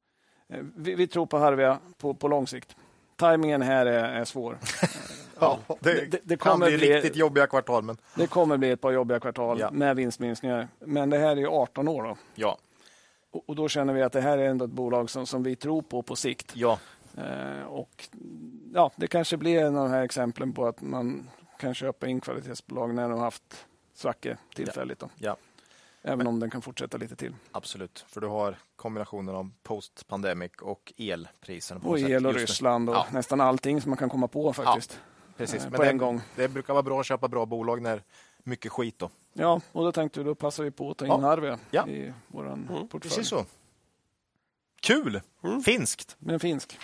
Eh, vi, vi tror på Harvia på, på lång sikt. Tajmingen här är, är svår.
Ja, det,
Det- det- det
kan
kommer
bli,
bli-
riktigt jobbiga kvartal, men
Det kommer bli ett par jobbiga kvartal
Ja.
med vinstminskningar. Men det här är ju 18 år då.
ja.
Och- Och då känner vi att det här är ändå ett bolag som, som vi tror på på sikt.
ja.
Eh, och ja, Det kanske blir en av de här exemplen på att man kan köpa in kvalitetsbolag när de har haft svacke tillfälligt. Då.
Ja.
Även om den kan fortsätta lite till.
Absolut, för du har kombinationen av post-pandemic och elpriserna. på
Och
något sätt
el och
just nu.
Ryssland och
Ja.
nästan allting som man kan komma på faktiskt.
Precis.
eh,
Men
på
det,
en gång.
Det brukar vara bra att köpa bra bolag när mycket skit då.
Ja. och då tänkte vi då passar vi på att ta in
Ja.
Arvia
Ja. Mm,
i vår portfölj.
Precis så. Mm. Kul! Finskt.
Men finsk?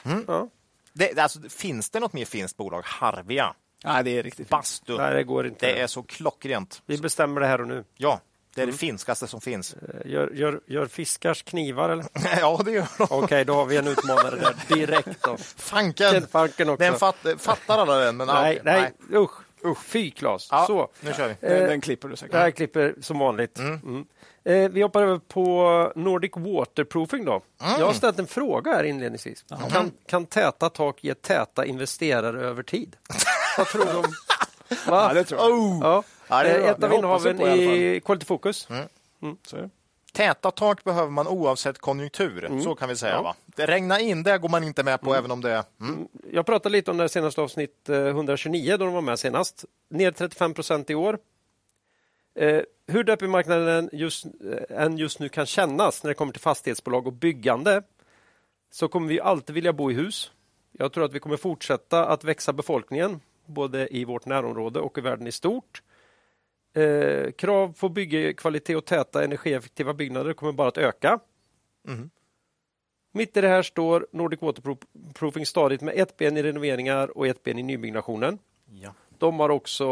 Det, alltså, finns det något mer finskt bolag? Harvia?
Nej, det är
[laughs]
riktigt
Bastu?
nej, det går inte.
Det är så klockrent.
Vi bestämmer det här och nu.
Ja, det är det finskaste som finns.
Eh, Gör, gör, gör fiskars knivar eller?
[laughs] ja, [laughs] det gör de.
Okej, då har vi en utmanare där
[laughs]
direkt. Då.
Fanken!
Kent Falken också.
Den fatt, fattar alla den, men ah,
nej,
ja,
nej, usch. Fy Claes.
Ja,
Så.
Nu kör vi.
Den,
Eh,
den klipper du säkert.
Det här klipper som vanligt. Mm. Eh, vi hoppar över på Nordic Waterproofing. Då. Jag har ställt en fråga här inledningsvis. Kan, kan täta tak ge täta investerare över tid? Vad tror du om... Va?
Ja, det tror jag.
Ja.
Ja, det är bra.
Eh, ett av
Det hoppas vi
innehaven
på i alla
i Quality Focus.
Så är det.
Täta tak behöver man oavsett konjunktur, så kan vi säga. Va? Det regnar in, det går man inte med på, även om det är... Mm. Mm.
Jag pratade lite om det här senaste avsnitt eh, 129 då de var med senast. Ner 35 procent i år. Eh, hur deppig marknaden just, eh, än just nu kan kännas när det kommer till fastighetsbolag och byggande så kommer vi alltid vilja bo i hus. Jag tror att vi kommer fortsätta att växa befolkningen både i vårt närområde och i världen i stort. Eh, krav på byggkvalitet och täta energieffektiva byggnader kommer bara att öka.
Mm.
Mitt i det här står Nordic Waterproofing stadigt med ett ben i renoveringar och ett ben i nybyggnationen.
Ja.
De har också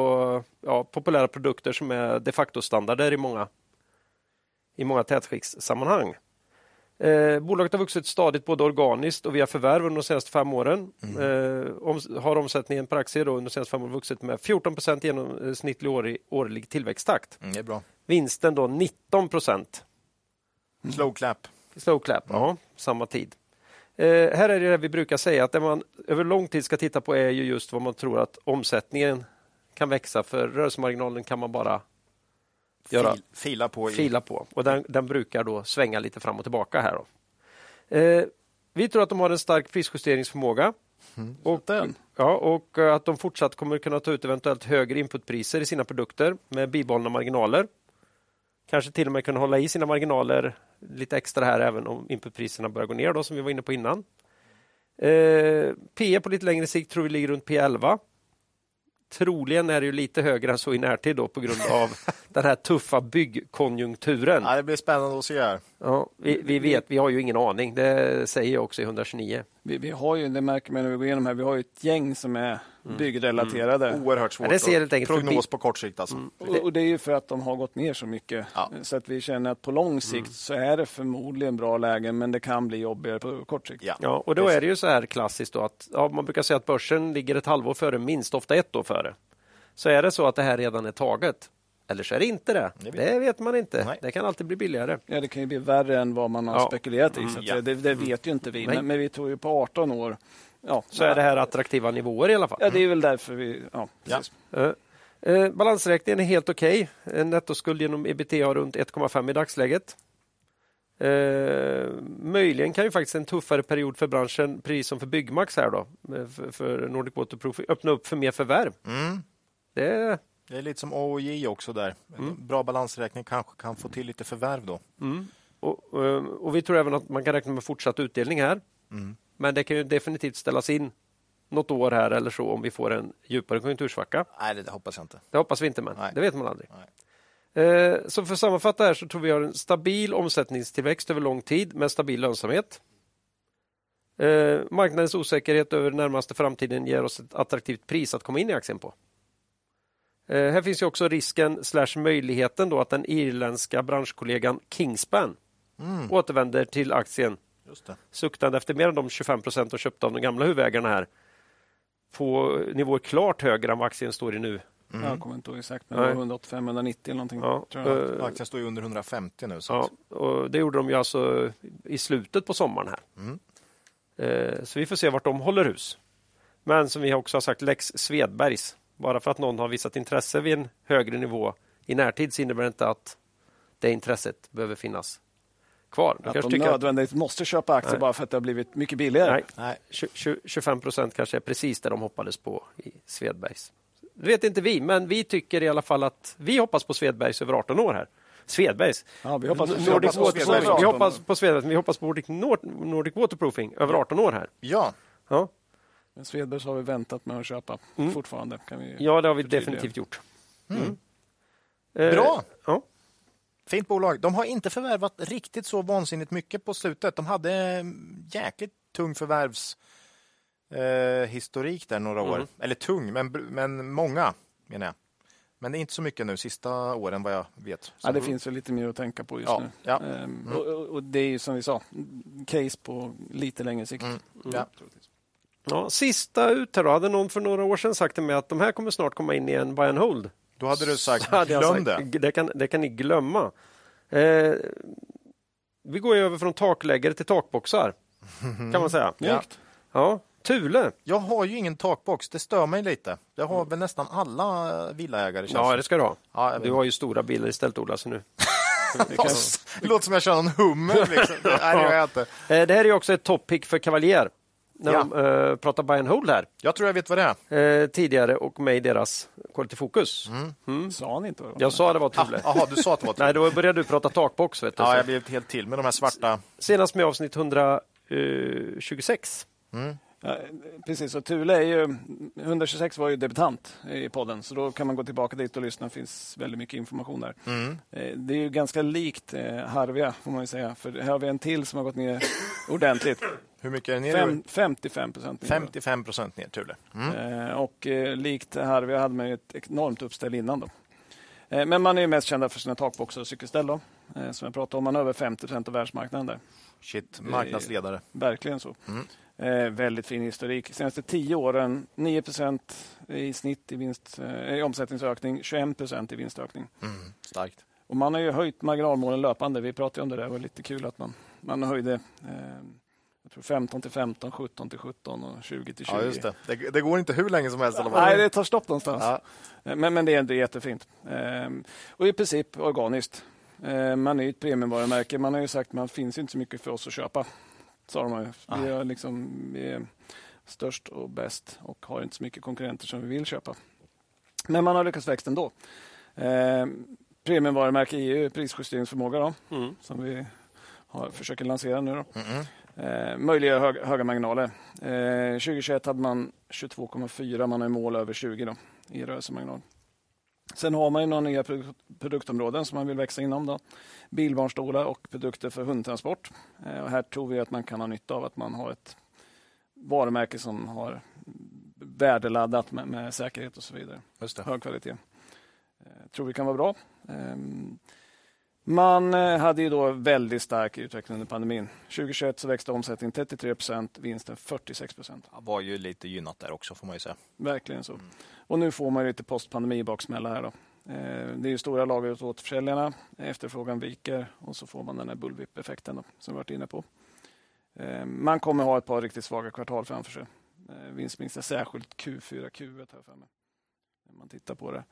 ja, populära produkter som är de facto-standarder i många, i många tätskiktssammanhang. Eh, bolaget har vuxit stadigt både organiskt och via förvärv under de senaste fem åren. Eh, om, har omsättningen per aktie då under de senaste fem åren vuxit med 14 procent genomsnittlig årlig, årlig tillväxttakt.
Mm, det är bra.
Vinsten då 19 procent.
Slow clap.
Slow clap, ja, samma tid. Eh, här är det det vi brukar säga att det man över lång tid ska titta på är ju just vad man tror att omsättningen kan växa för rörelsemarginalen kan man bara göra
Fil, fila på. I.
fila på. Och den, den brukar då svänga lite fram och tillbaka här. Då. Eh, vi tror att de har en stark prisjusteringsförmåga. Och, ja, och eh, att de fortsatt kommer kunna ta ut eventuellt högre inputpriser i sina produkter med bibehållna marginaler. Kanske till och med kunna hålla i sina marginaler lite extra här även om inputpriserna börjar gå ner då, som vi var inne på innan. Eh, PE på lite längre sikt tror vi ligger runt P11. Troligen är det ju lite högre än så i närtid då på grund av den här tuffa byggkonjunkturen.
Ja, det blir spännande att se här.
Ja, vi, vi vet, vi har ju ingen aning. Det säger jag också i 129.
Vi, vi har ju, det märker man när vi går igenom här, vi har ju ett gäng som är
Mm.
byggrelaterade.
Oerhört svårt.
Ja, det ser
att-
helt enkelt
Prognos
förbi.
på kort sikt alltså.
Och, och det är ju för att de har gått ner så mycket.
Ja.
Så att vi känner att på
Mm.
lång sikt så är det förmodligen bra lägen men det kan bli jobbigare på kort sikt.
Ja.
Ja, och då är det ju så här klassiskt då att ja, man brukar säga att börsen ligger ett halvår före, minst ofta ett år före. Så är det så att det här redan är taget, eller så är det inte det. Det
Det
vet,
vet-
man inte.
Nej.
Det kan alltid bli billigare.
Ja, det kan ju bli värre än vad man har
Ja. Mm.
spekulerat i. Så att
ja.
det, det vet ju inte vi,
Nej.
men, men vi tror ju på 18 år. Ja,
Så är det här attraktiva nivåer i alla fall.
Ja, det är väl därför vi... Ja, precis.
Eh, Eh, balansräkningen är helt okej. En nettoskuld genom E ebitda runt 1,5 i dagsläget. Eh, möjligen kan ju faktiskt en tuffare period för branschen, precis som för Byggmax här då, eh, för, för Nordic Waterproof, öppna upp för mer förvärv.
Mm.
Det,
Det är lite som AOJ också där. Bra balansräkning kanske kan få till lite förvärv då.
och, eh, och vi tror även att man kan räkna med fortsatt utdelning här.
Mm.
Men det kan ju definitivt ställas in något år här eller så om vi får en djupare konjunktursvacka.
Nej, det hoppas jag inte.
Det hoppas vi inte, men
Nej.
det vet man aldrig. Eh, Så för att sammanfatta här så tror vi har en stabil omsättningstillväxt över lång tid med stabil lönsamhet. Eh, Marknadens osäkerhet över den närmaste framtiden ger oss ett attraktivt pris att komma in i aktien på. Eh, Här finns ju också risken slash möjligheten då att den irländska branschkollegan Kingspan återvänder till aktien
Mm. Just det.
suktande efter mer än de 25 procent de köpte av de gamla huvudägarna här på nivåer klart högre än vad aktien står i
Mm,
nu.
Jag kommer inte ihåg exakt, men
Mm. Nej.
det var 185, 190 eller någonting.
Ja,
tror jag.
eh,
Aktien står ju under 150 nu. Så
Ja, och det gjorde de ju alltså i slutet på sommaren här.
Mm.
Eh, Så vi får se vart de håller hus. Men som vi också har sagt, Lex Svedbergs. Bara för att någon har visat intresse vid en högre nivå i närtid så innebär det inte att det intresset behöver finnas kvar. Du
Att
kanske
de
tycker att
nödvändigt måste köpa aktier
Nej.
bara för att det har blivit mycket billigare.
nej,
Nej.
tju- tju- 25 procent kanske är precis där de hoppades på i Svedbergs. Det vet inte vi, men vi tycker i alla fall att vi hoppas på Svedbergs över 18 år här. Svedbergs.
Ja, vi hoppas på
Nordic
Svedbergs.
Waterproofing.
Svedbergs.
Vi hoppas på Svedbergs, men vi hoppas på Nordic, Nord- Nordic Waterproofing över 18 år här.
ja.
Ja,
Men Svedbergs har vi väntat med att köpa
Mm.
fortfarande. Kan vi...
ja det har vi
Förtydliga.
definitivt gjort.
Mm.
Mm. Eh,
Bra.
Ja.
Fint bolag. De har inte förvärvat riktigt så vansinnigt mycket på slutet. De hade eh, jäkligt tung förvärvs eh, historik där några
Mm.
år. Eller tung, men, br- men många menar jag. Men det är inte så mycket nu sista åren vad jag vet. Så-
Ja, det finns ju lite mer att tänka på just
Ja,
nu.
ja. Mm.
Ehm, och- och, och det är ju som vi sa, case på lite längre sikt.
Ja.
Ja, sista ut här då. Hade någon för några år sedan sagt till mig att de här kommer snart komma in i en buy and hold.
Då hade du sagt,
Så hade jag
glöm
sagt,
det.
Det kan, det kan ni glömma. Eh, vi går ju över från takläggare
[laughs]
till takboxar, kan man säga.
Ja.
Ja, Thule.
Jag har ju ingen takbox, det stör mig lite. Det har väl nästan alla villaägare. känns
Mm. Ja,
det
det ska du ha.
Ja, jag vet.
du har ju stora bilar istället, Ola. Så nu.
som. Det låter som jag kör någon hummer. Liksom. Nej, det gör jag inte.
Eh, det här är ju också ett toppick för Cavalier. När
Ja.
de eh, pratar buy and hold här
Jag tror jag vet vad det är.
eh, tidigare och med i deras Quality Focus.
Mm.
Sa han inte vad det var?
Jag sa det var Thule.
Jaha, Ah, du sa att det var
[laughs] Nej, då började du prata takbox. Vet du.
Ja, jag blev helt till med de här svarta.
eh, Senast med avsnitt 126.
Ja, precis, och Thule är ju, 126 var ju debutant i podden, så då kan man gå tillbaka dit och lyssna. Det finns väldigt mycket information där.
Mm.
Eh, Det är ju ganska likt eh, Harvia, får man ju säga. För här har vi en till som har
[laughs]
gått ner ordentligt.
Hur mycket är det ner?
Fem, 55 procent.
55 procent ner, Thule. Mm.
Och eh, likt Harvia hade man ju ett enormt uppställ innan. Då. Eh, Men man är ju mest kända för sina takboxar och cykelställ. Då, eh, som jag pratade om, man har över 50 procent av världsmarknaden där.
Shit, marknadsledare.
Verkligen så.
Mm.
Eh, väldigt fin historik. senaste 10 åren 9 i snitt i, vinst, eh, i omsättningsökning, 21 i vinstökning.
Mm. Starkt.
Och man har ju höjt marginalmålen löpande. Vi pratade ju om det där. Det var lite kul att man, man höjde eh, jag tror 15 till 15, 17 till 17 och 20 till 20.
Ja, just det. det. Det går inte hur länge som helst. Eller vad?
Nej, det tar stopp någonstans.
Ja.
Eh, Men, men det, är, det är jättefint. Eh, och i princip organiskt. Eh, man är ju ett premiumvarumärke. Man har ju sagt att man finns ju inte så mycket för oss att köpa. Sa de ju. Vi är, liksom, vi är störst och bäst och har inte så mycket konkurrenter som vi vill köpa. Men man har lyckats växa ändå. Eh, premiumvarumärke är ju prisjusteringsförmåga då,
Mm.
som vi har, försöker lansera nu. Då. Eh, möjliggör hög, höga marginaler. Eh, 2021 hade man 22,4. Man har ju mål över 20 då, i rörelsemarginal. Sen har man ju några nya produ- produktområden som man vill växa inom. Då. Bilbarnstolar och produkter för hundtransport. Eh, och här tror vi att man kan ha nytta av att man har ett varumärke som har värdeladdat med, med säkerhet och så vidare
Just det.
hög kvalitet. Eh, tror vi kan vara bra. Ehm, Man eh, hade ju då väldigt stark utveckling under pandemin. 2021 så växte omsättningen 33 procent, vinsten 46 procent.
Ja, var ju lite gynnat där också, får man ju säga.
Verkligen så. Och nu får man ju lite postpandemi baksmälla här då. Eh, Det är ju stora lager hos återförsäljarna, efterfrågan viker och så får man den här bullwhip-effekten då, som vi varit inne på. Eh, Man kommer ha ett par riktigt svaga kvartal framför sig. Eh, Vinstminskningar, särskilt Q4, Q1 här för mig. När man tittar på det.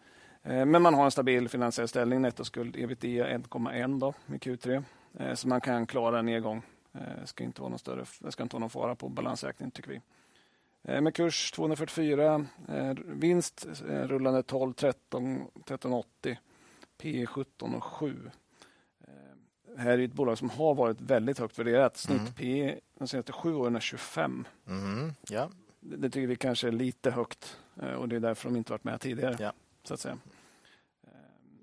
Eh, Men man har en stabil finansiell ställning, nettoskuld E ebitda 1,1 då med Q3. Eh, Så man kan klara en nedgång. Eh, Ska inte vara någon större, det ska inte vara någon fara på balansräkningen tycker vi. Eh, Med kurs 244, eh, vinst eh, rullande 12, 13, 1380, P 17 och 7. Eh, Här är ett bolag som har varit väldigt högt värderat. Snitt
Mm.
P de senaste sju åren är 25.
Mm. Ja.
Det det tycker vi kanske är lite högt eh, och det är därför de inte varit med tidigare.
Ja.
Så att säga. Eh,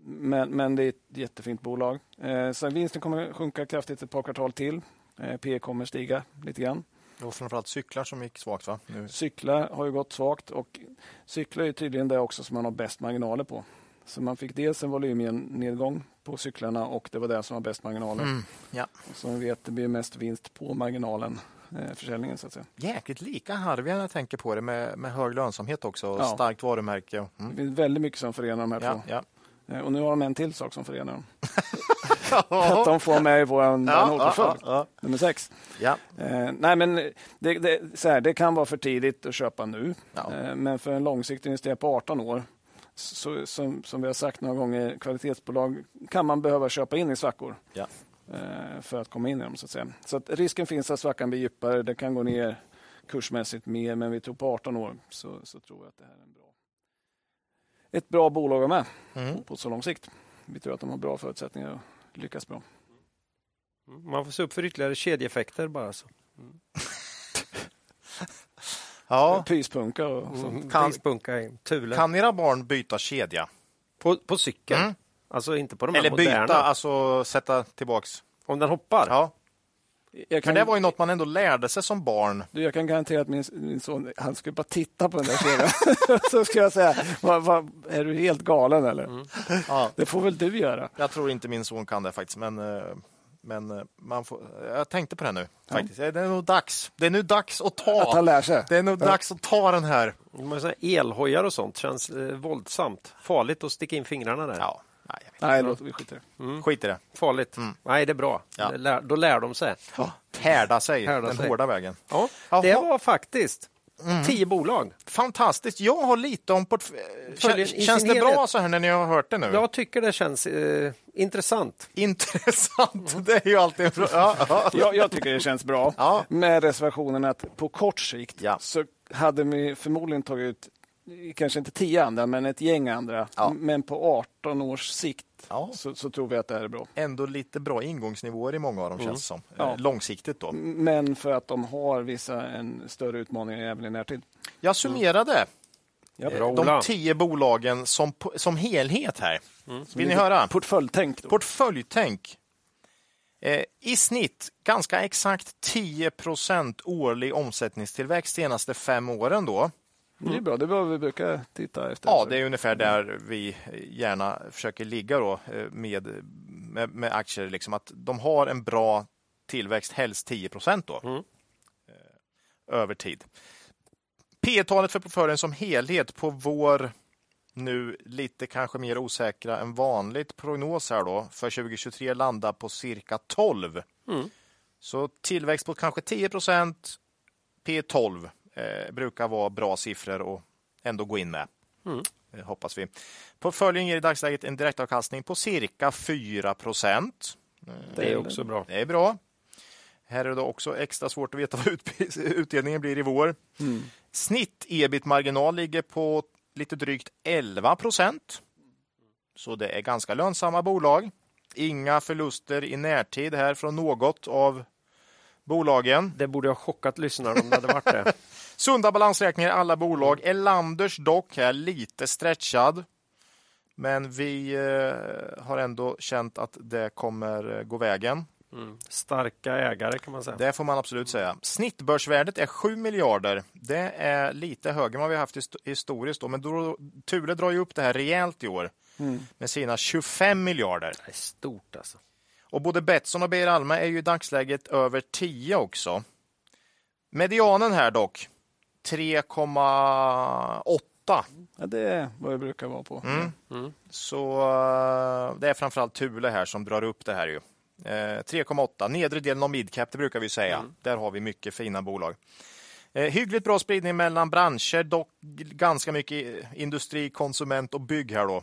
Men, men det är ett jättefint bolag. Eh, Sen vinsten kommer sjunka kraftigt ett par kvartal till. Eh, P kommer stiga lite grann.
Det var framförallt cyklar som gick svagt, va? Nu.
Cyklar har ju gått svagt och cyklar är tydligen det också som man har bäst marginaler på. Så man fick dels en volymnedgång på cyklarna och det var det som var bäst marginaler.
Mm.
Och Som vi vet, det blir mest vinst på marginalen, eh, försäljningen så att säga.
Jäkligt lika Harvia när jag tänker på det, med, med hög lönsamhet också och
Ja.
starkt varumärke. och- Mm.
Det finns väldigt mycket som förenar de här
Ja,
två.
ja.
Eh, Och nu har de en till sak som
[laughs]
förenar dem. Att de får med i vår
ja, ja,
bananportfölj,
ja.
nummer sex.
ja.
Eh, nej, men det, det, så här, det kan vara för tidigt att köpa nu,
Ja.
eh, men för en långsiktig investering på 18 år, så, som, som vi har sagt några gånger, kvalitetsbolag kan man behöva köpa in i svackor
Ja.
eh, för att komma in i dem. Så att säga. Så att risken finns att svackan blir djupare, det kan gå ner kursmässigt mer, men vi tror på 18 år så, så tror jag att det här är en bra, ett bra bolag att ha med
Mm.
på så lång sikt. Vi tror att de har bra förutsättningar att lyckas bra.
Man får se upp för ytterligare kedjeeffekter bara. Så.
ja.
Pyspunka och sånt.
Mm.
Alltså, Kan-
Prispunka i Thule.
Kan era barn byta kedja?
På, på cykeln?
Mm.
Alltså inte på de här
Eller byta,
moderna.
alltså sätta tillbaks?
Om den hoppar?
Ja.
Jag
För
kan-
det var ju något man ändå lärde sig som barn.
Du, jag kan garantera att min, min son, han skulle bara titta på den där kedjan. [laughs] så skulle jag säga, vad, vad, är du helt galen eller?
Mm. Ja.
Det får väl du göra.
Jag tror inte min son kan det faktiskt, men, eh, men eh, man får, jag tänkte på det nu. Faktiskt. Det är nog dags. Det är nu dags att
Att han
ta.
lär sig.
Det är nog dags att ta den här.
De har såna här elhojar och sånt. Känns eh, våldsamt. Farligt att sticka in fingrarna där.
Ja, nej, jag vet
Nej, låt, vi skiter i det.
Mm.
inte. skit i det.
Farligt. Nej, det är bra.
Mm. Ja.
Det Lär, då lär de sig.
Härda sig
Härda
den
sig.
hårda vägen.
Ja,
Jaha. Mm.
det var faktiskt tio bolag.
Fantastiskt. Jag har lite om
Följer i
portföljen.
sin
Känns det bra
helhet.
så här när ni har hört det nu?
Jag tycker det känns eh, intressant.
[laughs] Intressant. Det är ju alltid en
[laughs]
fråga. Ja, ja.
Jag, jag tycker det känns bra.
Ja.
Med reservationen att på kort sikt
Ja.
så hade vi förmodligen tagit ut, eh, kanske inte tio andra, men ett gäng andra.
Ja.
Men på 18 års sikt rätt
Ja.
så, så tror vi att det här är bra.
Ändå lite bra ingångsnivåer i många av dem känns det som.
Ja.
Eh, Långsiktigt då.
Men för att de har vissa en större utmaningar även i närtid.
Jag summerade
Ja,
eh,
Bra,
de
Ola.
tio bolagen som, po- som helhet här. Vill ni höra?
Portföljtänk. då.
Portföljtänk. Eh, I snitt ganska exakt 10 årlig omsättningstillväxt de senaste fem åren. Då.
Det är bra, det är vad vi brukar titta efter.
Ja, det är ungefär där vi eh, gärna försöker ligga då, eh, med, med, med aktier. Liksom att de har en bra tillväxt, helst 10 då, eh, över tid. P talet för portföljen som helhet på vår nu lite kanske mer osäkra än vanligt prognos här då för 2023 landar på cirka 12. Så tillväxt på kanske 10 P 12 eh, brukar vara bra siffror och ändå gå in med. Eh, hoppas vi. Portföljen ger i dagsläget en direktavkastning på cirka 4
Det är också bra.
Det är bra. Här är det också extra svårt att veta vad ut- [laughs] utdelningen blir i vår.
Mm.
Snitt ebit-marginal ligger på lite drygt 11 procent. Så det är ganska lönsamma bolag. Inga förluster i närtid här från något av bolagen.
Det borde ha chockat lyssnarna om det hade
[laughs]
varit det.
Sunda balansräkningar i alla bolag. Elanders dock här lite stretchad. Men vi eh, har ändå känt att det kommer eh, gå vägen.
Mm. Starka ägare kan man säga.
Det får man absolut säga. Snittbörsvärdet är 7 miljarder. Det är lite högre än vad vi har haft hist- historiskt. Då. Men då, Thule drar ju upp det här rejält i år
Mm.
med sina 25 miljarder.
Det är stort alltså.
Och både Betsson och Beijer Alma är ju i dagsläget över 10 också. Medianen här dock, 3,8.
Ja, det är vad vi brukar vara
Mm.
på.
Så eh, det är framförallt Thule här som drar upp det här. ju. Eh, 3,8, nedre delen av midcap, det brukar vi säga. Där har vi mycket fina bolag. Eh, hyggligt bra spridning mellan branscher, dock ganska mycket i- industri, konsument och bygg här då.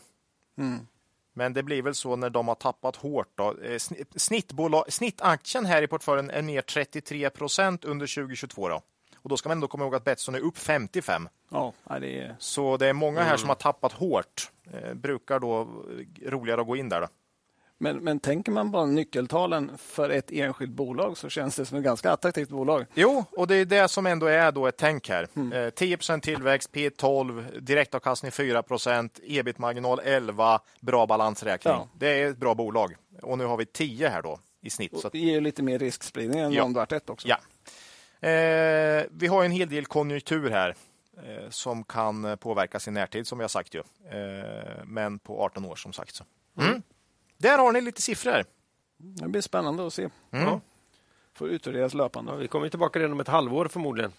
Men det blir väl så när de har tappat hårt. Då. Eh, sni- Snittbolag, snittaktien här i portföljen är ner 33 procent under 2022. Då. Och då ska man ändå komma ihåg att Betsson är upp 55.
Ja, ja, det är...
Så det är många här som har tappat hårt. Eh, brukar då eh, roligare att gå in där. Då.
men, men tänker man bara nyckeltalen för ett enskilt bolag så känns det som ett ganska attraktivt bolag.
Jo, och det är det som ändå är då ett tänk här. Eh, 10 tillväxt, P 12, direktavkastning 4 ebit-marginal 11, bra balansräkning.
Ja.
Det är ett bra bolag. Och nu har vi 10 här då i snitt. Så
Och
att,
det ger ju lite mer riskspridning än
Ja.
om det varit ett också.
ja. eh, vi har ju en hel del konjunktur här eh, som kan eh, påverkas i närtid som jag sagt ju. Eh, men på 18 år som sagt. Så. Mm. Där har ni lite siffror.
Det blir spännande att se.
Mm.
Ja.
Får utvärderas löpande.
Ja, vi kommer ju tillbaka redan om ett halvår förmodligen.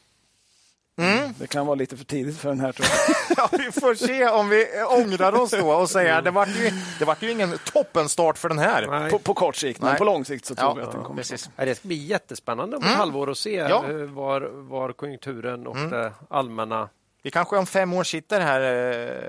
Det kan vara lite för tidigt för den här tror jag.
Ja, vi får se om vi eh, ångrar oss då och säger det vart ju, det vart ju ingen toppenstart för den här.
Nej.
på, på kort sikt, men
Nej.
på lång sikt så tror vi att den
Ja,
kommer.
precis.
Ja, Det ska bli jättespännande om ett halvår att se
Ja.
eh, var, var konjunkturen och eh, det allmänna...
Vi kanske om fem år sitter här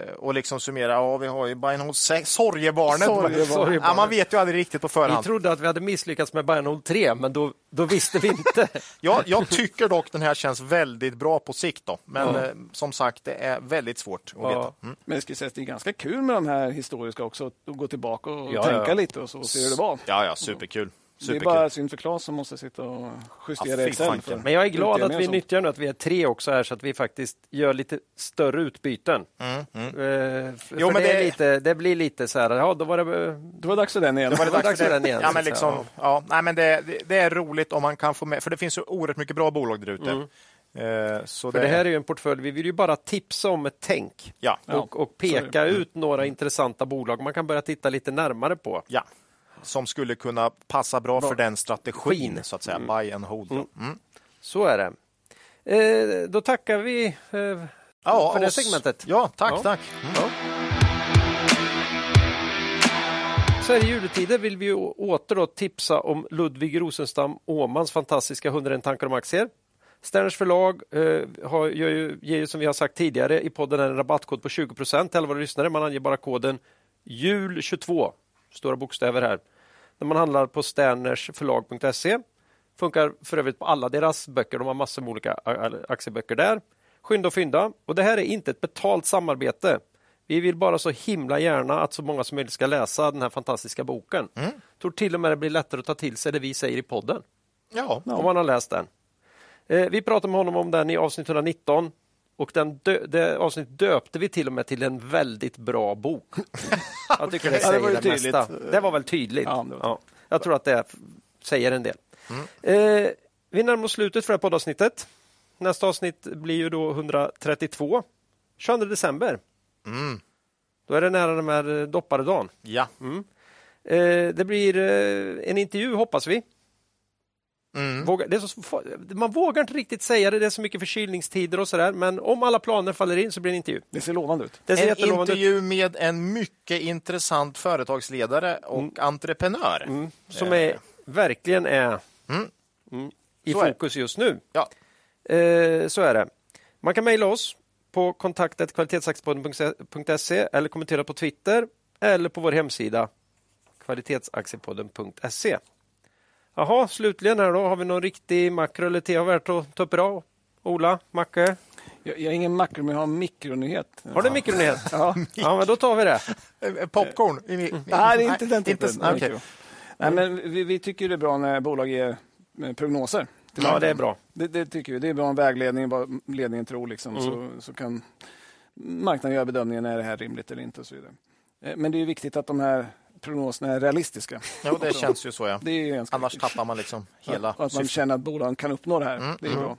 eh, och liksom summerar. Ja, vi har ju Beinhold 6, Sorgebarnet.
Sorgebarnet.
Ja, man vet ju aldrig riktigt på
Vi
förhand.
trodde att vi hade misslyckats med Bernhold 3, men då, då visste vi inte.
Ja, jag tycker dock den här känns väldigt bra på sikt. Då. Men eh, som sagt, det är väldigt svårt att veta.
Ja.
Mm.
Men jag skulle säga att det är ganska kul med de här historiska också. Att gå tillbaka och
Ja,
tänka
ja.
lite och så se hur det var.
Ja, ja, superkul.
Det är
superkul.
bara synd för Claes som måste sitta och
Ja,
justera
fy
Excel.
fanken.
För
Men jag är glad att
utdelningar och
vi
sånt.
nyttjar nu att vi är tre också här så att vi faktiskt gör lite större utbyten. Eh, f-
Jo, men
för det, är
det-
lite, det blir lite så här, ja då var det... eh,
Då var det dags för den igen.
var det dags för den igen,
Ja,
så
men
att säga.
liksom, ja, nej, men det, det- det är roligt om man kan få med, för det finns så oerhört mycket bra bolag där ute. Eh, så
Mm. För det här är ju en portfölj, vi vill ju bara tipsa om ett tänk
Ja,
och, och peka ut några intressanta bolag man kan börja titta lite närmare på.
ja. Som skulle kunna passa bra för den strategin,
Skin.
så att säga. Buy and hold. då. Mm.
Så är det. Eh, då tackar vi eh,
Ja,
för det
oss-
segmentet.
Ja, tack,
Ja.
tack. Mm.
Så här i juletider vill vi ju å- åter då tipsa om Ludvig Rosenstam Åmans fantastiska 101 tankar om aktier. Sterners förlag eh, har, gör ju, ger ju som vi har sagt tidigare i podden en rabattkod på 20 till alla våra lyssnare. Man anger bara koden JUL22, stora bokstäver här, när man handlar på sternersförlag.se. Funkar för övrigt på alla deras böcker. De har massor eh, med olika a- a- aktieböcker där. Skynda och fynda. Och det här är inte ett betalt samarbete. Vi vill bara så himla gärna att så många som möjligt ska läsa den här fantastiska boken. Tror till och med det blir lättare att ta till sig det vi säger i podden,
Ja,
om man har läst den. Eh, vi pratade med honom om den i avsnitt 119 och den dö- det avsnittet döpte vi till och med till en väldigt
[laughs]
bra bok. Jag tycker det
Ja, det var
säger
ju
det, mesta. Det var väl tydligt.
Ja, det var
Ja, jag tror att det f- säger en del.
Mm.
Eh, vi närmar oss slutet för det här poddavsnittet. Nästa avsnitt blir ju då 132, 22 december. Då är det nära de här eh, dopparedagen.
Mm. ja.
Eh, det blir eh, en intervju, hoppas vi.
Mm.
Våga, det är så, fa- man vågar inte riktigt säga det, det är så mycket förkylningstider och sådär, men om alla planer faller in så blir det en intervju.
Det ser lovande ut.
Det ser
En
jättelovande ut,
intervju med en mycket intressant företagsledare och
Mm.
entreprenör.
som är, verkligen är mm, i
Så är det.
fokus just nu.
Ja.
Eh, så är det. Man kan mejla oss på kontaktet kvalitetsaktiepodden.se eller kommentera på Twitter eller på vår hemsida kvalitetsaktiepodden.se. Jaha, slutligen här då, har vi någon riktig makro eller te har värt att ta upp idag? Ola, Macke,
Jag, jag har ingen makro, men jag har en mikronyhet.
har du en mikronyhet?
Ja.
ja, men då tar vi det.
Eh, eh, Popcorn?
Mm.
I- i-
Nej, det är inte den typen.
Inte, okej.
Mikro. Nej, men vi, vi tycker ju det är bra när bolag ger eh, prognoser. till
Ja, det är
marknaden.
bra.
Det, det tycker vi. Det är bra en vägledning, vad ledningen tror. Liksom. Så, så kan marknaden göra bedömningen, är det här rimligt eller inte? Och så vidare. Eh, Men det är ju viktigt att de här prognoserna är realistiska.
Jo, det känns ju så. Ja.
Det är ju ganska
Annars
viktigt.
tappar man liksom hela
Och att man
syftet. Mm.
känner att bolagen kan uppnå det här. Det är bra.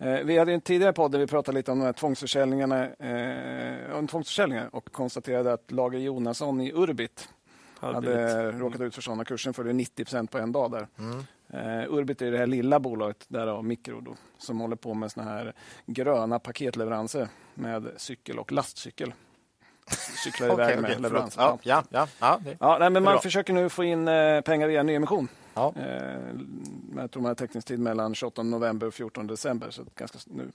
Eh, Vi hade ju en tidigare podd där vi pratade lite om de här tvångsförsäljningarna, eh, om tvångsförsäljningar och konstaterade att Lager Jonasson i Urbit hade råkat ut för sådana. Kursen följde 90 på en dag där.
Mm.
Eh, Urbit är det här lilla bolaget, därav Micro, då, som håller på med såna här gröna paketleveranser med cykel och lastcykel.
[laughs]
Cyklar iväg
Okej,
med
okej, förlåt.
leveranser.
Ja, ja, ja, ja, det-
Ja, nej, men man
Bra.
försöker nu få in eh, pengar via nyemission.
Ja.
Eh, jag tror man har teckningstid mellan 28 november och 14 december, så ganska s- nu.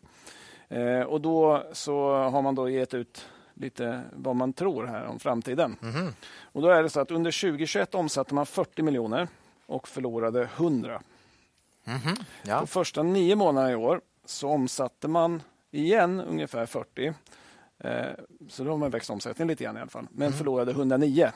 Eh, och då så har man då gett ut lite vad man tror här om framtiden.
Mm. Mhm,
Och då är det så att under 2021 omsatte man 40 miljoner och förlorade 100.
mhm. ja.
De första nio månaderna i år så omsatte man igen ungefär 40. Eh, så då har man växt omsättningen lite grann i alla fall. Men
Mm.
förlorade 109.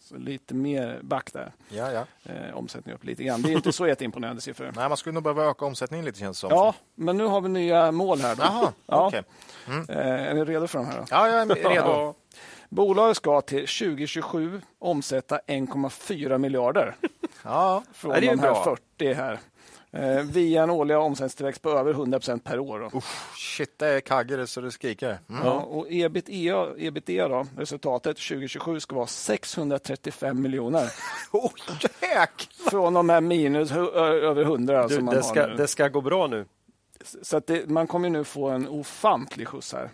Så lite mer back där.
ja, ja.
Eh, omsättningen upp lite grann. Det är inte så [laughs] jätteimponerande siffror.
Nej, man skulle nog behöva öka omsättningen lite känns det som.
Ja, men nu har vi nya mål här.
[laughs]
Då.
Jaha,
ja.
okej. Mm.
eh, är ni redo för de här? Då?
[laughs] Ja, jag är redo.
Ja.
Bolaget ska till 2027 omsätta 1,4 miljarder.
[laughs] Ja.
från
Ja, det är ju
de här
bra.
40 här. Eh, via en årlig omsättningstillväxt på över 100 per år. Då.
Shit, det är kagger så det skriker. [laughs] Mm.
Ja, och ebitda, EBITDA då, resultatet 2027 ska vara 635 miljoner.
Oh, jäk!
Från de här minus hu- ö- över 100
Du,
som man
det, ska,
har nu.
det ska gå bra nu.
Så att det, man kommer ju nu få en ofantlig skjuts här.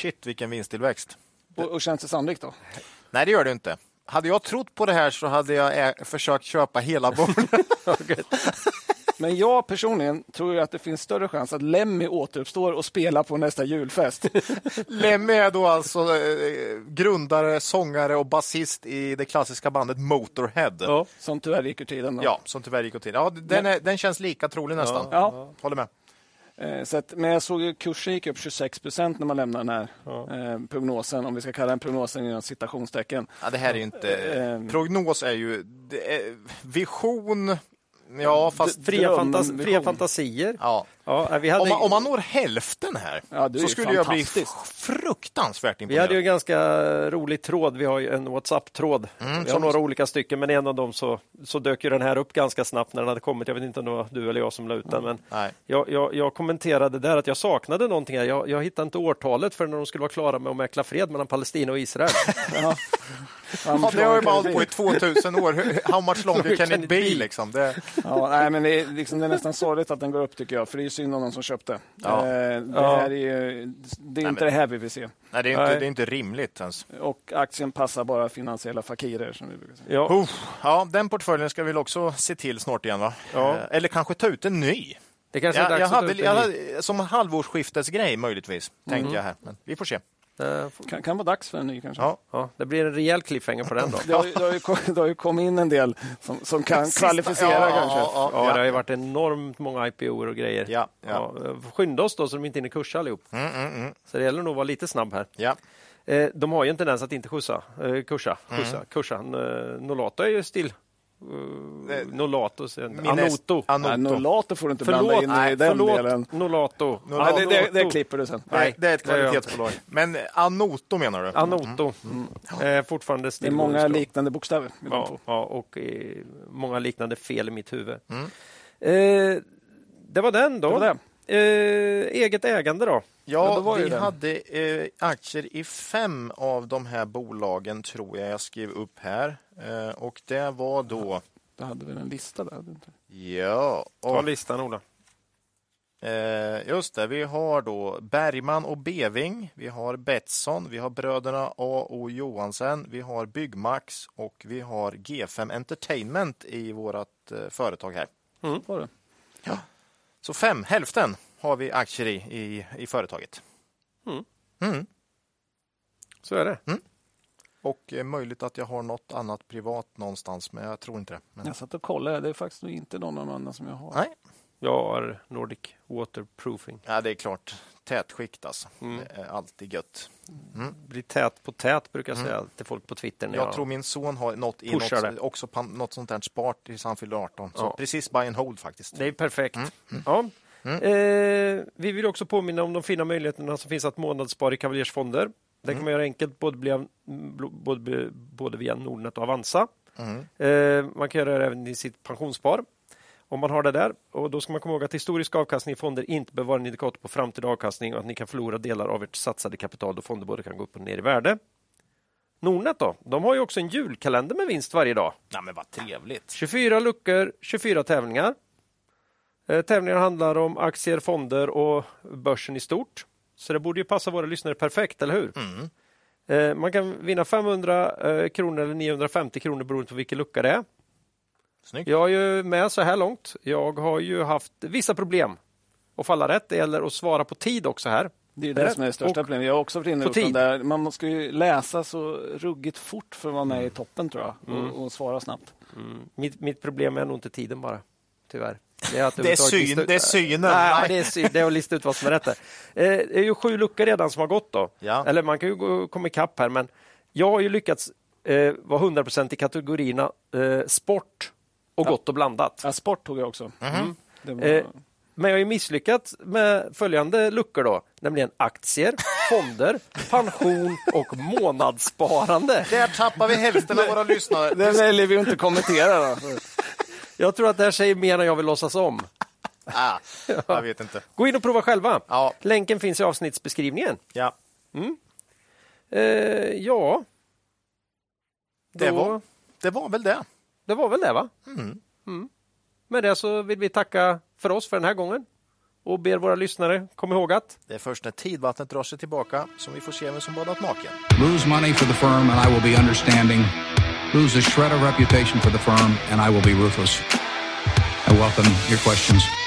Shit, vilken vinsttillväxt.
Och, och känns det sannolikt då?
Nej, det gör det inte. Hade jag trott på det här så hade jag ä- försökt köpa hela [laughs] bollen.
Men jag personligen tror ju att det finns större chans att Lemmy återuppstår och spelar på nästa julfest.
Lemmy är då alltså eh, grundare, sångare och basist i det klassiska bandet Motorhead. Ja,
som tyvärr gick ur tiden. Då.
som tyvärr gick åt tiden. Ja, den, är, den känns lika trolig nästan.
Ja.
Håller med.
Eh, Så att, men jag såg ju kursen gick upp 26 procent när man lämnade den här eh, prognosen, om vi ska kalla den prognosen inom citationstecken.
Ja, det här är ju
Eh,
inte...
Ehm.
Prognos är ju... Det är vision... Ja, fast...
Fria,
Dröm,
fantas- fria
vision.
fantasier.
Ja.
Ja, vi hade...
Om man, om man når hälften här
Ja, det är
så
ju
skulle jag bli
fantastiskt.
f- fruktansvärt
Vi hade ju en
imponerad.
ganska rolig tråd. Vi har ju en Whatsapp-tråd.
Mm,
vi har några olika stycken, men i en av dem så, så dök ju den här upp ganska snabbt när den hade kommit. Jag vet inte om det var du eller jag som la ut den, men
Nej.
jag, jag, jag kommenterade där att jag saknade någonting. Här. Jag, jag hittade inte årtalet för när de skulle vara klara med att mäkla fred mellan Palestina
[laughs]
och Israel.
Ja, det har ju bara hållit på i 2000 år. Hur- How much longer can it be? Liksom? Det,
Ja, nej, men det, är, liksom, det är nästan sorgligt att den går upp tycker jag, för det är ju synd om de som köpte.
Ja.
Eh, det
Ja.
här är ju, det är inte
men-
det här vi vill se.
nej, det, är inte,
Nej.
det är inte rimligt ens.
Och aktien passar bara finansiella fakirer som vi brukar säga.
Ja.
Uff, ja, den portföljen ska vi väl också se till snart igen, va?
Ja.
Eh, Eller kanske ta ut en ny.
Det kanske är
Jag,
dags
jag
att ta
hade,
ut en
jag
ny. Mm.
hade, som halvårsskiftesgrej möjligtvis, tänkte jag här. Men vi får se.
Eh,
Kan, kan vara dags för en ny kanske.
Ja.
Ja, det blir en rejäl cliffhanger på den. Då.
Det, har, ju- det, har ju, kom- det har ju kommit in en del som, som kan kvalificera
ja,
kanske.
Ja,
Ja, det har
ja,
ju varit enormt många IPOer och grejer. eh,
Ja, ja. Mm,
Ja, skynda oss då så de inte hinner kursa allihop. Så det gäller nog att vara lite snabb här.
ja.
Eh, de har ju en tendens att inte skjutsa, eh, kursa.
Mm.
Skjutsa, Kursan. Eh, Nolato är ju still. Eh, Nolato, sen.
Min est-
Anoto.
Anoto.
Nej, Nolato får du inte blanda
Förlåt,
in i
nej,
den
förlåt
delen.
Nolato.
Nej,
Nolato.
det, det, det klipper du sen.
Nej, det är ett
det gör jag inte.
kvalitetsbolag. Men eh, Anoto menar du?
Anoto. Eh, fortfarande
Mm. Det
still.
är många
Rolls då.
liknande bokstäver. i de två.
Ja, ja, och eh, många liknande fel i mitt huvud. Eh, det var den då.
Mm. Det var det.
Eh, eget ägande då.
Men då
Ja,
var
vi
ju den.
hade eh, aktier i fem av de här bolagen tror jag jag skrev upp här. Eh, och det var då...
Då hade vi en lista där. hade vi inte?
Ja,
Ta
och,
listan Ola.
eh, just det. Vi har då Bergman och Beving. Vi har Betsson. Vi har bröderna A.O. Johansen. Vi har Byggmax och vi har G5 Entertainment i vårt eh, företag här.
Mm,
Var det?
Så fem, hälften har vi aktier i, i, i företaget.
Mm.
Mm.
Så är det.
Och eh, möjligt att jag har något annat privat någonstans, men jag tror inte det. Men...
Jag satt och kollade. Det är faktiskt nog inte någon av de andra som jag har.
Nej,
Jag har Nordic Waterproofing. Mm.
ja, det är klart. Tätskikt alltså. Det är alltid gött.
Blir tät på tät brukar jag säga till folk på Twitter. när
Jag tror min son har något, i
Pushar
något,
det.
också pan, något sånt här spart tills han fyller 18. Så
Ja.
precis buy and hold faktiskt.
Det är perfekt. Ja. Eh, vi vill också påminna om de fina möjligheterna som finns att månadsspara i Kavaljersfonder. Det kan man göra enkelt både, via- både, både via Nordnet och Avanza. Eh, man kan göra det även i sitt pensionsspar om man har det där. Och då ska man komma ihåg att historisk avkastning i fonder inte behöver vara en indikator på framtida avkastning och att ni kan förlora delar av ert satsade kapital då fonder både kan gå upp och ner i värde. Nordnet då, de har ju också en julkalender med vinst varje dag.
Nej, men vad trevligt.
24 luckor, 24 tävlingar. Eh, Tävlingarna handlar om aktier, fonder och börsen i stort. Så det borde ju passa våra lyssnare perfekt, eller hur? Eh, Man kan vinna 500 eh, kronor eller 950 kronor beroende på vilken lucka det är.
Snyggt.
Jag är ju med så här långt. Jag har ju haft vissa problem att falla rätt. Det gäller att svara på tid också här.
Det är ju det som är det största
Och-
problemet. Jag har också varit inne
på
på den
tid.
där. Man ska ju läsa så ruggigt fort för att vara
Mm.
med i toppen tror jag. Och, och svara snabbt.
Mitt, mitt problem är nog inte tiden bara, tyvärr. Det är, att
Det är syn-
överhuvudtaget
det är synen.
Nej,
Nej.
det, är syn, det är att lista ut vad som är rätt. där. Eh, det är ju sju luckor redan som har gått. då.
Ja.
Eller man kan ju gå, komma ikapp här, men jag har ju lyckats eh, vara 100 i kategorierna eh, sport och gott och blandat.
Ja, sport tog jag också. Mm. Det var, [laughs]
Mhm. Eh, men jag har ju misslyckats med följande luckor då, nämligen aktier, fonder, pension och månadssparande.
Där tappar vi hälften
[laughs]
av våra lyssnare.
Den väljer vi att inte kommentera. Då.
Jag tror att det här säger mer än jag vill låtsas om.
Ah, jag vet inte.
Gå in och prova själva.
Ja.
Länken finns i avsnittsbeskrivningen.
Ja,
Eh, ja.
det,
Då-
var, det var väl det.
det var väl det, va? Mm. Med det så vill vi tacka för oss för den här gången och ber våra lyssnare kom ihåg att
Det är först när tidvattnet drar sig tillbaka som vi får se vem som badat naken.
Lose money for the firm, and I will be understanding. Lose a shred of reputation for the firm, and I will be ruthless. I welcome your questions.